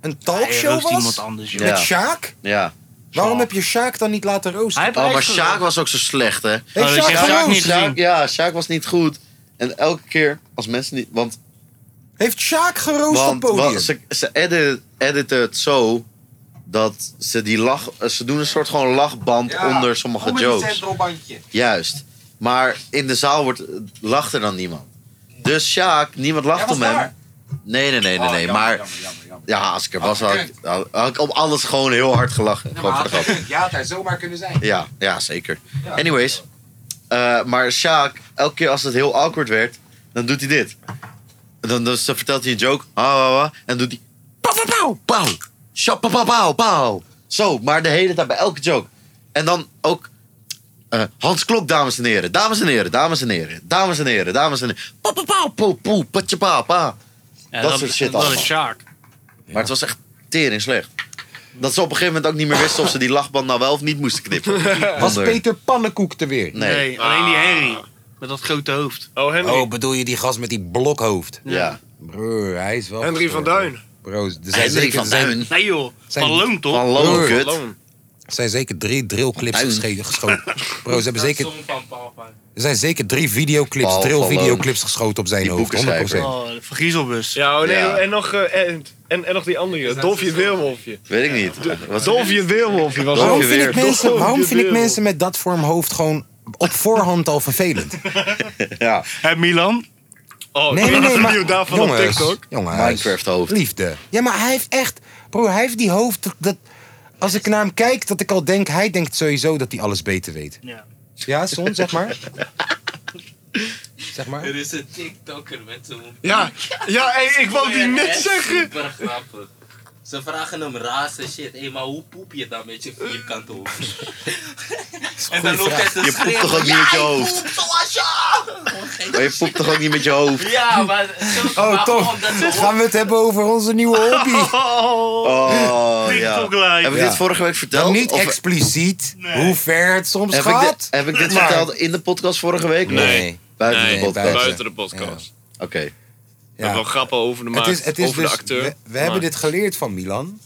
Speaker 1: een
Speaker 2: Hij
Speaker 1: talkshow
Speaker 2: roost iemand
Speaker 1: was
Speaker 2: anders, joh.
Speaker 3: Ja.
Speaker 1: met Sjaak.
Speaker 3: Ja.
Speaker 1: Waarom heb je Sjaak dan niet laten roosten?
Speaker 2: Hij heeft
Speaker 3: Oh, maar
Speaker 2: eigenlijk-
Speaker 3: Sjaak was ook zo slecht, hè?
Speaker 1: Heeft
Speaker 2: Oh, dus
Speaker 1: Sjaak
Speaker 2: je hebt Sjaak
Speaker 1: geroost?
Speaker 2: niet
Speaker 3: Sjaak,
Speaker 2: gezien.
Speaker 3: ja, Sjaak was niet goed. En elke keer als mensen niet. Want,
Speaker 1: Heeft Sjaak geroost op
Speaker 3: want,
Speaker 1: podium?
Speaker 3: want ze, ze edit, editen het zo dat ze die lach. eh, Ze doen een soort gewoon lachband onder sommige jokes. Juist. Maar in de zaal wordt, lacht er dan niemand. Dus Sjaak, niemand lacht om hem. Nee, nee, nee, nee, nee. maar Ja, als ik er was, had ik, had ik op alles gewoon heel hard gelachen. Gewoon voor de grap.
Speaker 9: Ja, had daar zomaar kunnen zijn.
Speaker 3: Ja, ja zeker. Anyways. eh, maar Sjaak, elke keer als het heel awkward werd, dan doet hij dit. Dan, dan vertelt hij een joke. Ha, ha, ha, en dan doet hij... Pauw, pauw, pauw, pauw. Sja, pauw, pauw, pauw, pauw. Zo, maar de hele tijd bij elke joke. En dan ook... eh, Hans Klok, dames en heren. Dames en heren, dames en heren. Dames en heren, dames en heren. Pauw, pauw, pauw, poe, poe, patje, pa, pa.
Speaker 10: Ja,
Speaker 3: dat, soort shit allemaal.
Speaker 10: Dat is Sjaak.
Speaker 3: Maar het was echt tering slecht. Dat ze op een gegeven moment ook niet meer wisten of ze die lachband nou wel of niet moesten knippen.
Speaker 1: Was
Speaker 3: Onder-
Speaker 1: Peter Pannenkoek er weer?
Speaker 3: Nee. Nee,
Speaker 2: alleen die Henry. Met dat grote hoofd.
Speaker 4: Ah. Oh, Henry.
Speaker 1: Oh, bedoel je die gast met die blokhoofd?
Speaker 3: Ja.
Speaker 1: Broer, hij is wel...
Speaker 4: Henry van Duin.
Speaker 1: Bro, er zijn
Speaker 3: Henry
Speaker 1: zeker-
Speaker 3: van
Speaker 1: zijn-
Speaker 3: Duin.
Speaker 2: Nee joh,
Speaker 1: zijn-
Speaker 2: van Loon toch?
Speaker 3: Van Loon,
Speaker 1: Broer.
Speaker 3: kut.
Speaker 1: Er zijn zeker drie drillclips
Speaker 3: Duin.
Speaker 1: gesche- geschoten. Bro, ze hebben zeker...
Speaker 5: Van papa.
Speaker 1: Er zijn zeker drie videoclips,
Speaker 3: Paul
Speaker 1: drillvideoclips geschoten op zijn hoofd. 100%.
Speaker 2: Oh, de vergiezelbus.
Speaker 4: Ja, oh nee,
Speaker 3: Ja.
Speaker 4: en, nog, eh, en, en, en nog die andere. Dolfje het Weerwolfje.
Speaker 3: Weet ik niet. Wat
Speaker 4: Dolfje het Weerwolfje was
Speaker 1: Waarom
Speaker 4: ook
Speaker 1: vind, ik
Speaker 4: weer.
Speaker 1: mensen,
Speaker 4: Dolfje
Speaker 1: waarom vind ik
Speaker 4: Weerwolf.
Speaker 1: mensen met dat vorm hoofd gewoon op voorhand al vervelend?
Speaker 3: Ja,
Speaker 2: En Milan?
Speaker 4: Oh,
Speaker 1: Nee, nee, nee,
Speaker 4: een
Speaker 1: maar-
Speaker 4: video daarvan
Speaker 1: jongens,
Speaker 4: op TikTok.
Speaker 1: Jongens,
Speaker 3: Minecraft hoofd.
Speaker 1: liefde. Ja, maar hij heeft echt... Broer, hij heeft die hoofd dat... dat als ik naar hem kijk, dat ik al denk... Hij denkt sowieso dat hij alles beter weet.
Speaker 2: Ja.
Speaker 1: Ja, Son, zeg maar. zeg maar.
Speaker 5: Er is een TikToker met zo'n.
Speaker 4: Ja, ja hey, ik wou die net
Speaker 5: Echt
Speaker 4: zeggen.
Speaker 5: Super grappig. Ze vragen hem raarste shit. Hé, maar hoe poep je dan met je vierkante hoofd? en dan loopt hij te
Speaker 3: Je poept
Speaker 5: schreeuwen.
Speaker 3: toch ook niet
Speaker 5: "Ja,
Speaker 3: met je
Speaker 5: ik
Speaker 3: hoofd?"
Speaker 5: poep zoals je.
Speaker 3: Maar je poept toch ook niet met je hoofd?
Speaker 5: Ja, maar.
Speaker 1: Oh, toch. Gaan we het hebben over onze nieuwe hobby?
Speaker 3: Oh, ja.
Speaker 2: TikTok live.
Speaker 3: Heb ik
Speaker 1: Ja.
Speaker 3: dit vorige week
Speaker 1: Dan
Speaker 3: verteld?
Speaker 1: niet
Speaker 3: Of-
Speaker 1: expliciet hoe ver het soms
Speaker 3: heb, ik
Speaker 1: gaat.
Speaker 3: dit, heb ik dit verteld in de podcast vorige week?
Speaker 4: Nee.
Speaker 3: Buiten
Speaker 4: Nee,
Speaker 3: de podcast.
Speaker 1: buiten.
Speaker 4: Buiten de podcast.
Speaker 3: Oké.
Speaker 4: We hebben wel grappen over de maak, over de acteur.
Speaker 1: dus- We, we
Speaker 4: maar-
Speaker 1: hebben dit geleerd van Milan.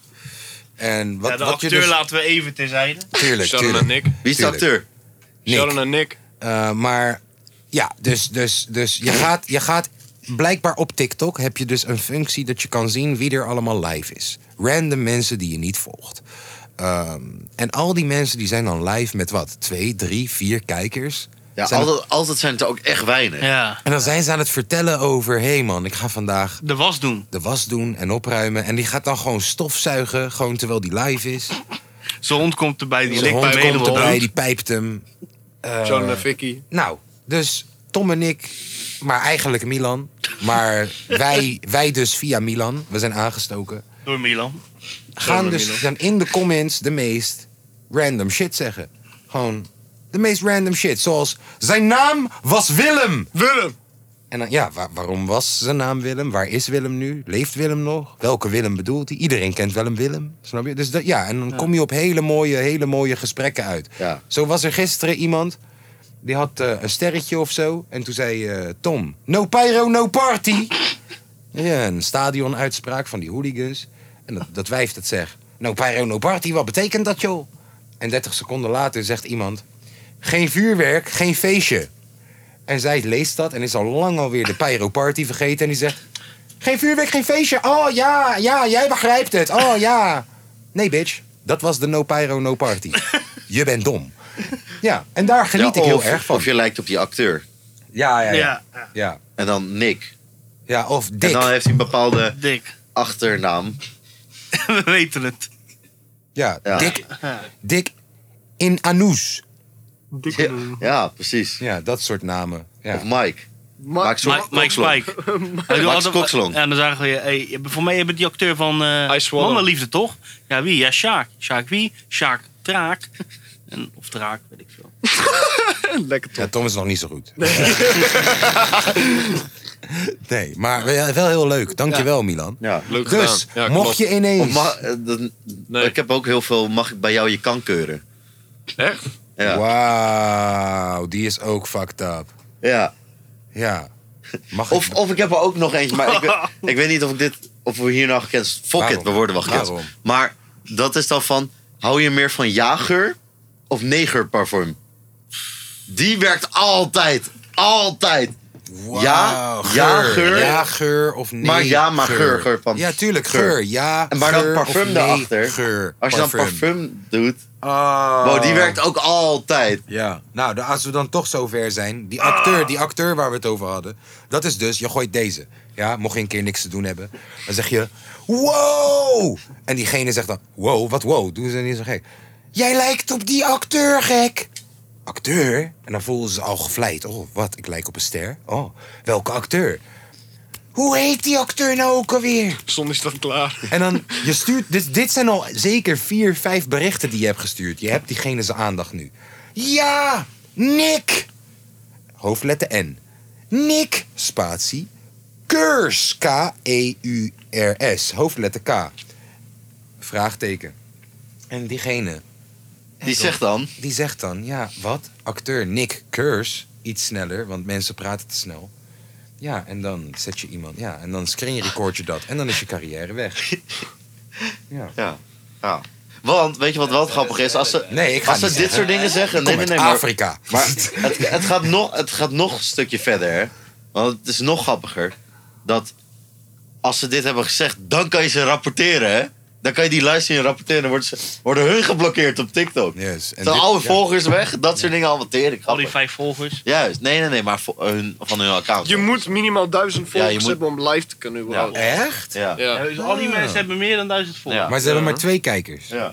Speaker 1: En wat,
Speaker 2: Ja, de
Speaker 1: wat
Speaker 2: acteur
Speaker 1: je dus...
Speaker 2: laten we even terzijde.
Speaker 1: Tuurlijk,
Speaker 4: Shout-out
Speaker 1: tuurlijk.
Speaker 4: naar Nick.
Speaker 3: Wie is de
Speaker 1: Tuurlijk.
Speaker 3: acteur?
Speaker 1: Nick.
Speaker 4: Shout-out naar Nick.
Speaker 1: Eh, maar ja, dus, dus, dus je, gaat, je gaat... Blijkbaar op TikTok heb je dus een functie dat je kan zien wie er allemaal live is. Random mensen die je niet volgt. Ehm, en al die mensen die zijn dan live met wat? Twee, drie, vier kijkers.
Speaker 3: Ja,
Speaker 1: Zijn er-
Speaker 3: altijd, altijd zijn het er ook echt weinig.
Speaker 2: Ja.
Speaker 1: En dan zijn ze aan het vertellen over... hé hey man, ik ga vandaag
Speaker 2: De was doen.
Speaker 1: de was doen en opruimen. En die gaat dan gewoon stofzuigen, gewoon terwijl die live is.
Speaker 2: Zijn hond komt erbij, die
Speaker 1: Zijn
Speaker 2: ligt
Speaker 1: hond
Speaker 2: bij
Speaker 1: komt
Speaker 2: helemaal
Speaker 1: erbij,
Speaker 2: dood.
Speaker 1: die pijpt hem. Eh,
Speaker 4: Shout-out naar Vicky.
Speaker 1: Nou, dus Tom en ik, maar eigenlijk Milan. Maar wij, wij dus via Milan, we zijn aangestoken.
Speaker 2: Door Milan.
Speaker 1: Gaan dus dan in de comments de meest random shit zeggen. Gewoon de meest random shit. Zoals, zijn naam was Willem.
Speaker 4: Willem.
Speaker 1: En dan, ja, wa- waarom was zijn naam Willem? Waar is Willem nu? Leeft Willem nog? Welke Willem bedoelt hij? Iedereen kent wel een Willem, snap je? Dus dat, ja, en dan kom je op hele mooie, hele mooie gesprekken uit.
Speaker 3: Ja.
Speaker 1: Zo was er gisteren iemand, die had eh, een sterretje of zo. En toen zei eh, Tom, no pyro, no party. Ja, een stadionuitspraak van die hooligans. En dat, dat wijf dat zegt, no pyro, no party, wat betekent dat joh? En 30 seconden later zegt iemand, geen vuurwerk, geen feestje. En zij leest dat en is al lang alweer de Pyro Party vergeten. En die zegt: Geen vuurwerk, geen feestje. Oh ja, ja, jij begrijpt het. Oh ja. Nee, bitch. Dat was de No Pyro, No Party. Je bent dom. Ja, en daar geniet
Speaker 3: Ja,
Speaker 1: ik heel
Speaker 3: of-
Speaker 1: erg van.
Speaker 3: Of je lijkt op die acteur.
Speaker 1: Ja, ja, ja.
Speaker 2: Ja,
Speaker 1: Ja,
Speaker 3: En dan Nick.
Speaker 1: ja of
Speaker 3: En dan
Speaker 1: dik.
Speaker 3: heeft hij een bepaalde
Speaker 2: dik.
Speaker 3: achternaam.
Speaker 2: We weten het.
Speaker 1: Ja,
Speaker 3: Ja.
Speaker 1: dik. Dik in Anous.
Speaker 3: Ja, ja, precies.
Speaker 1: Ja, dat soort namen. Ja.
Speaker 3: Of Mike. Mike, Zo-
Speaker 2: Mike, Mike
Speaker 3: Kokslong.
Speaker 2: Spike. Hij doet altijd-
Speaker 3: Kokslong.
Speaker 2: Ja, dan zagen we je. hey, je- voor mij hebben die acteur van eh
Speaker 4: I Swallow.
Speaker 2: Mannenliefde, toch? Ja, wie? Ja, Sjaak. Sjaak wie? Sjaak Traak. En, of Draak, weet ik veel.
Speaker 4: Lekker
Speaker 1: Ja, Tom is nog niet zo goed. Nee, maar wel wel heel leuk. Dankjewel, Milan.
Speaker 3: Ja.
Speaker 4: Leuk
Speaker 1: Dus,
Speaker 4: gedaan. Ja,
Speaker 1: mocht
Speaker 4: klopt.
Speaker 1: je ineens...
Speaker 3: Of ma- eh, dan-
Speaker 4: Nee.
Speaker 3: Ik heb ook heel veel, mag ik bij jou je kan keuren?
Speaker 4: Echt?
Speaker 3: Ja.
Speaker 1: Wauw, die is ook fucked up.
Speaker 3: ja.
Speaker 1: Ja. Mag
Speaker 3: Of,
Speaker 1: ik...
Speaker 3: of ik heb er ook nog eentje, maar ik, weet- ik weet niet of, ik dit, of we hier nou gekend zijn. Fuck
Speaker 1: Waarom?
Speaker 3: it, we worden wel gekend.
Speaker 1: Waarom?
Speaker 3: Maar dat is dan van, hou je meer van jager of negerparfum? Die werkt altijd, altijd.
Speaker 1: Wauw,
Speaker 3: Ja,
Speaker 1: geur.
Speaker 3: ja, geur.
Speaker 1: Ja, geur of nee.
Speaker 3: Maar ja, maar geur, geur van-
Speaker 1: Ja, tuurlijk, geur.
Speaker 3: geur.
Speaker 1: Ja,
Speaker 3: En maar dan
Speaker 1: geur of
Speaker 3: parfum
Speaker 1: nee,
Speaker 3: daarachter.
Speaker 1: Geur,
Speaker 3: Als je dan parfum doet,
Speaker 1: Oh.
Speaker 3: wow, die werkt ook altijd.
Speaker 1: Ja, nou, da- als we dan toch zover zijn. Die acteur, die acteur waar we het over hadden. Dat is dus, je gooit deze. Ja, mocht je een keer niks te doen hebben. Dan zeg je, wow! En diegene zegt dan, wow, wat wow? Doen ze niet zo gek. Jij lijkt op die acteur, gek! Acteur? En dan voelen ze al gevleid. Oh, wat, ik lijk op een ster? Oh, welke acteur? Hoe heet die acteur nou ook alweer?
Speaker 4: Zon is dan klaar.
Speaker 1: En dan, je stuurt, dit, dit zijn al zeker vier, vijf berichten die je hebt gestuurd. Je hebt diegene zijn aandacht nu. Ja, Nick! Hoofdletter N. Nick, spatie, Keurs, E K-E-U-R-S, hoofdletter K. Vraagteken. En diegene.
Speaker 3: Die zegt dan?
Speaker 1: Die zegt dan, ja, wat? Acteur Nick Keurs, iets sneller, want mensen praten te snel. Ja, en dan zet je iemand, ja, en dan screen record je dat. En dan is je carrière weg. Ja.
Speaker 3: Ja. ja. Want, weet je wat wel grappig is? Als ze,
Speaker 1: Nee, ik ga
Speaker 3: als ze
Speaker 1: niet
Speaker 3: dit
Speaker 1: zeggen.
Speaker 3: soort dingen zeggen...
Speaker 1: Kom
Speaker 3: Nee, nee,
Speaker 1: uit
Speaker 3: nee, maar-
Speaker 1: Afrika.
Speaker 3: Maar het, het, gaat nog, het gaat nog een stukje verder. hè. Want het is nog grappiger. Dat als ze dit hebben gezegd, dan kan je ze rapporteren. Hè? Dan kan je die luisteren en rapporteren. Dan worden, ze, worden hun geblokkeerd op TikTok.
Speaker 1: Yes. En
Speaker 3: Zijn
Speaker 1: dit-
Speaker 3: oude
Speaker 1: ja.
Speaker 3: volgers weg, dat soort dingen allemaal tering.
Speaker 2: Al die
Speaker 3: grappig.
Speaker 2: vijf volgers.
Speaker 3: Juist, nee, nee, nee, maar vo- hun, van hun account.
Speaker 4: Je moet minimaal duizend volgers
Speaker 3: je moet-
Speaker 4: hebben om live te kunnen überhaupt.
Speaker 1: Echt?
Speaker 3: Ja.
Speaker 4: Ja.
Speaker 2: Ja, dus al die
Speaker 1: Ah.
Speaker 2: mensen hebben meer dan duizend volgers.
Speaker 3: Ja.
Speaker 1: Maar ze hebben maar twee kijkers.
Speaker 3: Ja.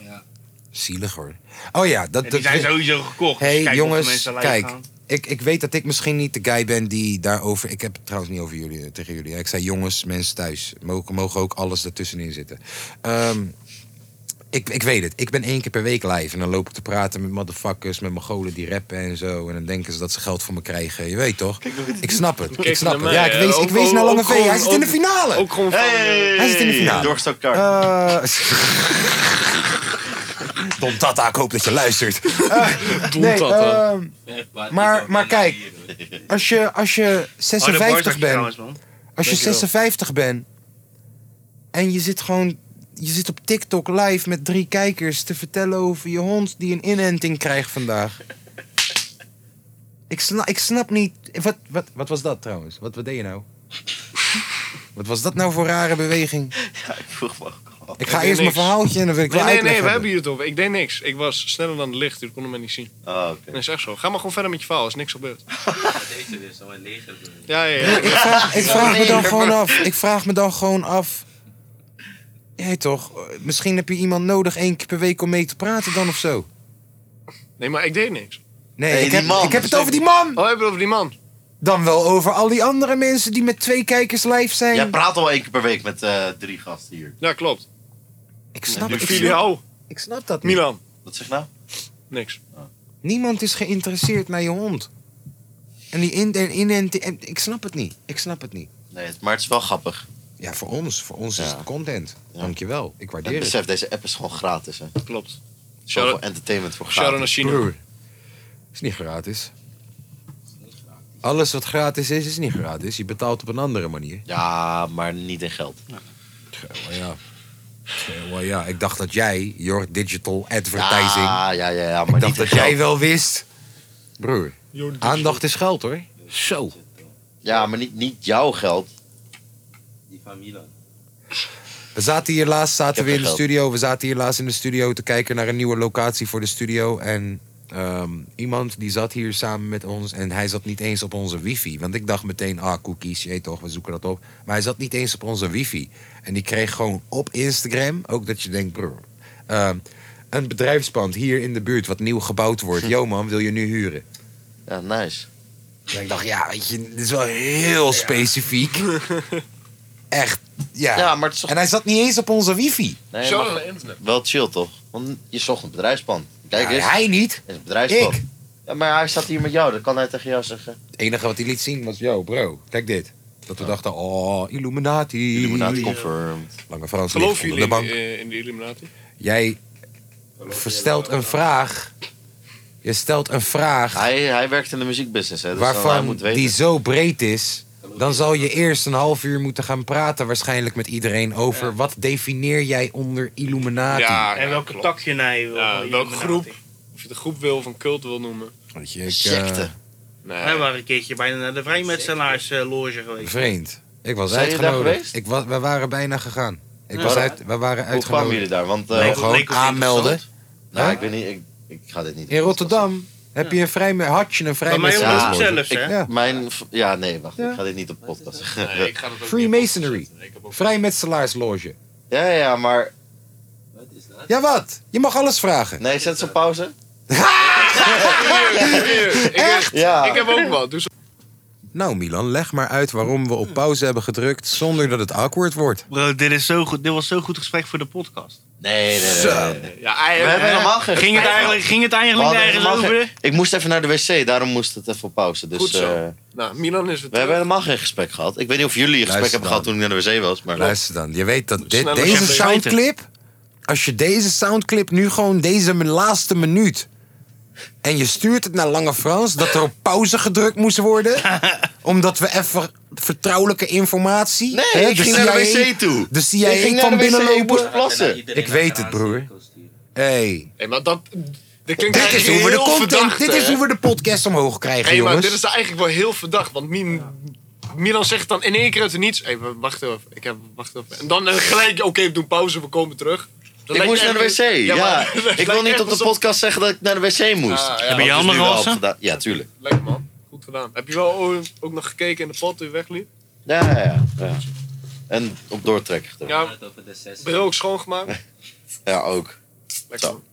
Speaker 1: Zielig hoor. Oh ja, dat...
Speaker 2: En die zijn sowieso gekocht. dus
Speaker 1: Hey
Speaker 2: kijk of de
Speaker 1: jongens,
Speaker 2: mensen live
Speaker 1: kijk.
Speaker 2: gaan.
Speaker 1: Ik, ik weet dat ik misschien niet de guy ben die daarover. Ik heb het trouwens niet over jullie, eh, tegen jullie. hè. Ik zei jongens, mensen thuis. Mogen, mogen ook alles ertussenin zitten. Ehm, ik, ik weet het. Ik ben één keer per week live. En dan loop ik te praten met motherfuckers, met mogolen die rappen en zo. En dan denken ze dat ze geld voor me krijgen. Je weet toch? Ik snap het. Ik
Speaker 4: Kijk naar
Speaker 1: snap het.
Speaker 4: mij,
Speaker 1: Ja, ik
Speaker 2: eh,
Speaker 4: hè.
Speaker 1: wees, ik
Speaker 4: Ook-
Speaker 1: wees
Speaker 4: ook-
Speaker 1: naar Lange
Speaker 4: ook
Speaker 1: V. Hij
Speaker 4: gewoon-
Speaker 1: zit in de
Speaker 4: ook-
Speaker 1: finale.
Speaker 4: Ook gewoon van... eh,
Speaker 3: Hey,
Speaker 1: Hij zit in de finale.
Speaker 3: Doorgestoken kaart.
Speaker 1: Eh, Tom Tata, ik hoop dat je luistert. Eh, nee,
Speaker 4: Tata.
Speaker 1: ehm, Maar- maar kijk. als, je, als je
Speaker 2: Oh, de boys had
Speaker 1: 56
Speaker 2: je
Speaker 1: bent,
Speaker 2: trouwens, man.
Speaker 1: als je 56 bent en je zit gewoon, je zit op TikTok live met drie kijkers te vertellen over je hond die een inenting krijgt vandaag. Ik snap, ik snap niet. Wat, wat, wat was dat trouwens? Wat, wat deed je nou? Wat was dat nou voor rare beweging?
Speaker 3: Ja, ik vroeg me ook al.
Speaker 1: Ik ga
Speaker 4: deed
Speaker 1: eerst
Speaker 4: niks.
Speaker 1: mijn verhaaltje en dan wil ik
Speaker 4: Nee,
Speaker 1: wel
Speaker 4: nee,
Speaker 1: uitleg
Speaker 4: nee, we
Speaker 1: hebben.
Speaker 4: hebben hier het over. Ik deed niks. Ik was sneller dan het licht, dus ik kon hem niet zien.
Speaker 3: Ah, oké.
Speaker 4: En is echt zo. Ga maar gewoon verder met je verhaal, er is niks gebeurd.
Speaker 5: Deze weer zo'n leger. doen.
Speaker 4: Ja, ja, ja.
Speaker 1: ik vraag, ik vraag me dan gewoon af. Ik vraag me dan gewoon af. Jij toch? eh, Misschien heb je iemand nodig één keer per week om mee te praten dan of zo.
Speaker 4: Nee, maar ik deed niks.
Speaker 1: Nee,
Speaker 3: Nee,
Speaker 1: ik,
Speaker 3: die
Speaker 1: heb,
Speaker 3: man.
Speaker 1: ik heb het over die man.
Speaker 4: Oh, hebben we het over die man?
Speaker 1: Dan wel over al die andere mensen die met twee kijkers live zijn.
Speaker 3: Jij praat al één keer per week met eh, drie gasten hier.
Speaker 4: Ja, klopt.
Speaker 1: ik, snap,
Speaker 4: Die
Speaker 1: ik, snap,
Speaker 4: filiaal.
Speaker 1: ik snap dat niet.
Speaker 4: Milan.
Speaker 3: Wat zeg je nou? Oh.
Speaker 4: Niks.
Speaker 1: Niemand is geïnteresseerd naar je hond. En die in, en in, en, en- ik snap het niet. Ik snap het niet.
Speaker 3: Nee, het- maar het is wel grappig.
Speaker 1: Ja, voor ons. Voor ons is
Speaker 3: Ja.
Speaker 1: het content.
Speaker 3: Ja.
Speaker 1: Dankjewel. Ik
Speaker 3: En
Speaker 1: waardeer het.
Speaker 3: besef, deze app is gewoon gratis. Hè.
Speaker 4: Klopt.
Speaker 3: Zoveel
Speaker 4: Shout-out
Speaker 3: entertainment voor
Speaker 4: shout-out
Speaker 3: gratis.
Speaker 4: naar China.
Speaker 1: Broer, is niet gratis. Alles wat gratis is, is niet gratis. Je betaalt op een andere manier.
Speaker 3: Ja, maar niet in geld.
Speaker 1: Wel ja. Wel ja. Ik dacht dat jij, your digital advertising,
Speaker 3: Ja, ja, ja, ja maar
Speaker 1: ik
Speaker 3: niet
Speaker 1: dacht
Speaker 3: in
Speaker 1: dat jij
Speaker 3: geld.
Speaker 1: wel wist. Broer, aandacht is geld hoor. Zo.
Speaker 3: Ja, maar niet, niet jouw geld.
Speaker 5: Die van Milan.
Speaker 1: We zaten hier laatst zaten
Speaker 3: heb
Speaker 1: we in
Speaker 3: geen
Speaker 1: de
Speaker 3: geld.
Speaker 1: studio. We zaten hier laatst in de studio te kijken naar een nieuwe locatie voor de studio. En ehm, iemand die zat hier samen met ons. En hij zat niet eens op onze wifi. Want ik dacht meteen, ah, cookies, je weet toch, we zoeken dat op. Maar hij zat niet eens op onze wifi. En die kreeg gewoon op Instagram, ook dat je denkt, broer. ehm, een bedrijfspand hier in de buurt wat nieuw gebouwd wordt. Yo man, wil je nu huren?
Speaker 3: Ja, nice.
Speaker 1: En ik dacht, ja, weet je, dit is wel heel specifiek. Echt, ja.
Speaker 3: Ja, maar het is toch
Speaker 1: En hij zat niet eens op onze wifi.
Speaker 3: nee,
Speaker 4: Shout-out
Speaker 3: maar
Speaker 4: naar internet.
Speaker 3: wel chill, toch? Want je zocht een bedrijfsplan. Kijk
Speaker 1: Ja,
Speaker 3: eens,
Speaker 1: Nou, hij niet.
Speaker 3: het is een bedrijfsplan.
Speaker 1: Ik.
Speaker 3: Ja, maar hij staat hier met jou, dat kan hij tegen jou zeggen.
Speaker 1: Het enige wat hij liet zien was, yo bro, kijk dit. Dat we dachten, oh, Illuminati.
Speaker 3: Illuminati confirmed.
Speaker 1: Lange Frans ligt
Speaker 4: Geloof
Speaker 1: onder
Speaker 4: jullie
Speaker 1: de
Speaker 4: in,
Speaker 1: bank.
Speaker 4: eh, in de Illuminati?
Speaker 1: Jij stelt een vraag. Je stelt een vraag
Speaker 3: Hij, hij werkt in de muziekbusiness, hè, dus dan hij
Speaker 1: waarvan
Speaker 3: moet weten.
Speaker 1: die zo breed is. Dan zal je eerst een half uur moeten gaan praten waarschijnlijk met iedereen over... wat defineer jij onder Illuminati?
Speaker 4: Ja,
Speaker 2: En welke
Speaker 4: klopt.
Speaker 2: tak je naar je wil.
Speaker 4: Ja, welke
Speaker 2: je benadering.
Speaker 4: groep? Of je de groep wil of een cult wil noemen.
Speaker 1: Weet je, ik, eh,
Speaker 3: Secte.
Speaker 2: Wij
Speaker 4: Nee.
Speaker 2: waren een keertje bijna naar de vrijmetselaars eh, loge geweest.
Speaker 1: vreemd. Ik was
Speaker 3: Zijn jullie daar
Speaker 1: uitgenodigd.
Speaker 3: geweest?
Speaker 1: Ik was, we waren bijna gegaan. Ik
Speaker 3: Ja.
Speaker 1: was uit, we waren
Speaker 3: Hoe kwamen
Speaker 1: uitgenodigd.
Speaker 3: jullie daar? Want, eh,
Speaker 1: Nee,
Speaker 2: Leek-
Speaker 1: gewoon
Speaker 2: leek ons
Speaker 1: aanmelden.
Speaker 3: Nou,
Speaker 1: Huh?
Speaker 3: ik weet niet, ik, ik ga dit niet
Speaker 1: In Rotterdam Heb je een vrij, had je een vrij
Speaker 3: Ja, ik-
Speaker 1: Ja.
Speaker 3: Mijn, v- ja, nee, wacht. Ik ga dit niet op podcast zeggen.
Speaker 4: Nee, ik ga dat ook niet.
Speaker 1: Freemasonry. Vrijmetselaarsloge.
Speaker 3: Ja, ja, maar...
Speaker 1: Ja, wat? Je mag alles vragen.
Speaker 3: Nee, zet ze op pauze.
Speaker 1: Echt?
Speaker 3: Ja.
Speaker 4: Ik heb ook wat. Dus
Speaker 1: Nou, Milan, leg maar uit waarom we op pauze hebben gedrukt zonder dat het awkward wordt.
Speaker 2: Bro, dit, is zo goed, dit was zo'n goed gesprek voor de podcast.
Speaker 3: Nee, nee, nee. nee, nee.
Speaker 4: ja,
Speaker 3: We hebben helemaal geen
Speaker 2: Ging het eigenlijk, ging het
Speaker 3: We
Speaker 2: eigenlijk niet
Speaker 3: hadden
Speaker 2: ergens
Speaker 3: helemaal geen-
Speaker 2: over?
Speaker 3: Ik moest even naar de wc, daarom moest het even op pauze. Dus,
Speaker 4: Goed zo.
Speaker 3: eh,
Speaker 4: Nou, Milan is het.
Speaker 3: we hebben helemaal geen gesprek gehad. Ik weet niet of jullie een gesprek
Speaker 1: eh, Luister
Speaker 3: hebben gehad
Speaker 1: dan.
Speaker 3: toen ik naar de wc was. Maar
Speaker 1: Luister dan, je weet dat dit,
Speaker 4: Sneller
Speaker 1: deze
Speaker 4: champagne.
Speaker 1: soundclip... Als je deze soundclip nu gewoon deze m- laatste minuut... en je stuurt het naar Lange Frans... dat er op pauze gedrukt moest worden... omdat we even vertrouwelijke informatie...
Speaker 3: Nee,
Speaker 1: hè,
Speaker 3: ik
Speaker 1: de
Speaker 3: ging naar de
Speaker 1: CIA
Speaker 3: wc toe.
Speaker 1: de CIA
Speaker 3: Ik ging
Speaker 1: kwam
Speaker 3: naar de wc,
Speaker 1: binnenlopen.
Speaker 3: ik moest plassen.
Speaker 5: Iedereen
Speaker 1: Ik
Speaker 5: naar
Speaker 1: weet
Speaker 5: zijn
Speaker 1: het, broer.
Speaker 5: aanzien sturen.
Speaker 1: Hey.
Speaker 4: Hey, maar dat, dat klinkt
Speaker 1: Dit is,
Speaker 4: eigenlijk
Speaker 1: hoe we de
Speaker 4: heel
Speaker 1: content,
Speaker 4: verdacht.
Speaker 1: dit is
Speaker 4: hè?
Speaker 1: hoe we de podcast omhoog krijgen,
Speaker 4: Hey, maar
Speaker 1: jongens.
Speaker 4: dit is eigenlijk wel heel verdacht, want Min- Milan zegt dan in één keer uit het niets. Hey, wa- wacht even, ik heb, wacht even. En dan eh, gelijk, oké, we doen pauze, we komen terug. Dat
Speaker 3: Ik
Speaker 4: lijkt
Speaker 3: moest naar de
Speaker 4: echt-
Speaker 3: wc. Ja,
Speaker 4: maar- dat
Speaker 3: ik wil
Speaker 4: lijkt
Speaker 3: niet
Speaker 4: echt
Speaker 3: op de
Speaker 4: alsof-
Speaker 3: podcast zeggen dat ik naar de wc moest.
Speaker 4: Ah, ja.
Speaker 3: Dat
Speaker 4: Hebben
Speaker 3: is
Speaker 2: je handen
Speaker 3: nu wel
Speaker 2: gewassen?
Speaker 3: gedaan. Ja, tuurlijk.
Speaker 4: Lekker man, goed gedaan. Heb je wel o- ook nog gekeken in de pot toen je wegliep?
Speaker 3: Ja, ja, ja. ja. En op doortrekken. gedaan.
Speaker 4: Ja,
Speaker 5: Het over de zes.
Speaker 4: bril ook schoongemaakt.
Speaker 3: Ja, ook.
Speaker 4: Lekker
Speaker 3: Zo.
Speaker 4: man.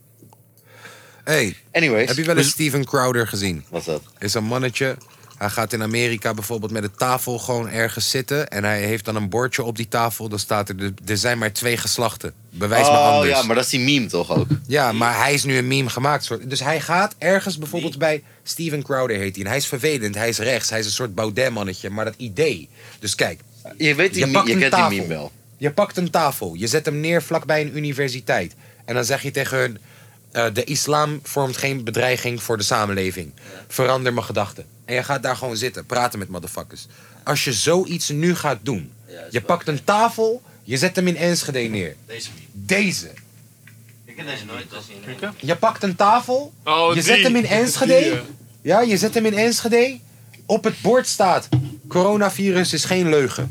Speaker 1: Hey,
Speaker 3: Anyways, Dus-
Speaker 1: heb je wel eens Steven Crowder gezien?
Speaker 3: wat is dat?
Speaker 1: is een mannetje. Hij gaat in Amerika bijvoorbeeld met een tafel gewoon ergens zitten. En hij heeft dan een bordje op die tafel. Dan staat er, er zijn maar twee geslachten. Bewijs me
Speaker 3: oh
Speaker 1: anders.
Speaker 3: ja, maar dat is die meme toch ook?
Speaker 1: Ja, maar hij is nu een meme gemaakt. soort- Dus hij gaat ergens bijvoorbeeld bij Steven Crowder heet hij. En hij is vervelend, hij is rechts, hij is een soort Baudet-mannetje. Maar dat idee. Dus kijk,
Speaker 3: Je weet die
Speaker 1: Je
Speaker 3: meme,
Speaker 1: pakt
Speaker 3: je
Speaker 1: een
Speaker 3: kent
Speaker 1: tafel.
Speaker 3: die meme wel.
Speaker 1: je pakt een tafel, je zet hem neer vlakbij een universiteit. En dan zeg je tegen hun: eh, De islam vormt geen bedreiging voor de samenleving. Verander mijn gedachten. En je gaat daar gewoon zitten, praten met motherfuckers. Als je zoiets nu gaat doen,
Speaker 5: Ja, is
Speaker 1: je
Speaker 5: waar.
Speaker 1: pakt een tafel, je zet hem in Enschede neer.
Speaker 5: Deze meme.
Speaker 1: Deze.
Speaker 5: Ik heb deze nooit gezien. hè.
Speaker 1: Je pakt een tafel,
Speaker 4: Oh,
Speaker 1: je
Speaker 4: die.
Speaker 1: zet hem in Enschede.
Speaker 4: Die, eh.
Speaker 1: Ja, je zet hem in Enschede. Op het bord staat: coronavirus is geen leugen.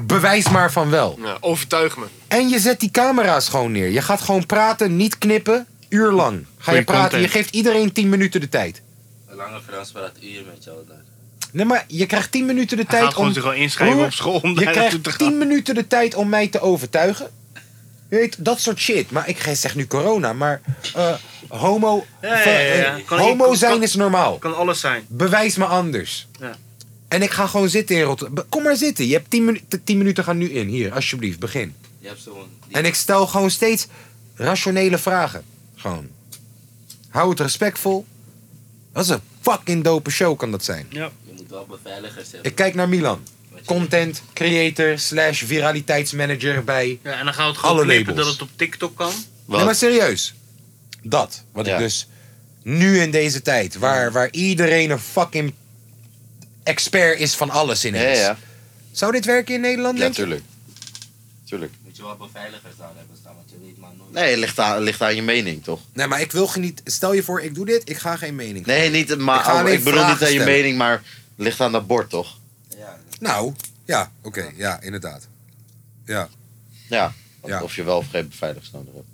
Speaker 1: Bewijs maar van wel.
Speaker 4: Nou, overtuig me.
Speaker 1: En je zet die camera's gewoon neer. Je gaat gewoon praten, niet knippen. Uur lang ga je
Speaker 2: Goeie
Speaker 1: praten.
Speaker 2: content.
Speaker 1: Je geeft iedereen 10 minuten de tijd.
Speaker 5: Een lange Frans praat uur met jou daar.
Speaker 1: Nee, maar je krijgt 10 minuten de
Speaker 2: Hij
Speaker 1: tijd
Speaker 2: gaat gewoon
Speaker 1: om.
Speaker 2: zich gewoon inschrijven
Speaker 1: Broer,
Speaker 2: op school om daar
Speaker 1: Je
Speaker 2: naartoe te
Speaker 1: krijgt
Speaker 2: gaan.
Speaker 1: 10 minuten de tijd om mij te overtuigen. Je weet, dat soort shit. Maar ik zeg nu corona, maar eh, homo,
Speaker 2: Ja, ja, ja, ja.
Speaker 1: eh,
Speaker 2: Kan-
Speaker 1: homo
Speaker 2: kan-
Speaker 1: zijn
Speaker 2: kan-
Speaker 1: is normaal.
Speaker 2: Kan alles zijn.
Speaker 1: Bewijs me anders.
Speaker 2: Ja.
Speaker 1: En ik ga gewoon zitten in Rotterdam. Kom maar zitten. Je hebt 10 minuten, 10 minuten gaan nu in. Hier, alsjeblieft, begin.
Speaker 5: Je hebt zo'n... die-
Speaker 1: En ik stel gewoon steeds rationele vragen. Gewoon. Hou het respectvol. Dat is een fucking dope show kan dat zijn.
Speaker 5: Je moet wel beveiligers hebben.
Speaker 1: Ik kijk naar Milan. Content creator slash viraliteitsmanager bij...
Speaker 2: Ja, en dan gaan we het gewoon
Speaker 1: Alle
Speaker 2: knippen
Speaker 1: labels.
Speaker 2: dat het op TikTok kan.
Speaker 3: Wat?
Speaker 1: Nee, maar serieus. Dat. Wat
Speaker 3: Ja.
Speaker 1: ik dus nu in deze tijd... Waar, waar iedereen een fucking expert is van alles
Speaker 3: Ja,
Speaker 1: ineens.
Speaker 3: ja, ja.
Speaker 1: Zou dit werken in Nederland,
Speaker 3: ja
Speaker 1: denk je?
Speaker 3: tuurlijk. tuurlijk.
Speaker 5: Moet je wel beveiligers daar hebben staan, want je weet maar nooit.
Speaker 3: Nee, het ligt aan, ligt aan je mening toch?
Speaker 1: Nee, maar ik wil geniet... Stel je voor, ik doe dit. Ik ga geen mening.
Speaker 3: Nee, niet,
Speaker 1: Ik
Speaker 3: maar,
Speaker 1: ga
Speaker 3: oh, ik,
Speaker 1: alleen
Speaker 3: bedoel niet
Speaker 1: vragen
Speaker 3: aan je
Speaker 1: stellen.
Speaker 3: mening, maar het ligt aan dat bord toch?
Speaker 5: Ja,
Speaker 1: Nou, ja, oké. ja, inderdaad.
Speaker 3: Ja.
Speaker 1: Ja.
Speaker 3: Of je wel of geen beveiligers nodig hebt.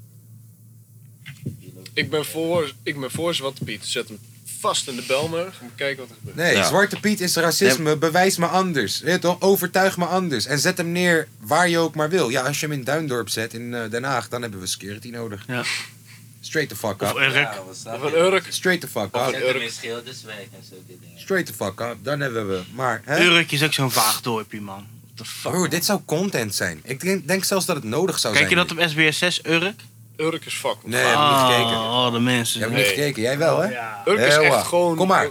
Speaker 4: Ik ben voor, ik ben voor Zwarte Piet. Zet hem vast in de belmer. Gaan we kijken wat er gebeurt.
Speaker 1: Nee,
Speaker 3: Ja.
Speaker 1: Zwarte Piet is racisme. Bewijs me anders. Weet je toch? Overtuig me anders. En zet hem neer waar je ook maar wil. Ja, als je hem in Duindorp zet, in eh, Den Haag, dan hebben we security nodig.
Speaker 2: Ja.
Speaker 1: Straight the fuck
Speaker 2: Of
Speaker 1: up.
Speaker 2: Urk.
Speaker 5: ja, we
Speaker 4: Of
Speaker 5: snappen
Speaker 4: een
Speaker 5: het.
Speaker 4: Urk.
Speaker 1: Straight the fuck up.
Speaker 5: Zet hem in Schilderswijk en zulke dingen.
Speaker 1: Straight the fuck up. Dan hebben we. Maar, hè?
Speaker 2: Urk is ook zo'n vaag dorpje, man. What the fuck.
Speaker 1: Broer, dit zou content zijn. Ik denk, denk zelfs dat het nodig zou
Speaker 2: Kijk je
Speaker 1: zijn.
Speaker 2: dat op SBS 6, Urk?
Speaker 4: Urk is fuck.
Speaker 1: Nee, heb ik niet gekeken.
Speaker 2: Oh, de mensen.
Speaker 1: Je hebt niet
Speaker 4: Nee.
Speaker 1: gekeken. Jij wel, hè?
Speaker 2: Ja.
Speaker 4: Urk is
Speaker 1: Heel
Speaker 4: echt
Speaker 1: waar.
Speaker 4: gewoon...
Speaker 1: Kom maar.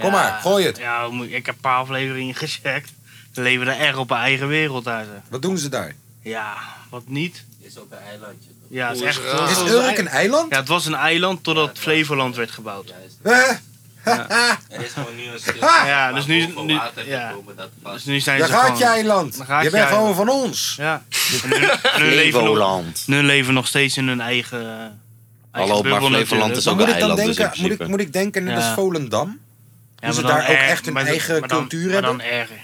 Speaker 1: Kom maar, gooi het.
Speaker 2: Ja, hoe moet- ik heb een paar afleveringen gecheckt. Ze leven daar echt op een eigen wereld uit. hè.
Speaker 1: Wat doen ze daar?
Speaker 2: Ja, wat niet.
Speaker 5: Is ook een eilandje. toch?
Speaker 2: Ja, het is
Speaker 4: Oeh,
Speaker 2: echt...
Speaker 4: is raar.
Speaker 1: Is
Speaker 2: het was
Speaker 1: Urk een eiland?
Speaker 2: Ja, het was een eiland totdat Flevoland werd gebouwd.
Speaker 5: Ja, is-
Speaker 1: Hè?
Speaker 5: Er is gewoon nu een stuk.
Speaker 2: Ja,
Speaker 1: Ah!
Speaker 5: waar
Speaker 2: dus nu-
Speaker 5: boven
Speaker 2: nu-
Speaker 5: water
Speaker 2: ja.
Speaker 5: gekomen dat
Speaker 2: Dus
Speaker 5: past.
Speaker 2: nu zijn
Speaker 1: Daar
Speaker 2: ze
Speaker 1: gaat
Speaker 2: gewoon...
Speaker 1: je eiland.
Speaker 2: Daar gaat je
Speaker 1: Je bent gewoon
Speaker 2: eiland.
Speaker 1: van ons.
Speaker 2: Ja. En hun, hun leven nog,
Speaker 3: Flevoland.
Speaker 2: hun leven nog steeds in hun eigen... eh, eigen
Speaker 3: Hallo, maar
Speaker 2: bubbel
Speaker 3: Flevoland
Speaker 2: natuurlijk.
Speaker 3: is
Speaker 1: Maar
Speaker 3: ook
Speaker 1: moet
Speaker 3: een
Speaker 1: ik dan
Speaker 3: eiland dus
Speaker 1: denken,
Speaker 3: in
Speaker 1: moet, ik,
Speaker 3: principe.
Speaker 1: moet ik denken net
Speaker 2: Ja.
Speaker 1: als Volendam?
Speaker 2: Ja,
Speaker 1: Hoe ze
Speaker 2: maar dan
Speaker 1: daar ook
Speaker 2: erg-
Speaker 1: echt hun
Speaker 2: maar dan-
Speaker 1: eigen
Speaker 2: maar dan-
Speaker 1: cultuur
Speaker 2: maar
Speaker 1: hebben?
Speaker 2: dan erger.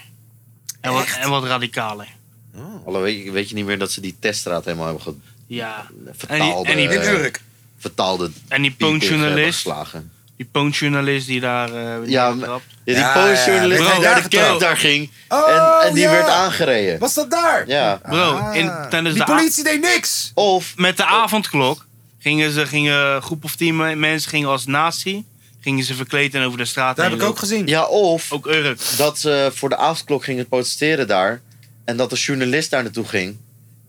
Speaker 2: En wat, en wat radicaler.
Speaker 1: Oh.
Speaker 3: Hallo, weet, je, weet je niet meer dat ze die teststraat helemaal hebben ge-
Speaker 2: Ja. En die-
Speaker 3: vertaald?
Speaker 2: en die
Speaker 3: eh,
Speaker 1: In Urk.
Speaker 3: vertaalde.
Speaker 2: En die
Speaker 3: tegen hebben
Speaker 2: poonjournalist.
Speaker 3: geslagen.
Speaker 2: Die poonjournalist die daar... eh
Speaker 3: Ja,
Speaker 2: die
Speaker 3: ja,
Speaker 2: getrapt.
Speaker 3: die
Speaker 1: Ja,
Speaker 3: poonjournalist
Speaker 1: ja, ja.
Speaker 3: die naar de kerk daar ging. en, en die
Speaker 1: Oh, ja.
Speaker 3: werd aangereden.
Speaker 1: Was dat daar?
Speaker 3: Ja.
Speaker 2: Bro, in, tijdens
Speaker 1: Ah. Die
Speaker 2: de a-
Speaker 1: politie deed niks. Oh.
Speaker 3: Of,
Speaker 2: met de avondklok gingen ze gingen een groep of tien me- mensen gingen als nazi gingen ze verkleed en over de straat
Speaker 1: Dat heb
Speaker 2: heen
Speaker 1: ik ook
Speaker 2: lopen.
Speaker 1: gezien.
Speaker 3: ja, of
Speaker 2: ook Urk.
Speaker 3: dat ze voor de avondklok gingen protesteren daar. En dat de journalist daar naartoe ging.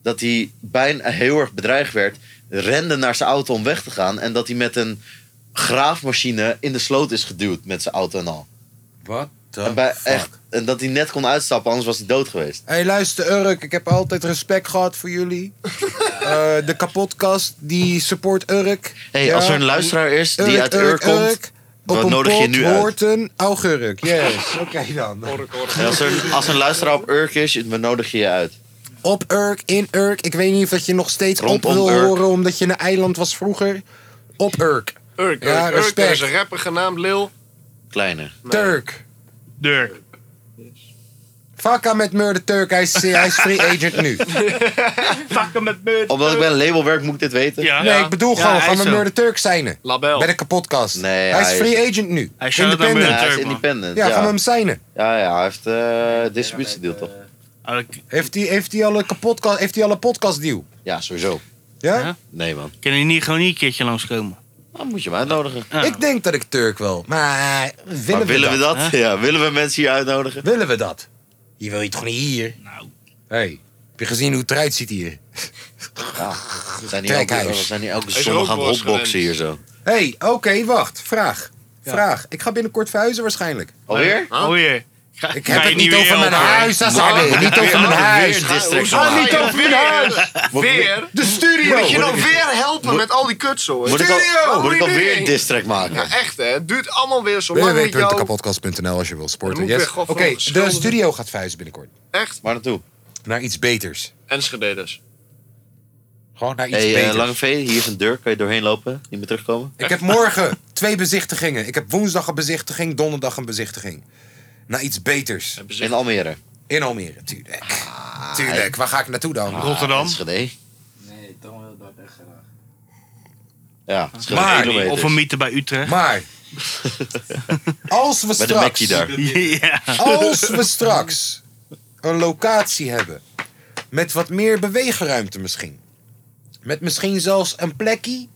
Speaker 3: Dat hij bijna heel erg bedreigd werd. Rende naar zijn auto om weg te gaan. En dat hij met een graafmachine in de sloot is geduwd met zijn auto en al.
Speaker 1: Wat?
Speaker 3: En, bij, echt, en dat hij net kon uitstappen, anders was hij dood geweest.
Speaker 1: Hé, hey, luister Urk, ik heb altijd respect gehad voor jullie. Eh, de kapotkast, die support Urk.
Speaker 3: Hey,
Speaker 1: Ja.
Speaker 3: als er een luisteraar is die
Speaker 1: Urk,
Speaker 3: uit Ur komt.
Speaker 1: Op
Speaker 3: wat
Speaker 1: een
Speaker 3: nodig je
Speaker 1: pot
Speaker 3: nu uit?
Speaker 1: hoort een augurk. Yes, oké dan.
Speaker 3: en Als er, als er een luisteraar op Urk is, we nodigen je uit.
Speaker 1: Op Urk, in Urk. Ik weet niet of dat je nog steeds
Speaker 3: Rondom
Speaker 1: op wil
Speaker 3: Urk.
Speaker 1: horen omdat je een eiland was vroeger. Op Urk.
Speaker 4: Urk, Urk,
Speaker 1: Ja,
Speaker 4: Urk. Er is
Speaker 1: respect.
Speaker 4: een rapper genaamd Lil.
Speaker 3: Kleine.
Speaker 1: Turk.
Speaker 2: Dirk.
Speaker 1: Vakka met Murder Turk, hij is, hij is free agent nu.
Speaker 2: Takken met beurt.
Speaker 3: Omdat ik bij een label werk, moet ik dit weten.
Speaker 2: Ja.
Speaker 1: Nee, ik bedoel
Speaker 2: Ja,
Speaker 1: gewoon,
Speaker 2: hij
Speaker 1: gaan
Speaker 2: is
Speaker 1: we
Speaker 2: zo.
Speaker 1: Murder Turk zijn?
Speaker 4: Label.
Speaker 1: Bij de kapotkast.
Speaker 3: Nee,
Speaker 1: hij
Speaker 3: hij
Speaker 1: is
Speaker 3: is-
Speaker 1: free agent nu.
Speaker 2: Hij is shout-out naar
Speaker 3: Ja,
Speaker 2: Murder
Speaker 1: Independent.
Speaker 3: hij is
Speaker 2: Turk, man.
Speaker 3: independent.
Speaker 1: Ja,
Speaker 3: Ja,
Speaker 1: gaan we
Speaker 3: ja.
Speaker 1: hem signen.
Speaker 3: ja, hij heeft eh distributiedeal toch?
Speaker 2: Ah, ik
Speaker 1: Heeft hij, heeft hij al een kapotka- heeft hij al een podcastdeal?
Speaker 3: Ja, sowieso.
Speaker 1: Ja?
Speaker 2: Ja.
Speaker 3: Nee, man.
Speaker 2: kan je niet gewoon hier een keertje langskomen. Ah.
Speaker 3: Dan moet je hem uitnodigen.
Speaker 2: Ja.
Speaker 1: Ik denk dat ik Turk wil. Maar eh, willen,
Speaker 3: maar willen we dat?
Speaker 2: hè?
Speaker 3: Ja, willen we mensen hier uitnodigen?
Speaker 1: Willen we dat? Je wil je toch niet hier?
Speaker 2: Nou.
Speaker 1: Hey, heb je gezien hoe het eruit ziet hier?
Speaker 3: Ja. We zijn niet
Speaker 1: Trekhuis.
Speaker 3: elke, we zijn niet elke
Speaker 4: is
Speaker 3: zondag
Speaker 4: ook
Speaker 3: aan
Speaker 4: wel
Speaker 3: het
Speaker 4: eens
Speaker 3: hotboxen
Speaker 4: gewend.
Speaker 3: hier zo.
Speaker 1: hey, oké, wacht. Vraag. Vraag. Ik ga binnenkort verhuizen waarschijnlijk.
Speaker 3: Alweer?
Speaker 2: Oh jee. Ga-
Speaker 1: Ik
Speaker 2: ga
Speaker 1: heb
Speaker 2: je
Speaker 1: het niet
Speaker 2: weer
Speaker 1: over mijn
Speaker 2: helpen?
Speaker 1: huis, Azade. Niet over mijn
Speaker 3: Weer
Speaker 1: huis.
Speaker 3: district.
Speaker 4: Hoezo
Speaker 3: Moet
Speaker 4: ga je weer? Weer?
Speaker 1: De studio.
Speaker 4: Moet ik je nou weer helpen met al die kutzooi?
Speaker 3: ik, al,
Speaker 4: Studio!
Speaker 3: moet ik alweer
Speaker 4: Nee.
Speaker 3: een distrack maken?
Speaker 4: Ja, echt hè. Het duurt allemaal weer zo lang met jou.
Speaker 1: www.kapotkast.nl als je wil sporten.
Speaker 4: Dan moet ik
Speaker 1: Yes.
Speaker 4: weer
Speaker 1: Oké,
Speaker 4: gewoon
Speaker 1: de
Speaker 4: verschuldigd.
Speaker 1: studio gaat verhuizen binnenkort.
Speaker 4: Echt.
Speaker 3: Waar naartoe?
Speaker 1: Naar iets beters.
Speaker 4: Enschede dus.
Speaker 1: Gewoon naar iets
Speaker 3: Hey, eh,
Speaker 1: beters.
Speaker 3: Lange V, hier is een deur. Kan je doorheen lopen? Niet meer terugkomen?
Speaker 1: Ik heb morgen twee bezichtigingen. Ik heb woensdag een bezichtiging, donderdag een bezichtiging. Naar iets beters.
Speaker 3: In Almere. Ah,
Speaker 1: In Almere, tuurlijk. Tuurlijk, waar ga ik naartoe dan?
Speaker 2: Rotterdam.
Speaker 3: Enschede.
Speaker 5: Nee, Tom wil dat echt graag.
Speaker 3: Ja, Enschede
Speaker 1: Maar-
Speaker 3: kilometers.
Speaker 2: Of een mythe bij Utrecht.
Speaker 1: Maar, als we
Speaker 3: Met de Mackie
Speaker 1: straks,
Speaker 3: daar.
Speaker 2: ja.
Speaker 1: als we straks een locatie hebben met wat meer beweegruimte misschien. Met misschien zelfs een plekje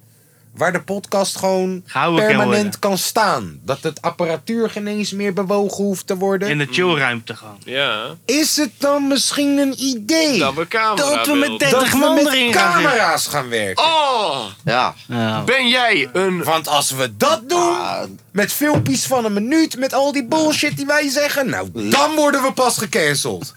Speaker 1: waar de podcast gewoon
Speaker 2: Gehouden kan
Speaker 1: permanent
Speaker 2: worden.
Speaker 1: kan staan. Dat het apparatuur geen eens meer bewogen hoeft te
Speaker 2: In
Speaker 1: worden.
Speaker 2: de chillruimte gaan.
Speaker 4: Ja.
Speaker 1: Is het dan misschien een idee
Speaker 4: Dat we camera
Speaker 2: Dat we met
Speaker 4: beeld.
Speaker 2: dertig-
Speaker 1: dat we
Speaker 2: man
Speaker 1: met
Speaker 2: erin gaan zitten.
Speaker 1: camera's gaan werken?
Speaker 4: Oh!
Speaker 3: Ja.
Speaker 2: Ja.
Speaker 4: Ben jij een...
Speaker 1: Want als we dat doen, met filmpjes van een minuut, met al die bullshit die wij zeggen, nou, dan worden we pas gecanceld.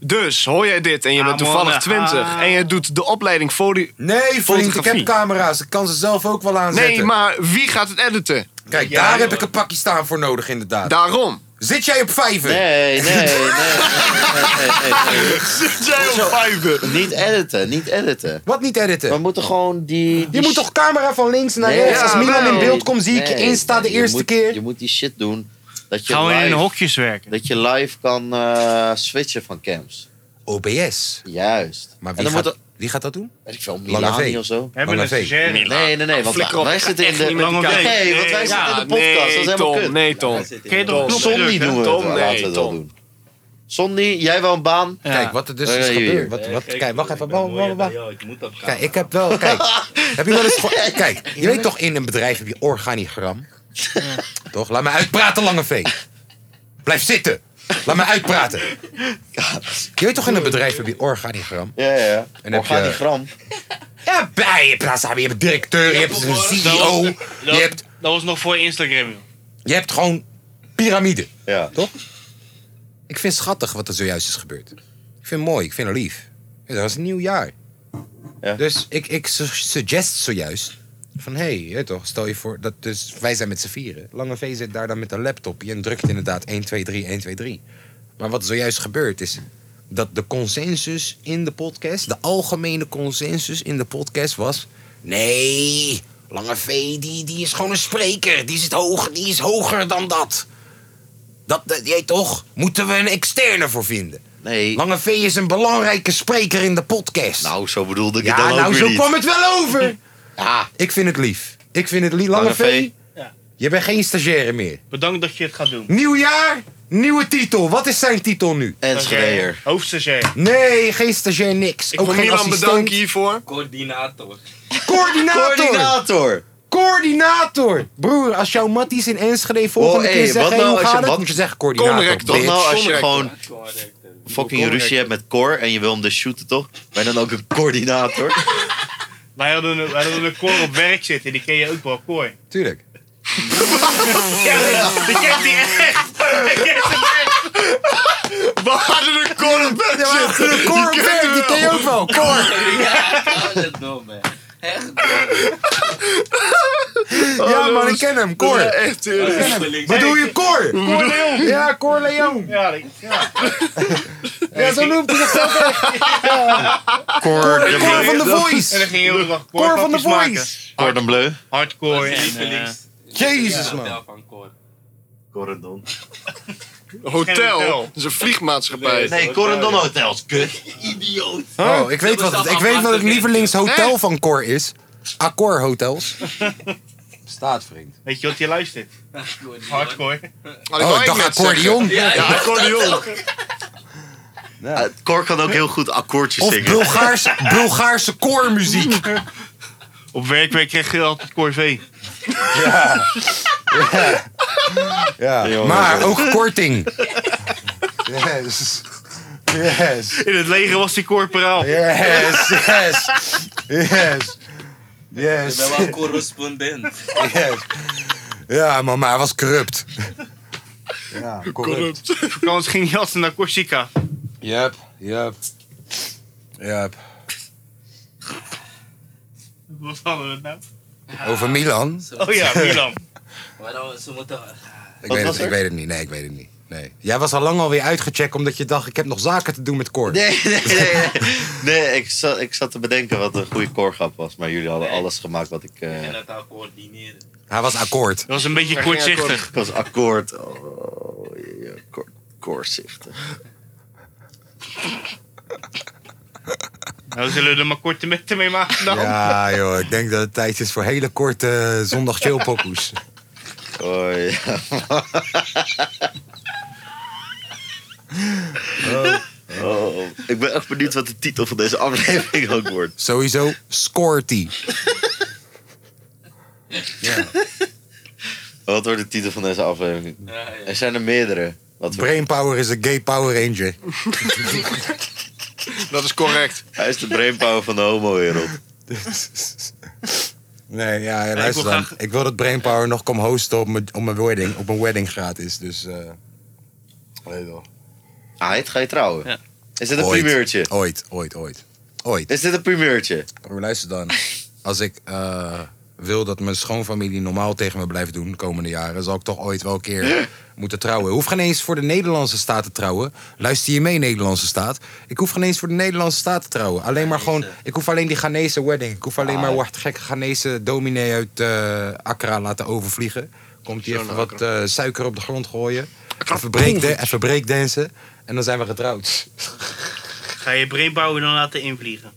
Speaker 4: Dus, hoor jij dit en je
Speaker 2: Ah,
Speaker 4: bent toevallig
Speaker 1: eh,
Speaker 2: mannen,
Speaker 4: 20
Speaker 2: ah.
Speaker 4: en je doet de opleiding foto...
Speaker 1: Nee, vriend, ik heb
Speaker 4: Fotografie.
Speaker 1: camera's. Ik kan ze zelf ook wel aanzetten.
Speaker 4: Nee, maar wie gaat het editen?
Speaker 1: Kijk, daar heb ik een Pakistan voor nodig, inderdaad.
Speaker 4: Daarom.
Speaker 1: Zit jij op vijven?
Speaker 3: Nee, nee, nee. nee, nee, nee, nee.
Speaker 4: Zit jij op vijven?
Speaker 3: Niet editen, niet editen.
Speaker 1: Wat niet editen?
Speaker 3: We moeten gewoon die...
Speaker 1: je moet toch camera van links naar
Speaker 3: Nee,
Speaker 1: rechts? Als
Speaker 4: ja,
Speaker 1: Milan
Speaker 4: nee.
Speaker 1: in beeld komt, zie ik je
Speaker 3: nee,
Speaker 1: Insta de
Speaker 3: nee, je
Speaker 1: eerste
Speaker 3: moet-
Speaker 1: keer.
Speaker 3: Je moet die shit doen. Dat je,
Speaker 2: Gaan we in
Speaker 3: live,
Speaker 2: hokjes werken.
Speaker 3: dat je live kan eh, switchen van cams.
Speaker 1: OBS.
Speaker 3: Juist.
Speaker 1: Maar
Speaker 3: en
Speaker 1: wie
Speaker 3: dan
Speaker 1: gaat,
Speaker 3: moet er-
Speaker 1: wie gaat dat doen?
Speaker 3: weet ik veel,
Speaker 1: Lange V.
Speaker 3: Milani of zo.
Speaker 2: Hebben
Speaker 1: Lange
Speaker 2: een
Speaker 1: V.
Speaker 2: stagiaire.
Speaker 3: Nee, nee, nee, want
Speaker 4: Ah, flikker op,
Speaker 3: wij
Speaker 4: ik ga
Speaker 3: zitten in
Speaker 4: echt
Speaker 3: de...
Speaker 4: niet met die
Speaker 2: Lange
Speaker 4: camera.
Speaker 2: V.
Speaker 3: Nee, want wij
Speaker 2: Nee,
Speaker 3: zitten
Speaker 2: ja,
Speaker 3: in de podcast. dat is helemaal
Speaker 4: Tom,
Speaker 3: kut.
Speaker 4: Ah, Nee, Tom.
Speaker 2: Kun je toch
Speaker 4: Tom,
Speaker 2: een knop
Speaker 3: Sonny
Speaker 2: drukken?
Speaker 3: doen we
Speaker 4: Tom,
Speaker 3: het.
Speaker 4: nee,
Speaker 3: Laten we het wel
Speaker 4: Tom.
Speaker 3: doen. Sonny, jij wel een baan.
Speaker 2: Ja.
Speaker 1: Kijk, wat er dus
Speaker 3: Ja,
Speaker 1: is
Speaker 3: hier, hier.
Speaker 1: gebeurd. Wat, wat, kijk, wacht even. Wacht, wacht, wacht.
Speaker 5: Ik moet op
Speaker 1: Kijk, ik heb wel. Kijk, heb je wel eens. ge- Kijk, je weet toch in een bedrijf heb je organigram? Toch? Laat me uitpraten, lange vee. Blijf zitten. Laat me uitpraten. Je weet toch in een bedrijf heb je organigram?
Speaker 3: Ja, ja, ja.
Speaker 1: En
Speaker 3: En
Speaker 1: heb je-
Speaker 3: Organigram.
Speaker 1: Ja, bij je plaats hebben. Je hebt een directeur, je hebt een E CEO, je
Speaker 2: Dat,
Speaker 1: hebt,
Speaker 2: dat was nog voor Instagram, joh.
Speaker 1: je hebt gewoon piramide.
Speaker 3: Ja.
Speaker 1: Toch? Ik vind het schattig wat er zojuist is gebeurd. Ik vind het mooi, ik vind het lief. Ja, dat was een nieuw jaar.
Speaker 3: Ja.
Speaker 1: Dus ik, ik su- suggest zojuist van hé, hey, hè, toch, stel je voor dat dus wij zijn met z'n vieren. Lange V zit daar dan met een laptopje en drukt inderdaad 1, 2, 3, 1, 2, 3. Maar wat zojuist gebeurd is dat de consensus in de podcast, de algemene consensus in de podcast was: nee, Lange V die, die is gewoon een spreker, die, zit hoog, die is hoger dan dat. Dat, dat jij toch? Moeten we een externe voor vinden?
Speaker 3: Nee.
Speaker 1: Lange V is een belangrijke spreker in de podcast.
Speaker 3: Nou, zo bedoelde ik het
Speaker 1: ja,
Speaker 3: dan ook
Speaker 1: nou,
Speaker 3: weer
Speaker 1: zo
Speaker 3: niet.
Speaker 1: kwam het wel over. Ik vind het lief. Ik vind het lief. Lange
Speaker 2: Lange
Speaker 1: V,
Speaker 2: V. Ja.
Speaker 1: je bent geen stagiaire meer.
Speaker 2: Bedankt dat je het gaat doen.
Speaker 1: Nieuw jaar, nieuwe titel. Wat is zijn titel nu?
Speaker 2: Stagiair. Hoofdstagiair.
Speaker 1: Nee, geen stagiair, niks.
Speaker 2: Ik
Speaker 1: Ook
Speaker 2: wil
Speaker 1: geen
Speaker 2: Milan
Speaker 1: assistent.
Speaker 2: bedanken
Speaker 4: hiervoor.
Speaker 5: Coördinator.
Speaker 1: Coördinator.
Speaker 3: Coördinator.
Speaker 1: Coördinator. Broer, als jouw matties in Enschede volgende
Speaker 3: Oh, hey,
Speaker 1: keer zeggen,
Speaker 3: wat
Speaker 1: hey,
Speaker 3: nou
Speaker 1: hoe
Speaker 3: als je-
Speaker 1: gaat het?
Speaker 3: wat-
Speaker 1: Moet je zeggen coördinator.
Speaker 3: Conrect, toch?
Speaker 1: bitch.
Speaker 3: Nou, als je gewoon fucking ruzie hebt met Cor en je wil hem dus shooten, toch? Ben je dan ook een coördinator?
Speaker 2: Wij hadden, een- wij hadden een koor op werk zitten, die ken je ook wel, koor.
Speaker 1: Tuurlijk.
Speaker 2: ja, die kent hij echt. Hij kent hem echt.
Speaker 4: We hadden een koor op werk
Speaker 1: zitten. Een koor op werk, die ken je ook wel. Koor.
Speaker 4: Oh,
Speaker 1: ja, man, ik ken hem. Cor.
Speaker 4: Echt, tuurlijk.
Speaker 1: Ik ken hem. Bedoel je Cor?
Speaker 4: Cor Leon.
Speaker 1: Ja, Cor Leon.
Speaker 2: Ja, die- ja.
Speaker 1: Ja, zo noemt hij zichzelf echt.
Speaker 3: Cor de
Speaker 1: Cor van
Speaker 3: Bleu.
Speaker 1: de Voice.
Speaker 2: En dan ging je heel de dag
Speaker 1: Cor van de
Speaker 2: koorkapjes maken.
Speaker 1: Voice.
Speaker 3: Cor de Bleu.
Speaker 2: Hardcore
Speaker 5: Dat is
Speaker 2: en... eh,
Speaker 5: lievelings.
Speaker 1: Jezus,
Speaker 5: Ja,
Speaker 1: man.
Speaker 3: Corendon.
Speaker 4: Hotel. Dat is een vliegmaatschappij.
Speaker 3: Nee, Corendon Hotels, kut. Idioot.
Speaker 1: Oh, ik weet
Speaker 5: Dat is
Speaker 1: wat,
Speaker 5: dan
Speaker 1: ik weet wat het
Speaker 5: afwachten,
Speaker 1: lievelingshotel van Cor is. Accor Hotels. Staat, vriend.
Speaker 2: Weet je wat je luistert? Hardcore.
Speaker 4: Maar
Speaker 1: Oh,
Speaker 4: wou
Speaker 1: ik dacht
Speaker 4: net zeggen.
Speaker 1: accordeon.
Speaker 4: Ja, accordeon.
Speaker 3: Eh, Cor kan ook heel goed akkoordjes
Speaker 1: Of
Speaker 3: zingen.
Speaker 1: Bulgaars, Bulgaarse koormuziek.
Speaker 2: Op werk kreeg je altijd koor V.
Speaker 1: Ja, maar ook korting. Yes. Yes.
Speaker 2: In het leger was die corporaal.
Speaker 1: Yes. Yes. Yes.
Speaker 5: Ik
Speaker 1: Yes.
Speaker 5: ben wel correspondent.
Speaker 1: yes. Ja, man, maar hij was corrupt. Ja, corrupt.
Speaker 2: Op vakantie ging hij altijd naar Corsica.
Speaker 1: Yep, yep. Yep.
Speaker 2: Wat hadden we het nou?
Speaker 1: Over Milan?
Speaker 2: Oh ja, Milan.
Speaker 5: Waarom ze moeten...
Speaker 1: Ik weet, het, ik weet het niet. Nee, ik weet het niet. Nee. Jij was al lang alweer uitgecheckt omdat je dacht: ik heb nog zaken te doen met Cor. Dus-
Speaker 3: Nee, nee, nee. Nee, nee ik, zat, ik zat te bedenken wat een goede Cor-grap was. Maar jullie hadden alles gemaakt wat ik... eh,
Speaker 5: En dat al coördineren.
Speaker 1: Hij was akkoord.
Speaker 2: Dat was een beetje
Speaker 4: ging akkoord.
Speaker 2: kortzichtig.
Speaker 3: ik was akkoord. Oh, ja, Cor- Cor-zichtig.
Speaker 2: Nou, zullen we er maar korte metten mee maken dan?
Speaker 1: Ja, joh. Ik denk dat het tijd is voor hele korte eh, zondag chillpokoes.
Speaker 3: Oh, ja. Oh, oh. Ik ben echt benieuwd wat de titel van deze aflevering ook wordt.
Speaker 1: Sowieso, scorty.
Speaker 3: Wat wordt de titel van deze aflevering?
Speaker 5: Ja, ja.
Speaker 3: Er zijn er meerdere. Wat voor-
Speaker 1: Brainpower is een gay power ranger.
Speaker 4: Dat is correct.
Speaker 3: Hij is de brainpower van de homo-wereld.
Speaker 1: Nee, ja,
Speaker 2: ik
Speaker 1: luister
Speaker 2: wil
Speaker 1: dan.
Speaker 2: graag-
Speaker 1: Ik wil dat Brainpower nog kom hosten op mijn, op mijn wedding. Op mijn wedding gratis, dus... eh weet je wel.
Speaker 3: Ah, het ga je trouwen.
Speaker 2: Ja.
Speaker 3: Is dit een
Speaker 1: Ooit.
Speaker 3: primeurtje?
Speaker 1: Ooit, ooit, ooit. Ooit.
Speaker 3: Is dit een primeurtje?
Speaker 1: Maar luister dan. Als ik eh, wil dat mijn schoonfamilie normaal tegen me blijft doen de komende jaren, zal ik toch ooit wel een keer moeten trouwen. Hoef geen eens voor de Nederlandse staat te trouwen. Luister je mee, Nederlandse staat. Ik hoef geen eens voor de Nederlandse staat te trouwen. Alleen maar gewoon. Ik hoef alleen die Ghanese wedding. Ik hoef
Speaker 3: Ah.
Speaker 1: alleen maar wat gekke Ghanese dominee uit eh, Accra laten overvliegen. Komt hier even wat eh, suiker op de grond gooien. Even, breakda- even breakdansen. En dan zijn we getrouwd.
Speaker 2: Ga je brainpower dan laten invliegen?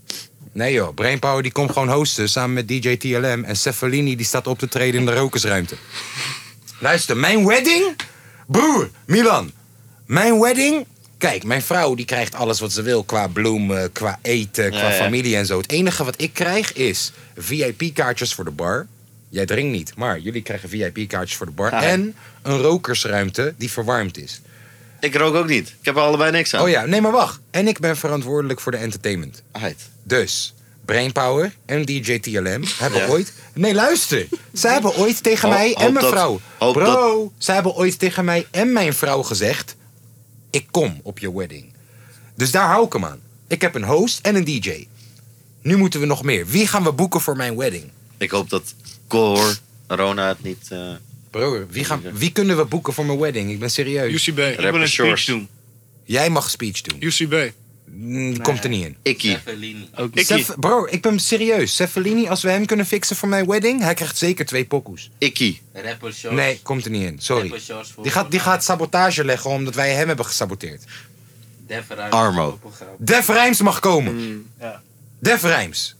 Speaker 1: Nee joh, Brainpower die komt gewoon hosten samen met DJ TLM. En Cefalini die staat op te treden in de rokersruimte. Luister, mijn wedding? Broer, Milan. Mijn wedding? Kijk, mijn vrouw die krijgt alles wat ze wil qua bloemen, qua eten, qua
Speaker 3: Ja, ja.
Speaker 1: familie en zo. Het enige wat ik krijg is VIP-kaartjes voor de bar. Jij drinkt niet, maar jullie krijgen VIP-kaartjes voor de bar.
Speaker 3: Ah.
Speaker 1: En een rokersruimte die verwarmd is.
Speaker 3: Ik rook ook niet. Ik heb er allebei niks aan.
Speaker 1: Oh ja, nee maar wacht. En ik ben verantwoordelijk voor de entertainment.
Speaker 3: Ait.
Speaker 1: Dus, Brainpower en DJ TLM hebben
Speaker 3: Ja.
Speaker 1: ooit... Nee, luister. Ze hebben ooit tegen
Speaker 3: Ho-
Speaker 1: mij en
Speaker 3: hoop
Speaker 1: mijn
Speaker 3: dat-
Speaker 1: vrouw...
Speaker 3: hoop
Speaker 1: Bro, ze hebben ooit tegen mij en mijn vrouw gezegd... Ik kom op je wedding. Dus daar hou ik hem aan. Ik heb een host en een DJ. Nu moeten we nog meer. Wie gaan we boeken voor mijn wedding?
Speaker 3: Ik hoop dat Cor Rona het niet... eh
Speaker 1: Broer, wie, gaan, wie kunnen we boeken voor mijn wedding? Ik ben serieus.
Speaker 4: UCB.
Speaker 2: Ik wil
Speaker 3: rapper
Speaker 2: een speech
Speaker 3: Shores.
Speaker 2: doen.
Speaker 1: Jij mag speech doen.
Speaker 4: UCB.
Speaker 1: Mm, Die komt er niet in.
Speaker 3: Ikkie.
Speaker 5: Evelien.
Speaker 2: Ook
Speaker 1: Sef- bro, ik ben serieus. Cefalini, als we hem kunnen fixen voor mijn wedding... hij krijgt zeker twee pokoes.
Speaker 3: Ikkie.
Speaker 5: Rapper Shores.
Speaker 1: Nee, komt er niet in. Sorry.
Speaker 5: Rapper Shores voor
Speaker 1: Die gaat, die gaat sabotage leggen omdat wij hem hebben gesaboteerd.
Speaker 5: Def Ruim
Speaker 3: Armo.
Speaker 5: op een grap.
Speaker 1: Def Rijms mag komen.
Speaker 2: ja.
Speaker 1: Def Rijms.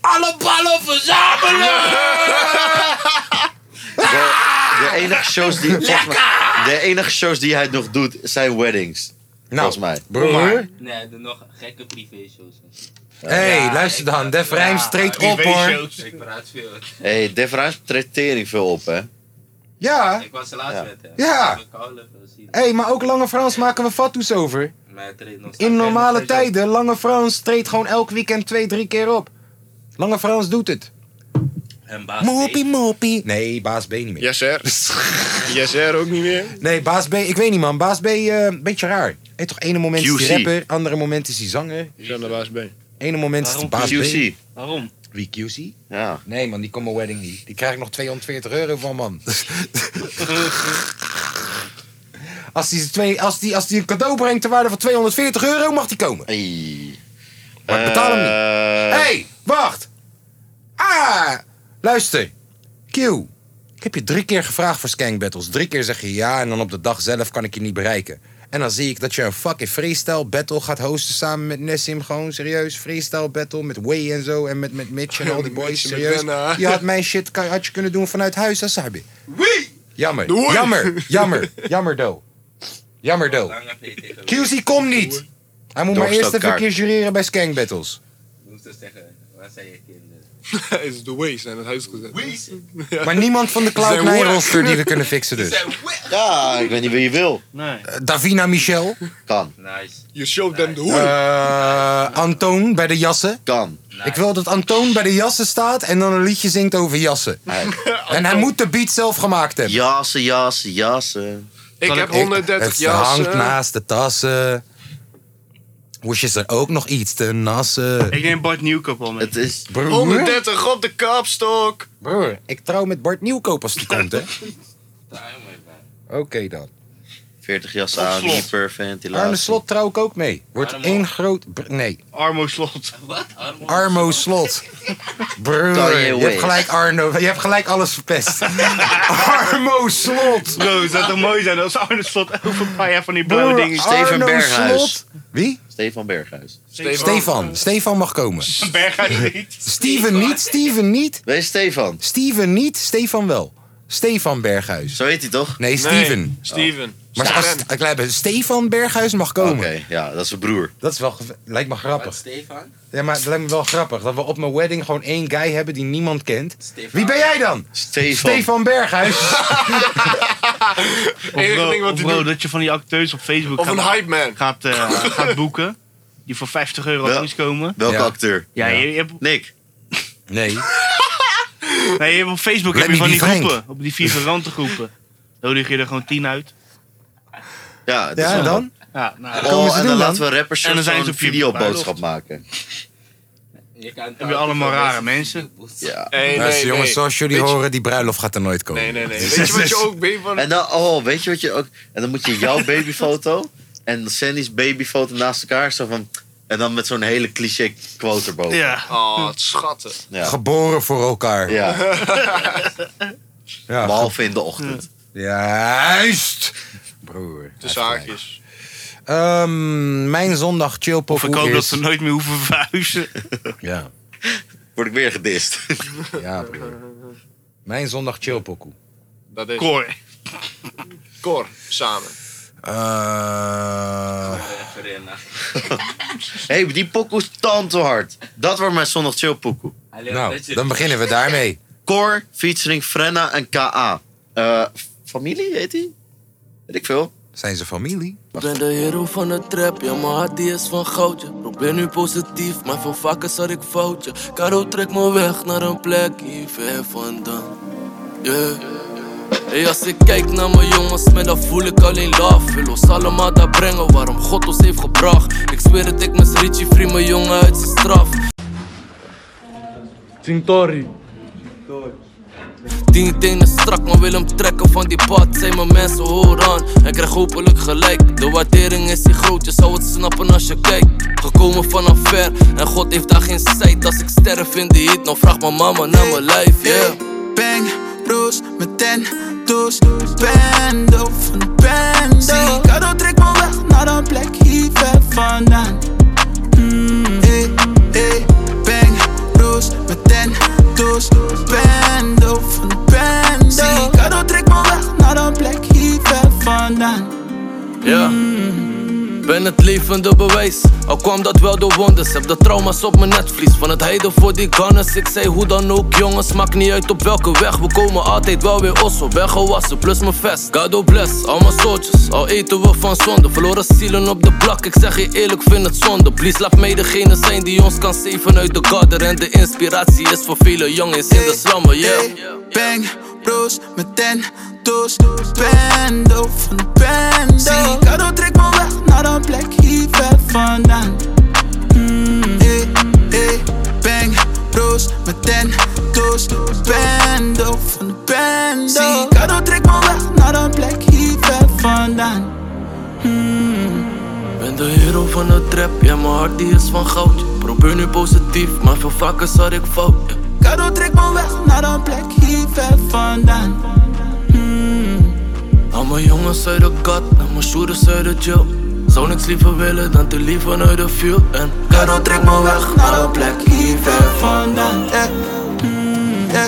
Speaker 5: Alle ballen verzamelen!
Speaker 3: De enige shows die, volgens mij- de enige shows die hij nog doet zijn weddings. volgens mij.
Speaker 1: Nou, broer.
Speaker 5: Nee, er nog gekke privé-shows.
Speaker 1: Hé, luister dan. Def Rijms treedt op, hoor.
Speaker 5: Ik praat veel.
Speaker 3: Hé, hey, Def Ruijs treedt tering veel op, hè?
Speaker 1: Ja.
Speaker 5: Ik was de laatste met hem.
Speaker 1: Ja.
Speaker 5: Ik wou Koude veel zien.
Speaker 1: Hé, maar ook Lange Frans maken we fatsoes over.
Speaker 5: Maar hij treedt nog
Speaker 1: In
Speaker 5: steeds-
Speaker 1: normale tijden, Lange Frans treedt gewoon elk weekend twee, drie keer op. Lange Frans doet het.
Speaker 5: En baas
Speaker 1: Moppie, moppie. Nee, baas B niet meer.
Speaker 4: Yes, sir. yes, sir ook niet meer.
Speaker 1: Nee, baas B, ik weet niet man. Baas B, eh, een beetje raar. Hey, toch ene moment is
Speaker 3: QC.
Speaker 1: hij rapper, andere moment is hij zanger.
Speaker 4: Ik ben de baas B.
Speaker 1: Ene moment is hij baas B.
Speaker 3: QC.
Speaker 2: Waarom?
Speaker 1: Wie QC?
Speaker 3: Ja.
Speaker 1: Nee man, die komt mijn wedding niet. Die krijg ik nog 240 euro van man. als hij twee, als die, als die een cadeau brengt ter waarde van 240 euro, mag die komen.
Speaker 3: Hey.
Speaker 1: Maar ik betaal hem niet.
Speaker 3: Eh,
Speaker 1: Hé, hey, wacht! Ah! Luister. Q, ik heb je drie keer gevraagd voor skank battles. Drie keer zeg je ja en dan op de dag zelf kan ik je niet bereiken. En dan zie ik dat je een fucking freestyle battle gaat hosten samen met Nessim. Gewoon serieus, freestyle battle met Way en zo en met, met Mitch en al die boys.
Speaker 4: Mitch en met
Speaker 1: Serieus,
Speaker 4: Benna.
Speaker 1: je had mijn shit kan- had je kunnen doen vanuit huis, hè, Sabi?
Speaker 5: Wie?
Speaker 1: Jammer,
Speaker 4: Doei.
Speaker 1: jammer, jammer, jammer do. Jammer do.
Speaker 5: Lange play tegen Wie?
Speaker 1: QC, kom niet! Hij moet maar eerst even een
Speaker 3: Doorstootkaart.
Speaker 1: keer jureren bij skank battles.
Speaker 5: Moest ze zeggen, waar zijn je kinderen?
Speaker 4: is de ways en het huis gezet.
Speaker 1: Maar niemand van de
Speaker 4: Zijn
Speaker 1: Cloud9
Speaker 4: woorden.
Speaker 1: roster die we kunnen fixen dus.
Speaker 3: Ja, ik weet niet wie je wil.
Speaker 2: Nee.
Speaker 1: Eh, Davina Michel.
Speaker 3: Kan,
Speaker 5: Nice.
Speaker 4: You showed them the
Speaker 1: eh,
Speaker 4: way.
Speaker 1: Antoon bij de jassen.
Speaker 3: kan.
Speaker 1: Ik wil dat Antoon bij de jassen staat en dan een liedje zingt over jassen. En hij moet de beat zelf gemaakt hebben.
Speaker 3: Jassen, jassen, jassen.
Speaker 4: Ik heb
Speaker 1: Ik-
Speaker 4: 130
Speaker 1: het
Speaker 4: jassen.
Speaker 1: hangt naast de tassen. Woes is er ook nog iets te nassen.
Speaker 2: Ik neem Bart Nieuwkoop al mee.
Speaker 3: Het is...
Speaker 1: Broer,
Speaker 4: 130 op de kapstok.
Speaker 1: broer, ik trouw met Bart Nieuwkoop als die komt, hè. Oké dan.
Speaker 3: 40 jassen aan,
Speaker 2: Slot.
Speaker 3: hyperventilatie.
Speaker 1: Arne Slot trouw ik ook mee. Wordt
Speaker 5: Armo.
Speaker 1: één groot... br- Nee,
Speaker 2: Armo Slot.
Speaker 5: Wat? Armo?
Speaker 1: Armo Slot. Broer,
Speaker 3: Kanye
Speaker 1: je
Speaker 3: West.
Speaker 1: hebt gelijk Arno. Je hebt gelijk alles verpest. Armo Slot.
Speaker 2: Bro, het zou toch mooi zijn als Arno Slot over een paar jaar van die blauwe
Speaker 1: Ah. Broer,
Speaker 2: dingen...
Speaker 3: Steven
Speaker 1: Arno
Speaker 3: Berghuis.
Speaker 1: Slot. Wie?
Speaker 3: Stefan Berghuis.
Speaker 1: Stefan. Stefan mag komen.
Speaker 2: Berghuis niet.
Speaker 1: Steven niet, Steven niet.
Speaker 3: Wees Stefan.
Speaker 1: Steven niet, Stefan wel. Stefan Berghuis.
Speaker 3: Zo heet hij toch?
Speaker 1: Nee,
Speaker 4: Nee,
Speaker 1: Steven.
Speaker 4: Steven.
Speaker 2: Oh.
Speaker 1: Maar als ik lijkt me, Stefan Berghuis mag
Speaker 3: Oké,
Speaker 1: komen.
Speaker 3: ja, dat is zijn broer.
Speaker 1: Dat is wel, geve- lijkt me
Speaker 5: Wat,
Speaker 1: grappig.
Speaker 5: Stefan?
Speaker 1: Ja, maar het lijkt me wel grappig dat we op mijn wedding gewoon één guy hebben die niemand kent.
Speaker 5: Stefan.
Speaker 1: Wie ben jij dan?
Speaker 3: Stefan.
Speaker 1: Stefan Berghuis.
Speaker 2: Of
Speaker 4: Enige
Speaker 2: bro,
Speaker 4: ding wat
Speaker 2: of
Speaker 4: hij
Speaker 2: bro,
Speaker 4: doet.
Speaker 2: dat je van die acteurs op Facebook
Speaker 4: Of
Speaker 2: gaat,
Speaker 4: een hype man.
Speaker 2: gaat, eh, gaat boeken. Die voor 50 euro
Speaker 3: Ja.
Speaker 2: langskomen.
Speaker 3: Welke
Speaker 1: Ja.
Speaker 3: acteur?
Speaker 2: Ja, Je, je hebt,
Speaker 3: Nick.
Speaker 1: Nee.
Speaker 2: nee, je hebt op Facebook heb
Speaker 1: Lemmy
Speaker 2: je van
Speaker 1: die
Speaker 2: die
Speaker 1: Frank.
Speaker 2: groepen. Op die figuranten groepen. Nodig je er gewoon 10 uit.
Speaker 3: Ja, dus het is
Speaker 1: Ja, en
Speaker 3: wel-
Speaker 1: dan?
Speaker 2: Ja, nou,
Speaker 1: Komen ze
Speaker 3: Oh, en
Speaker 1: doen
Speaker 3: dan
Speaker 1: dan?
Speaker 3: laten we rappers
Speaker 2: En dan zijn
Speaker 3: zo'n
Speaker 2: ze op je
Speaker 3: videoboodschap
Speaker 2: bruiloft.
Speaker 3: maken.
Speaker 5: Je kan
Speaker 2: Heb je allemaal rare mensen?
Speaker 3: Ja.
Speaker 4: Nee,
Speaker 1: Luister,
Speaker 4: nee,
Speaker 1: jongens,
Speaker 4: nee.
Speaker 1: zoals jullie
Speaker 4: Weet je-
Speaker 1: horen, die bruiloft gaat er nooit komen.
Speaker 4: Nee, nee, nee. Weet je wat je ook bent van?
Speaker 3: En dan, oh, weet je wat je ook... En dan moet je jouw babyfoto en Sandy's babyfoto naast elkaar. Zo van, en dan met zo'n hele cliché quote erboven.
Speaker 2: Ja.
Speaker 4: Oh, het schatten.
Speaker 3: Ja.
Speaker 1: Geboren voor elkaar.
Speaker 3: Ja,
Speaker 1: Ja, ge-
Speaker 3: behalve in de ochtend.
Speaker 1: Juist! Broer.
Speaker 4: De zaakjes.
Speaker 1: Ehm, mijn zondag chillpop
Speaker 2: Of ik hoop dat
Speaker 1: hoekers.
Speaker 2: ze nooit meer hoeven verhuizen.
Speaker 1: Ja,
Speaker 3: Word ik weer gedist.
Speaker 1: ja, broer. Mijn zondag chillpokoe.
Speaker 4: Dat is Cor.
Speaker 2: Koor.
Speaker 4: samen.
Speaker 1: Eh
Speaker 3: Hé, hey, die pokoe is tante hard. Dat wordt mijn zondag chill pokoe.
Speaker 1: nou, dan beginnen we daarmee.
Speaker 3: Cor, featuring Frenna en K.A. Eh, familie heet die? Weet ik veel.
Speaker 1: Zijn ze familie?
Speaker 9: Ik ben de hero van de trap, ja mijn hart die is van goudje Probeer nu positief, maar veel vaker zat ik foutje Karo trekt me weg naar een plek hier ver vandaan Yeah. Hey, als ik kijk naar mijn jongens, man, dan voel ik alleen love Wil ons allemaal daar brengen waarom God ons heeft gebracht Ik zweer het, ik mis Richie Free, mijn jongen uit zijn straf Tintori Tien tenen strak, maar wil hem trekken van die pad. Zijn mijn mensen, hoor aan. En krijg hopelijk gelijk. De waardering is hier groot, je zou het snappen als je kijkt. Gekomen vanaf ver, en God heeft daar geen tijd. Als ik sterf in die hit, nou vraag mijn mama naar mijn lijf, yeah.
Speaker 8: Bang, roos, met ten toes. Bando van bando. Zie, cadeau trek me weg naar een plek hier ver vandaan. Mm. Hey, hey, eh, bang, roos, met
Speaker 9: Ja. Ben het levende bewijs, al kwam dat wel door wonders. Heb de trauma's op mijn netvlies, van het heiden voor die gunners. Ik zei hoe dan ook, jongens, maakt niet uit op welke weg. We komen altijd wel weer osso, weggewassen, plus mijn vest. God oh bless, al mijn soortjes, al eten we van zonde. Verloren zielen op de plak, ik zeg je eerlijk, vind het zonde. Please, laat mij degene zijn die ons kan zeven uit de garden. En de inspiratie is voor vele jongens in de slammen, yeah.
Speaker 10: Bang, bros, met ten toes. Bando van de bando. Zie, Kado trekt me weg naar een plek hier ver vandaan. Mm. Hey, hey, eh, bang, bros, met ten toes. Bando van de bando. Zie, Kado trekt me weg naar een plek hier ver vandaan.
Speaker 9: Ben de hero van de trap, ja mijn hart die is van goud. ja. Probeer nu positief, maar veel vaker zat ik fout. ja.
Speaker 10: Kado trekt me weg naar een plek hier ver vandaan. Mm.
Speaker 9: Al mijn jongens uit de kat, en mijn shooters uit de jail. Zou niks liever willen dan te lief vanuit de field. En Kado trekt me weg naar een plek hier ver vandaan.
Speaker 10: Eh, mm, eh.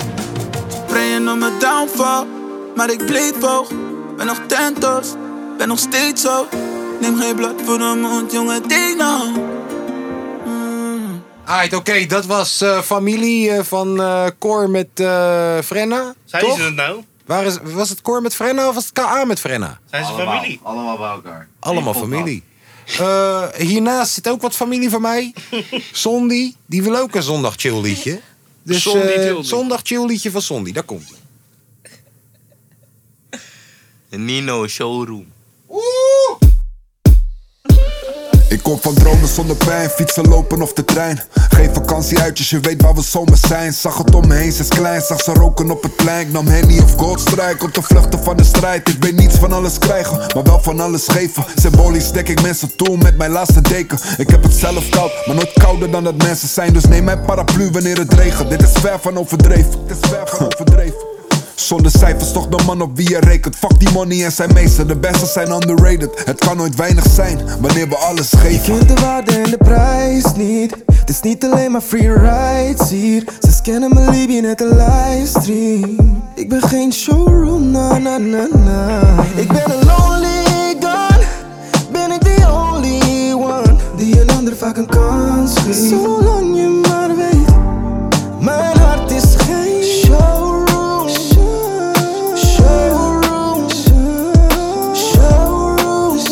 Speaker 10: Praying on mijn downfall, maar ik bleef hoog. Ben nog tentos, ben nog steeds zo. Neem geen blad voor de mond, jongen, denk nou.
Speaker 1: Alright, oké, dat was eh, familie eh, van eh Cor met eh, Frenna.
Speaker 2: Zijn
Speaker 1: toch?
Speaker 2: ze het nou?
Speaker 1: Waar is, was het Cor met Frenna of was het KA met Frenna?
Speaker 2: Zijn ze
Speaker 3: Allemaal,
Speaker 2: familie?
Speaker 3: Allemaal bij elkaar.
Speaker 1: Allemaal
Speaker 3: Eén
Speaker 1: familie. Eh, hiernaast zit ook wat familie van mij. Sondi, die wil ook een zondag chill liedje. Dus
Speaker 3: Sondi
Speaker 1: eh,
Speaker 3: Tildi.
Speaker 1: zondag chill liedje van Sondi, daar komt ie.
Speaker 5: Nino Showroom.
Speaker 11: Ik kom van dromen zonder pijn, fietsen, lopen of de trein. Geen vakantie uitjes, je weet waar we zomaar zijn. Zag het om me heen, ze is klein, zag ze roken op het plein. Ik nam Henny of Goldstrike om te vluchten van de strijd. Ik weet niets van alles krijgen, maar wel van alles geven. Symbolisch dek ik mensen toe met mijn laatste deken. Ik heb het zelf koud, maar nooit kouder dan dat mensen zijn. Dus neem mijn paraplu wanneer het regent. Dit is ver van overdreven. Dit is ver van overdreven. Zonder cijfers toch de man op wie je rekent Fuck die money en zijn meester, de beste zijn underrated Het kan nooit weinig zijn, wanneer we alles geven
Speaker 12: Je kent de waarde en de prijs niet. Het is niet alleen maar free rides hier. Ze scannen mijn Libië net een livestream. Ik ben geen showroom, na na na na. Ik ben een lonely gun. Ben ik the only one die een ander vaak een kans geeft. Zolang je maar weet, mijn hart is geen showroom. Showroom. Showroom.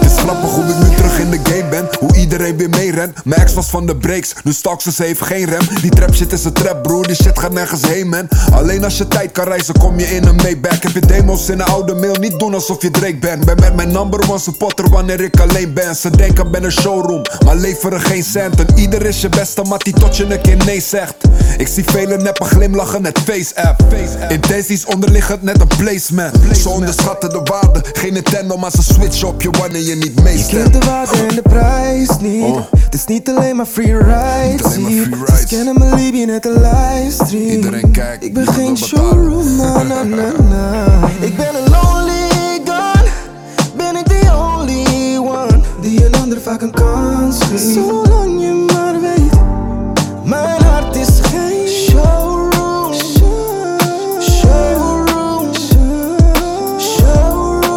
Speaker 11: Het is grappig hoe ik nu terug in de game ben Hoe iedereen weer meerent Mijn ex was van de breaks, nu stalks ze, ze heeft geen rem Die trap shit is een trap broer, die shit gaat nergens heen man Alleen als je tijd kan reizen kom je in een Maybach Heb je demos in een oude mail, niet doen alsof je Drake bent Ben met mijn number one supporter wanneer ik alleen ben Ze denken ben een showroom, maar leveren geen centen Ieder is je beste mat die tot je een keer nee zegt Ik zie velen neppen glimlachen, net face-app Intenties onderliggend, net een placement Ze onderschatten de waarde, geen Nintendo maar ze switchen op je wanneer je niet
Speaker 12: Je
Speaker 11: meestemt
Speaker 12: kent de waarde en de prijs niet. Het is niet alleen maar free rides hier. Ze kennen mijn Libië net een livestream. Iedereen kijkt. Ik ben geen showroom, na na na na. Ik ben een lonely gun. Ben ik the only one die een ander vaak een kans geeft. Zolang je maar weet, mijn hart is geen showroom. Showroom. Showroom.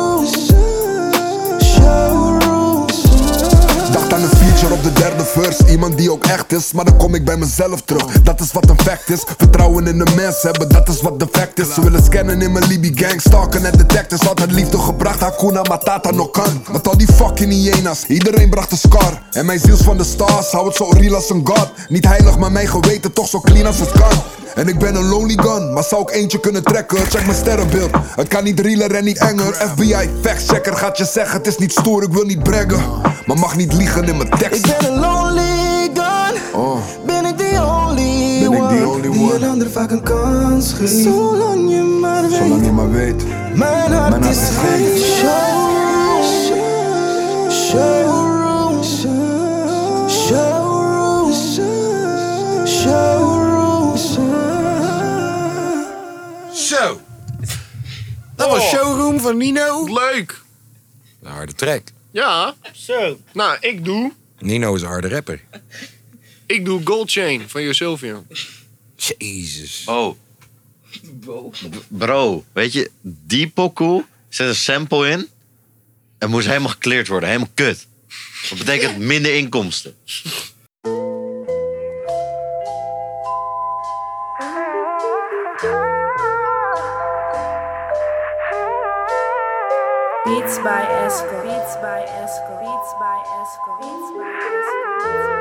Speaker 11: Dacht aan een feature op de derde verse Iemand die ook echt is, maar dan kom ik bij mezelf terug Dat is wat een fact is Vertrouwen in de mens hebben, dat is wat de fact is Ze willen scannen in mijn Libi gang Stalken en detectives, altijd liefde gebracht Hakuna Matata no kan Want al die fucking hyena's, iedereen bracht een scar En mijn ziels van de stars, hou het zo real als een god Niet heilig, maar mijn geweten toch zo clean als het kan en ik ben een lonely gun, maar zou ik eentje kunnen trekken? Check mijn sterrenbeeld, het kan niet realer en niet enger FBI, factchecker gaat je zeggen, het is niet stoer, ik wil niet braggen Maar mag niet liegen in mijn tekst
Speaker 12: Ik ben een lonely gun.
Speaker 11: Oh.
Speaker 12: Ben ik the only
Speaker 11: Ben ik
Speaker 12: one?
Speaker 11: the only
Speaker 12: die
Speaker 11: one?
Speaker 12: een ander vaak een kans geeft. Zolang je maar weet.
Speaker 11: Zolang je maar weet
Speaker 12: Mijn hart
Speaker 11: Mijn hart
Speaker 12: is
Speaker 11: is
Speaker 12: geen showroom. Showroom. Showroom. Showroom.
Speaker 1: Zo. Dat was Showroom van Nino.
Speaker 4: Oh. Leuk.
Speaker 1: Een harde track.
Speaker 4: Ja. Zo. Nou, ik doe...
Speaker 1: Nino is een harde rapper.
Speaker 4: Ik doe Gold Chain van Josilvian.
Speaker 1: Jezus.
Speaker 3: Oh. Bro, weet je, die pokoe zet een sample in. En moest helemaal gecleared worden. Helemaal kut. Dat betekent minder inkomsten.
Speaker 13: Beats by Esco. Beats by Esco. Beats by Esco. Beats by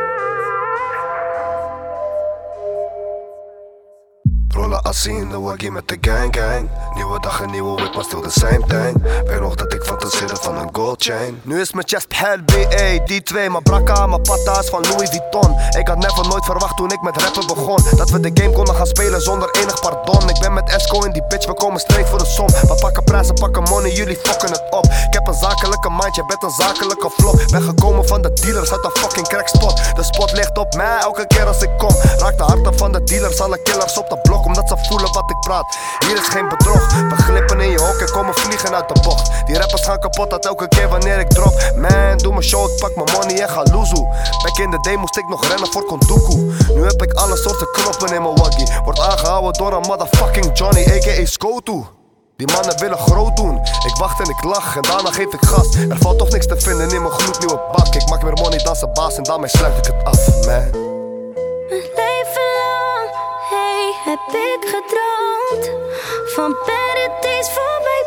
Speaker 14: Rollen Asin, waggie met de gang gang Nieuwe dag en nieuwe week, maar still the same thing Weet nog dat ik fantaseerde van een gold chain
Speaker 15: Nu is mijn chest hell BA, die twee, mijn brakka, mijn patta is van Louis Vuitton Ik had never nooit verwacht toen ik met rappen begon Dat we de game konden gaan spelen zonder enig pardon Ik ben met Esco in die bitch, we komen straight voor de som We pakken prijzen, pakken money, jullie fokken het op Ik heb een zakelijke mind, jij bent een zakelijke flop Ben gekomen van de dealers uit een fucking crackspot De spot ligt op mij elke keer als ik kom Raak de harten van de dealers, alle killers op de blok Omdat ze voelen wat ik praat, hier is geen bedrog We glippen in je hok en komen vliegen uit de bocht Die rappers gaan kapot, dat elke keer wanneer ik drop Man, doe mijn show, ik pak mijn money en ga loezoe Back in the day moest ik nog rennen voor Kondoku Nu heb ik alle soorten knoppen in mijn waggie Word aangehouden door een motherfucking Johnny A.K.A. Skotu die mannen willen groot doen. Ik wacht en ik lach en daarna geef ik gas. Er valt toch niks te vinden in mijn gloednieuwe bak. Ik maak meer money dan zijn baas en daarmee sluit ik het af, man.
Speaker 16: Mijn leven lang, hey, heb ik gedroomd Van paradijs voor mij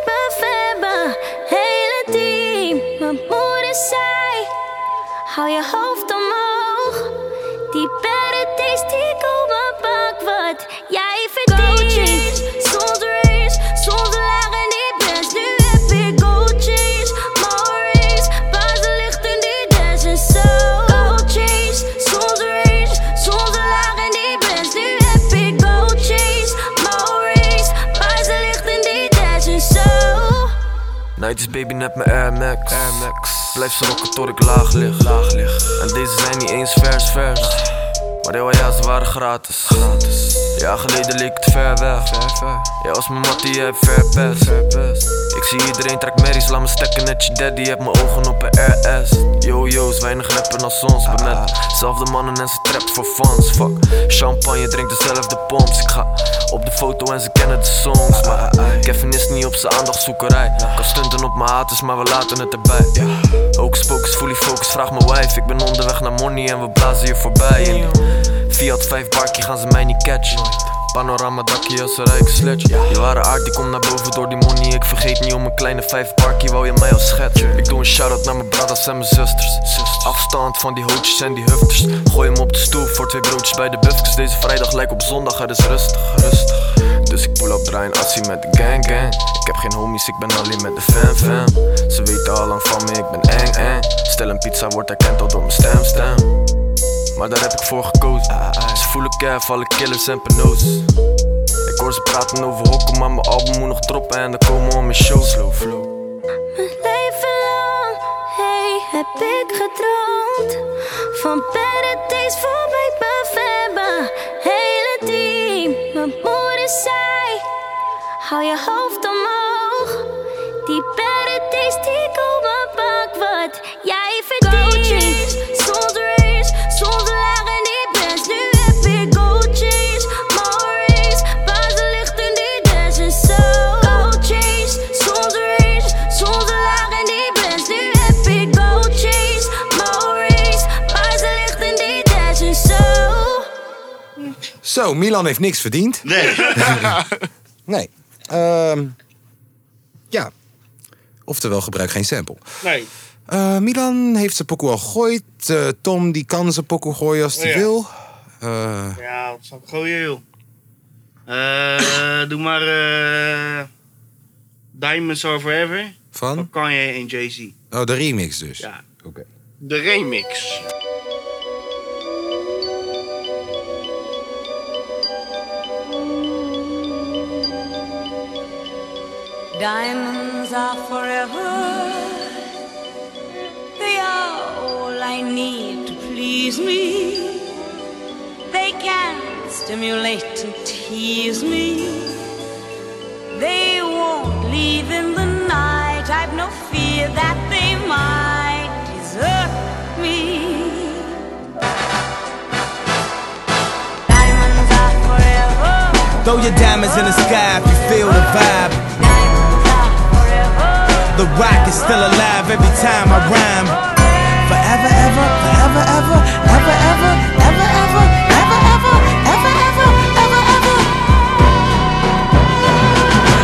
Speaker 16: mijn hele team Mijn moeder zei, hou je hoofd omhoog Die paradijs die komen pak wat jij verdient Soms rings, soms lagen die best Nu heb ik gold chains, more rings Waar ze lichten die des en zo Gold chains, soms rings, soms lagen die best Nu heb ik gold chains, more rings Waar ze lichten die des en zo
Speaker 17: Nighties Nou, baby net mijn Air Max. Blijf ze rocken tot ik laag lig. laag lig. En deze zijn niet eens vers vers. Maar heel ja, ze waren gratis. gratis. Jaar geleden leek het ver weg. Jij was mijn mattie, jij hebt ver pest. Ik zie iedereen trek merries, laat me stekken net je daddy. Heb mijn ogen op een RS. Yo yo's, weinig rappen als ons. Ben met dezelfde mannen en ze trap voor fans. Fuck, champagne drinkt dezelfde pomps. Ik ga op de foto en ze kennen de songs. Maar eh, Kevin is niet op zijn aandachtzoekerij. Kan stunten op mijn haters, maar we laten het erbij. Ook spokes, fully focus, vraag mijn wife. Ik ben onderweg naar money en we blazen hier voorbij. In die Fiat 5 barkie gaan ze mij niet catchen. Panorama dakje als een rijke sledge. Je ware aard die komt naar boven door die money. Ik vergeet niet om een kleine 5 barkie, wou je mij al schetsen. Ik doe een shout-out naar mijn brothers en mijn zusters. Afstand van die hootjes en die hufters. Gooi hem op de stoel voor twee broodjes bij de buffkes. Deze vrijdag lijkt op zondag, het is rustig, rustig. Dus ik pull up draai een assie met de gang gang. Ik heb geen homies, ik ben alleen met de fan fan. Ze weten al lang van me, ik ben eng eng. Stel een pizza wordt erkend al door mijn stem stem. Maar daar heb ik voor gekozen. Ze voelen kef, alle killers en peno's. Ik hoor ze praten over hokken, maar mijn album moet nog droppen en dan komen al mijn shows. Slow flow.
Speaker 16: Mijn leven lang, hey, heb ik gedroomd Van paradijs voor mij mijn hele team Mijn moeder zei, hou je hoofd omhoog Die paradijs die komen pak wat jij verdient Gold chains, soms rings, soms lagen die best Nu heb ik gold chains, more rings Waar ze lichten die des en zo Gold chains, soms rings, soms lagen die best Nu heb ik gold chains, more rings Waar ze lichten die des en zo
Speaker 1: Zo, Milan heeft niks verdiend.
Speaker 3: Nee.
Speaker 1: nee. Ehm, ja. Oftewel, gebruik geen sample.
Speaker 4: Nee.
Speaker 1: Eh, Milan heeft zijn pokoe al gegooid. Eh, Tom die kan zijn pokoe gooien als hij
Speaker 2: Ja.
Speaker 1: wil. Eh,
Speaker 2: Ja, wat zou ik gooien, joh? Eh, doe maar eh, Diamonds Are Forever
Speaker 1: van?
Speaker 2: van Kanye en Jay-Z.
Speaker 1: Oh, de remix dus.
Speaker 2: Ja.
Speaker 1: Oké.
Speaker 4: De remix.
Speaker 18: Diamonds are forever. They are all I need to please me. They can stimulate and tease me. They won't leave in the night. I've no fear that they might desert me. Diamonds are forever.
Speaker 19: Throw your diamonds in the sky if you feel the vibe. The rock is still alive every time I rhyme. Forever, ever, forever, ever, ever, ever, ever, ever, ever, ever, ever, ever, ever,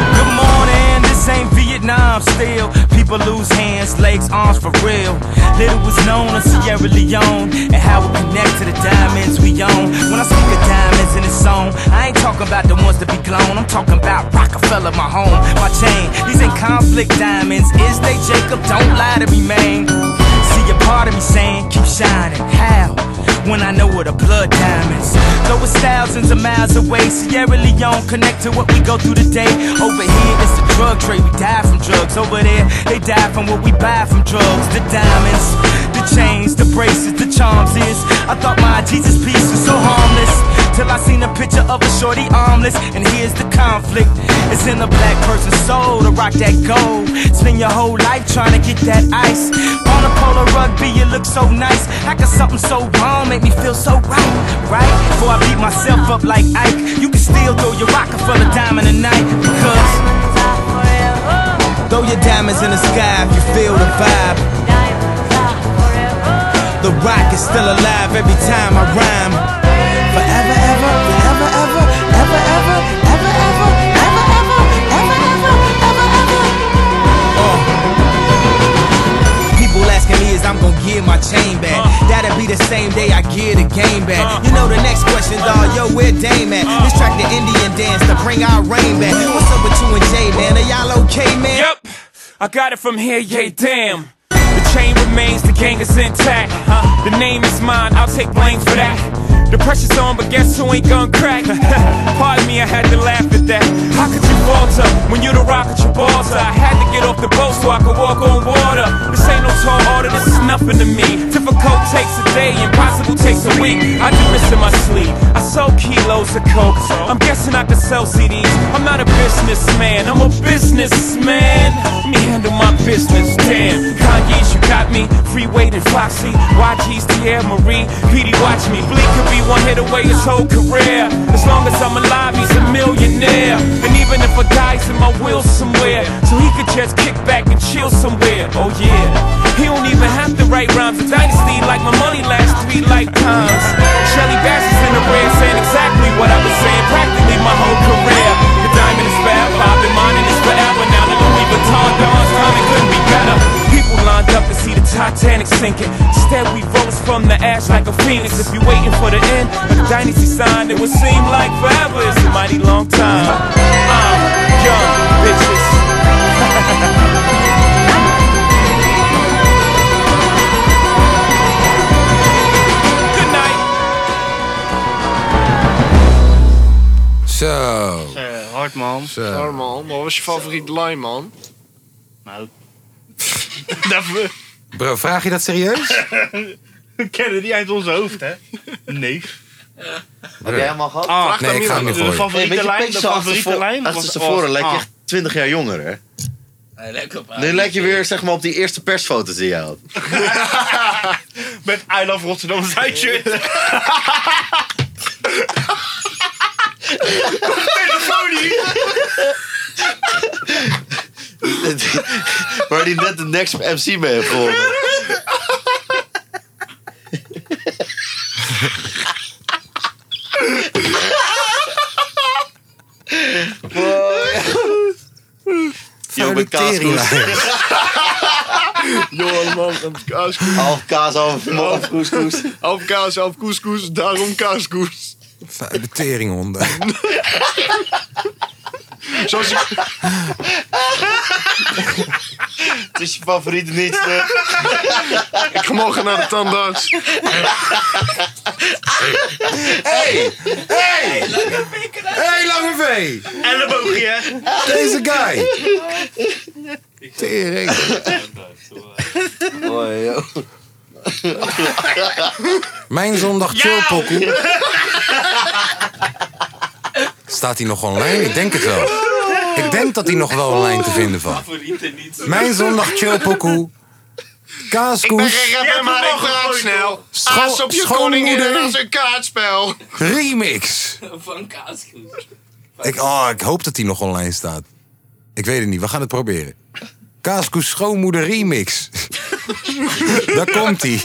Speaker 19: ever. Good morning, this ain't Vietnam still. People lose hands, legs, arms for real. Little was known of Sierra Leone and how it connect to the diamonds we own. When I speak of diamonds in this song, I ain't talking about the ones that be glown. I'm talking about Rockefeller, my home, my chain. These ain't conflict diamonds, is they, Jacob? Don't lie to me, man. See a part of me saying, keep shining. How? When I know where the blood diamonds. Though it's thousands of miles away, Sierra Leone connect to what we go through today. Over here, it's the drug trade. We die from drugs. Over there, they die from what we buy from drugs. The diamonds, the chains, the braces, the charms is. I thought my Jesus piece was so harmless. Till I seen a picture of a shorty armless. And here's the conflict. It's in a black person's soul to rock that gold. Spend your whole life trying to get that ice. On a polar rugby, you look so nice. How could something so wrong make me feel so right? Right? Before I beat myself up like Ike, you can still throw your Rockefeller diamond tonight. Because Throw your diamonds in the sky if you feel the vibe. The rock is still alive every time I rhyme. Forever, ever, forever, ever, ever, ever, ever, ever, ever, ever, ever, ever, ever, ever. Uh. People asking me is I'm gonna give my chain back. That'll be the same day I give the game back. You know the next question, dawg, yo, where Dame at? Let's track the Indian dance to bring our rain back. What's up with you and Jay, man? Are y'all okay, man?
Speaker 20: Yep, I got it from here, yay, damn. The chain remains, the gang is intact. The name is mine, I'll take blame for that. The pressure's on, but guess who ain't gon' crack? Pardon me, I had to laugh at that. How could you falter when you the rock at your balls? are? I had to get off the boat so I could walk on water. This ain't no tall order, this is nothing to me. Difficult takes a day, impossible takes a week. I do this in my sleep. I sold kilos of coke. I'm guessing I could sell CDs. I'm not a businessman, I'm a businessman. Let me handle my business, damn. Kanye's, you got me. Free Wade and Foxy. YG's, Tierra Marie. PD, watch me. Bleak could be one hit away his whole career. As long as I'm alive, he's a millionaire. And even if I die, he's in my will somewhere. So he could just kick back and chill somewhere. Oh yeah. He don't even have to write rhymes. A dynasty like my money lasts three lifetimes. Shelly Bass is in the red saying exactly what I've been saying practically my whole career. The diamond is forever. I've been mining this forever. Now the Louis Vuitton dawns time. It couldn't be better. People lined up to see the Titanic sinking. Instead, we rose from the ash like a phoenix. If you're waiting for the end of the dynasty sign, it would seem like forever is a mighty long time. I'm young, bitches. Good night.
Speaker 1: Zo.
Speaker 2: Eh, hard man.
Speaker 4: Ja, man, wat was je favoriet line, man?
Speaker 2: Nou.
Speaker 1: Bro, vraag je dat serieus?
Speaker 2: We kennen die uit ons hoofd, hè? Nee.
Speaker 3: Heb jij helemaal gehad?
Speaker 2: Ah, nee, ik ga hem
Speaker 3: gooien.
Speaker 2: De favoriete
Speaker 3: Nee, met je
Speaker 2: lijn, de
Speaker 3: pixel
Speaker 2: favoriete
Speaker 3: achtervo-
Speaker 2: lijn. was-
Speaker 3: Achterstevoren
Speaker 2: was-
Speaker 3: lijk
Speaker 2: ah.
Speaker 3: je echt 20 jaar jonger, hè?
Speaker 5: Lekker pa.
Speaker 3: Nu lijk je weer zeg maar, op die eerste persfoto's die je had.
Speaker 2: Met I Love Rotterdam Zuidshirt.
Speaker 3: Waar die net de Next MC mee heeft gewonnen. Yo, met kaaskoes.
Speaker 4: Johan, man, een kaaskoes.
Speaker 3: Half kaas, half, half couscous.
Speaker 4: Half kaas, half couscous, daarom kaaskoes.
Speaker 1: De teringhonden.
Speaker 4: Zoals ik...
Speaker 3: Het is je favoriete niet.
Speaker 4: Ik ga morgen naar de tandarts.
Speaker 1: Hey! Hey! Hey, lange V!
Speaker 2: Elleboogje.
Speaker 1: Deze guy! Tering. Mijn zondag chillpokoe. Staat hij nog online? Ik denk het wel. Ik denk dat hij nog wel online te vinden van. Mijn zondag chillpokoe. Kaaskoes.
Speaker 4: rapper, maar ik praat snel.
Speaker 1: Scho-
Speaker 4: Aas op je koningin
Speaker 1: schoonmoeder.
Speaker 4: als een kaartspel.
Speaker 1: Remix.
Speaker 5: Van kaaskoes.
Speaker 1: Ik, oh, ik hoop dat hij nog online staat. Ik weet het niet. We gaan het proberen. Kaaskoes schoonmoeder remix. Daar komt ie.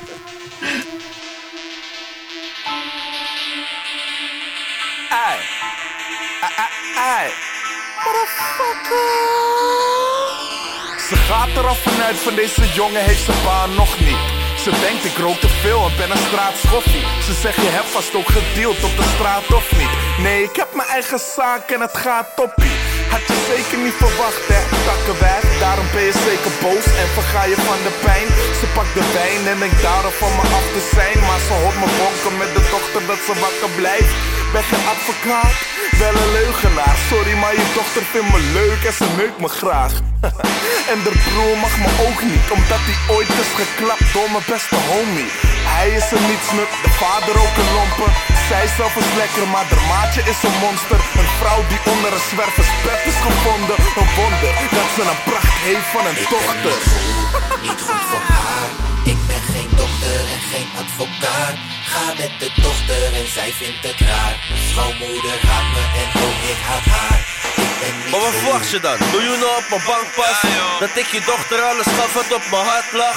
Speaker 19: Ay. Ay, ay, ay.
Speaker 21: Ze gaat er al vanuit, van deze jongen heeft ze baan nog niet. Ze denkt ik rook te veel en ben een straatschoffie. Ze zegt je hebt vast ook gedeeld op de straat of niet. Nee, ik heb mijn eigen zaak en het gaat toppie. Had je zeker niet verwacht hè, takkenwijf. Daarom ben je zeker boos en verga je van de pijn. Ze pakt de wijn en denkt daarom van me af te zijn. Maar ze hoort me bonken met de dochter dat ze wakker blijft. Ben geen advocaat, wel een leugenaar. Sorry, maar je dochter vindt me leuk en ze neukt me graag. En de broer mag me ook niet, omdat hij ooit is geklapt door mijn beste homie. Hij is een nietsnut, de vader ook een lomper. Zij zelf is lekker, maar haar maatje is een monster. Een vrouw die onder een zwerversbed is gevonden. Een wonder dat ze een pracht heeft van een dochter.
Speaker 22: Niet goed voor haar. Ik ben geen dokter en geen advocaat. Ga met de dochter en zij vindt het raar. Schoonmoeder haat me en ook ik haat haar.
Speaker 23: Maar wat verwacht je dan? Miljoenen op mijn bankpas? dat ik je dochter alles gaf wat op mijn hart lag?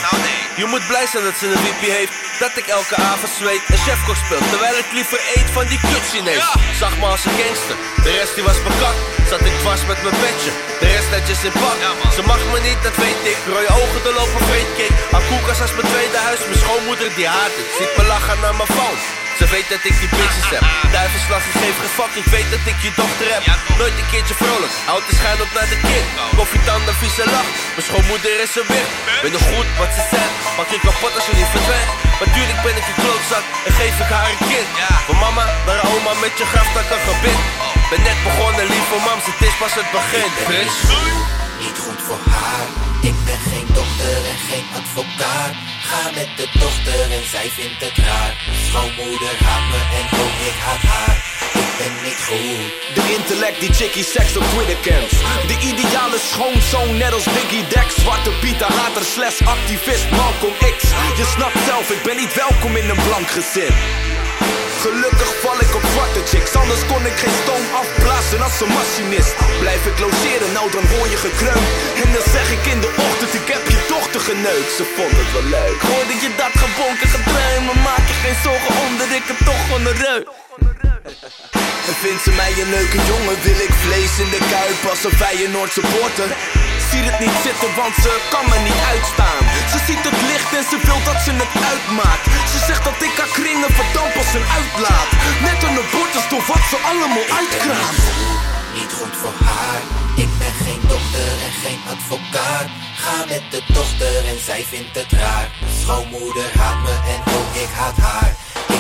Speaker 23: Je moet blij zijn dat ze een wiepje heeft. Dat ik elke avond zweet en chefkok speel. Terwijl ik liever eet van die kut Chinees. Zag me als een gangster. De rest die was bekakt. Zat ik vast met mijn petje. De rest netjes in pak. ze mag me niet, dat weet ik. Rode ogen, de lopen vreedkick. Haar koelkast als mijn tweede huis. Mijn schoonmoeder die haat het. Ziet me lachen naar mijn phone. Ze weet dat ik die bitches heb Duivenslag, ik geef geen fuck Ik weet dat ik je dochter heb Nooit een keertje vrolijk Houd de schijn op naar de kind Koffie, tanden, vieze lach Mijn schoonmoeder is er weer Weet nog goed wat ze zei Maak je kapot als je niet verdwijnt Natuurlijk ben ik een klootzak En geef ik haar een kind Van mama naar oma met je graf dat kan gebit Ben net begonnen lieve mams Het is pas het begin Prins
Speaker 22: Niet goed voor haar. Ik ben geen dokter en geen advocaat. Ga met de dochter en zij vindt het raar. Schoonmoeder haat me en ook ik haat haar. Ik ben niet goed.
Speaker 23: De intellect die chickie seks op Twitter kent. De ideale schoonzoon, net als Biggie Dex. Zwarte Pieter, hater, slash activist, Malcolm X. Je snapt zelf, ik ben niet welkom in een blank gezin. Gelukkig val ik op zwarte chicks, anders kon ik geen stoom afblazen als een machinist. Blijf ik logeren, nou dan word je gekreund. En dan zeg ik in de ochtend, ik heb je dochter geneukt. Ze vond het wel leuk. Hoorde je dat gebonken gedreun, maar maak je geen zorgen om dat ik het toch onderreuk. En vindt ze mij een leuke jongen, wil ik vlees in de kuip als een Feyenoord supporter Ziet het niet zitten, want ze kan me niet uitstaan Ze ziet het licht en ze wil dat ze het uitmaakt Ze zegt dat ik haar kringen verdamp als een uitlaat Net een abortus door wat ze allemaal uitkraamt
Speaker 22: Niet goed voor haar. Ik ben geen dokter en geen advocaat. Ga met de dochter en zij vindt het raar. Schoonmoeder haat me en ook ik haat haar.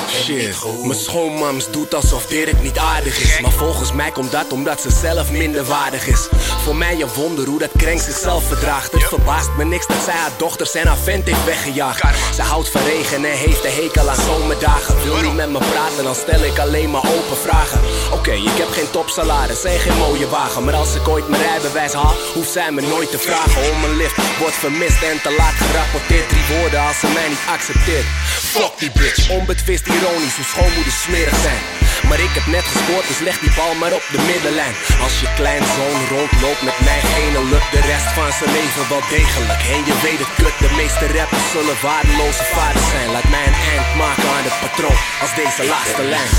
Speaker 24: Shit, mijn schoonmams doet alsof Dirk niet aardig is. Maar volgens mij komt dat omdat ze zelf minder waardig is. Voor mij een wonder hoe dat krenk zichzelf verdraagt. Het verbaast me niks dat zij haar dochters en haar vent heeft weggejaagd. Ze houdt van regen en heeft een hekel aan zomerdagen. Wil je met me praten, dan stel ik alleen maar open vragen. Oké, ik heb geen topsalaris en geen mooie wagen. Maar als ik ooit mijn rijbewijs haal, hoeft zij me nooit te vragen om een lift. Wordt vermist en te laat gerapporteerd. Drie woorden als ze mij niet accepteert. Fuck die bitch. Onbetwist ironisch hoe schoonmoeders smerig zijn. Maar ik heb net gescoord, dus leg die bal maar op de middenlijn. Als je kleinzoon rondloopt met mij, ene lukt de rest van zijn leven wel degelijk. En je weet het kut, de meeste rappers zullen waardeloze vaders zijn. Laat mij een eind maken aan het patroon, als deze laatste lijn.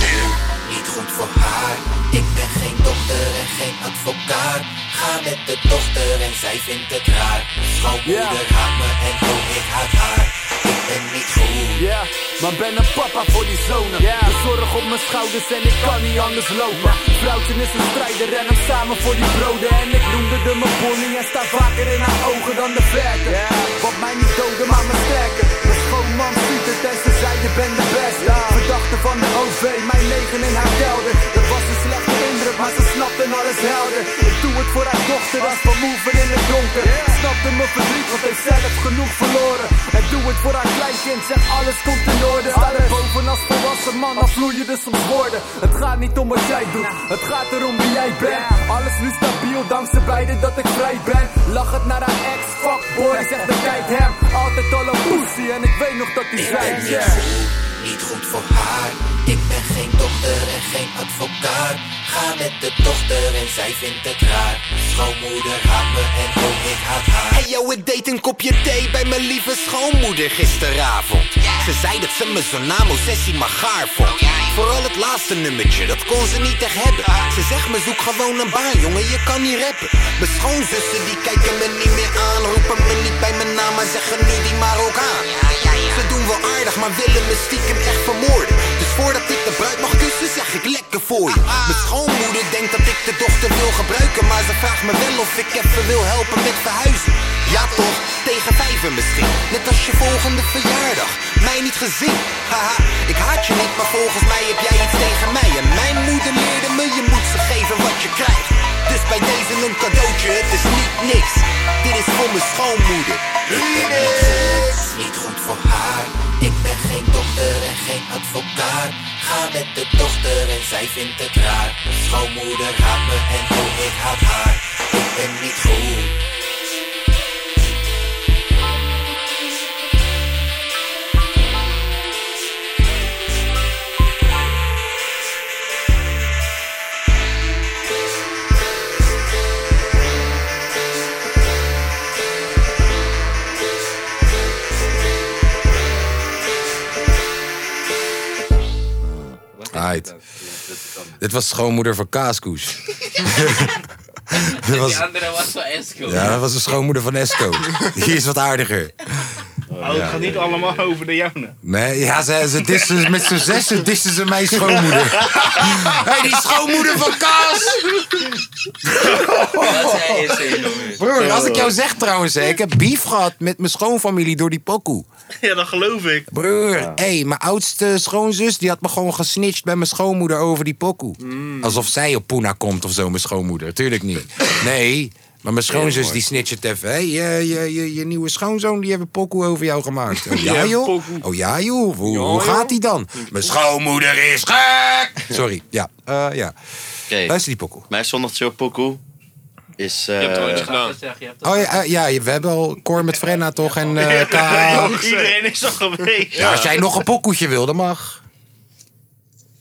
Speaker 22: Niet goed voor haar. Ik ben geen dokter en geen advocaat. Ga met de dochter en zij vindt het raar. Schoonmoeder haat me en ook ik haat haar. Ik ben niet goed.
Speaker 24: Ja, maar ben een papa voor die zonen. De zorg op mijn schouders en ik kan niet anders lopen. Vrouwtje is een strijder en hem samen voor die broden. En ik noemde de mijn bonnie en sta vaker in haar ogen dan de vlerken. Wat mij niet doden, maar me sterker. Mijn schoonman ziet het en ze zei je bent de beste. Verdachte van de OV, mijn negen in haar kelder. Dat was een slechte indruk, maar ze snapte alles helder. Ik doe het voor haar dochter als vermoeven in het donker. Snapte mijn verdriet, want heeft zelf genoeg verloren. En doe het voor haar kleinkind, zeg alles komt in orde. Sta er boven als volwassen man, dan vloeien dus soms woorden. Het gaat niet om wat jij doet, het gaat erom wie jij bent. Alles nu stabiel, dankzij beide dat ik vrij ben. Lach het naar haar ex, fuckboy, zegt bekijk hem. Altijd al een pussy en ik weet nog dat hij
Speaker 22: Ik
Speaker 24: zei,
Speaker 22: ben niet
Speaker 24: yeah.
Speaker 22: goed, niet goed voor haar. Ik ben geen dokter en geen advocaat. Ga met de dochter en zij vindt het raar. Schoonmoeder haat me en oh, ik haat haar.
Speaker 6: Hey yo, ik deed een kopje thee bij mijn lieve schoonmoeder gisteravond. Ze zei dat ze me zo'n naam sessie maar gaar vond. Vooral het laatste nummertje, dat kon ze niet echt hebben. Ze zegt me zoek gewoon een baan, jongen, je kan niet rappen. Mijn schoonzussen die kijken me niet meer aan, roepen me niet bij mijn naam, maar zeggen nu die maar ook aan. Ze doen wel aardig, maar willen me stiekem echt vermoorden. Dus voordat ik de bruid mag kussen, zeg ik lekker voor je. Mijn schoonmoeder denkt dat ik de dochter wil gebruiken, maar ze vraagt me wel of ik even wil helpen met verhuizen. Ja toch, tegen vijven misschien. Net als je volgende verjaardag, mij niet gezien. Haha, ik haat je niet, maar volgens mij heb jij iets tegen mij. En mijn moeder leerde me, je moet ze geven wat je krijgt. Dus bij deze een cadeautje, het is niet niks. Dit is voor mijn schoonmoeder.
Speaker 22: Remix! Niet goed voor haar. Ik ben geen dokter en geen advocaat. Ga met de dochter en zij vindt het raar. Schoonmoeder haat me en oh, ik haat haar. Ik ben niet goed.
Speaker 1: Right. Dit was schoonmoeder van Kaaskoes. Dit was-
Speaker 5: Die andere was van Esco.
Speaker 1: Ah. ja, dat was de schoonmoeder van Esco. Die is wat aardiger.
Speaker 2: Oh, het gaat niet allemaal over de Jona.
Speaker 1: Nee, ja, ze, ze dissen, met z'n zessen dissen ze mijn schoonmoeder. Hé, die schoonmoeder van Kaas!
Speaker 5: Dat zei Esco, jongen.
Speaker 1: Broer, als ik jou zeg trouwens, hè, ik heb beef gehad met mijn schoonfamilie door die pokoe.
Speaker 2: Ja, dat geloof ik.
Speaker 1: Broer, hé, mijn oudste schoonzus die had me gewoon gesnitcht bij mijn schoonmoeder over die pokoe. Alsof zij op Poena komt of zo, mijn schoonmoeder. Tuurlijk niet. Nee, maar mijn schoonzus die snitcht het even. Hé, je, je, je, je nieuwe schoonzoon die heeft een pokoe over jou gemaakt. Oh ja,
Speaker 21: Ja,
Speaker 1: joh?
Speaker 21: pokoe.
Speaker 1: Oh ja, joh? Hoe, hoe gaat die dan? Mijn schoonmoeder is gek! Sorry, ja. eh, ja. Luister die pokoe.
Speaker 3: Mijn zondag chill pokoe is... eh,
Speaker 1: Je hebt het al eens gedaan. Oh ja, eh, ja, we hebben al Cor met Frenna toch en eh
Speaker 2: Ja,
Speaker 1: K.A..
Speaker 2: Iedereen is al geweest.
Speaker 1: Ja, als jij nog een pokoetje wil, dan mag.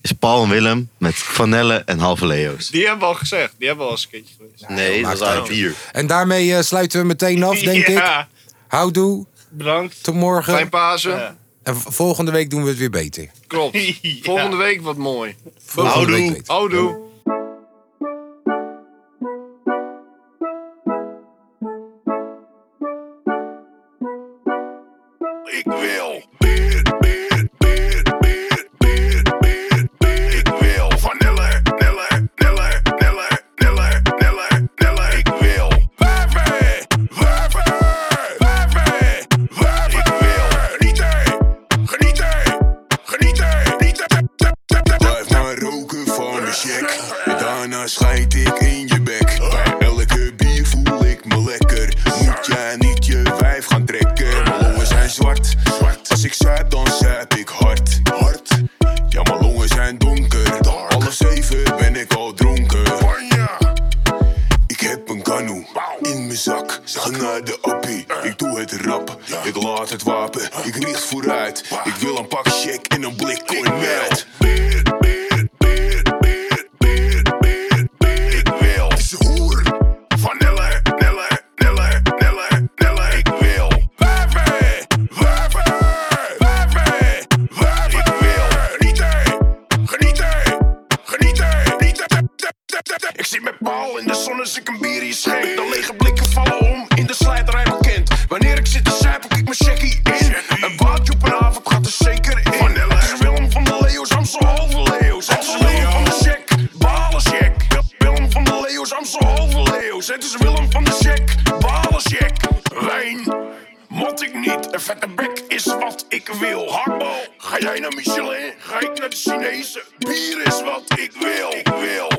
Speaker 3: Is Paul en Willem met Vanelle en Halve Leo's.
Speaker 4: Die hebben we al gezegd. Die hebben we al eens een keertje geweest.
Speaker 3: Nee, dat waren vier.
Speaker 1: En daarmee eh, sluiten we meteen af, denk ik. Houdoe.
Speaker 2: Bedankt.
Speaker 1: Tot morgen.
Speaker 4: Fijn Pasen.
Speaker 1: En v- volgende week doen we het weer beter.
Speaker 4: Klopt. Volgende week wat mooi.
Speaker 1: Volgende Houdoe. week beter.
Speaker 4: Houdoe.
Speaker 21: Ik wil.
Speaker 14: Daarna Schijt ik in je bek. Bij elke bier voel ik me lekker. Moet jij niet je wijf gaan trekken? Mijn longen zijn zwart. Als ik zuip, dan zuip ik hard. hard. Ja, mijn longen zijn donker. Alle zeven ben ik al dronken. Ik heb een kanoe in mijn zak. Ga naar de appie, ik doe het rap. Ik laat het wapen, ik richt vooruit. Ik wil een pak check en een blik cornet. Het is een hoer. Van Nelle, Nelle, Nelle, Nelle, Nelle. Ik wil. Werven, werven, werven, werven. Ik wil. Genieten, genieten, genieten, genieten. Ik zit met Paul in de zon als ik een bier hier schenk. De lege blikken vallen om in de slijterij bekend. Wanneer ik zit te zuipen, kijk mijn checkie in. Een baantje op een avond gaat er zeker in. Van Nelle. Het is Willem van de Leeuws, I'm zo halve Leeuws. Het is Willem van de check, balen check. Willem van de Leeuws, I'm zo halve Leeuws. Het is Willem van de check, balen check. Wijn. Mot ik niet, een vette bek is wat ik wil. Hakbal, ga jij naar Michelin? Ga ik naar de Chinezen? Bier is wat ik wil. Ik wil.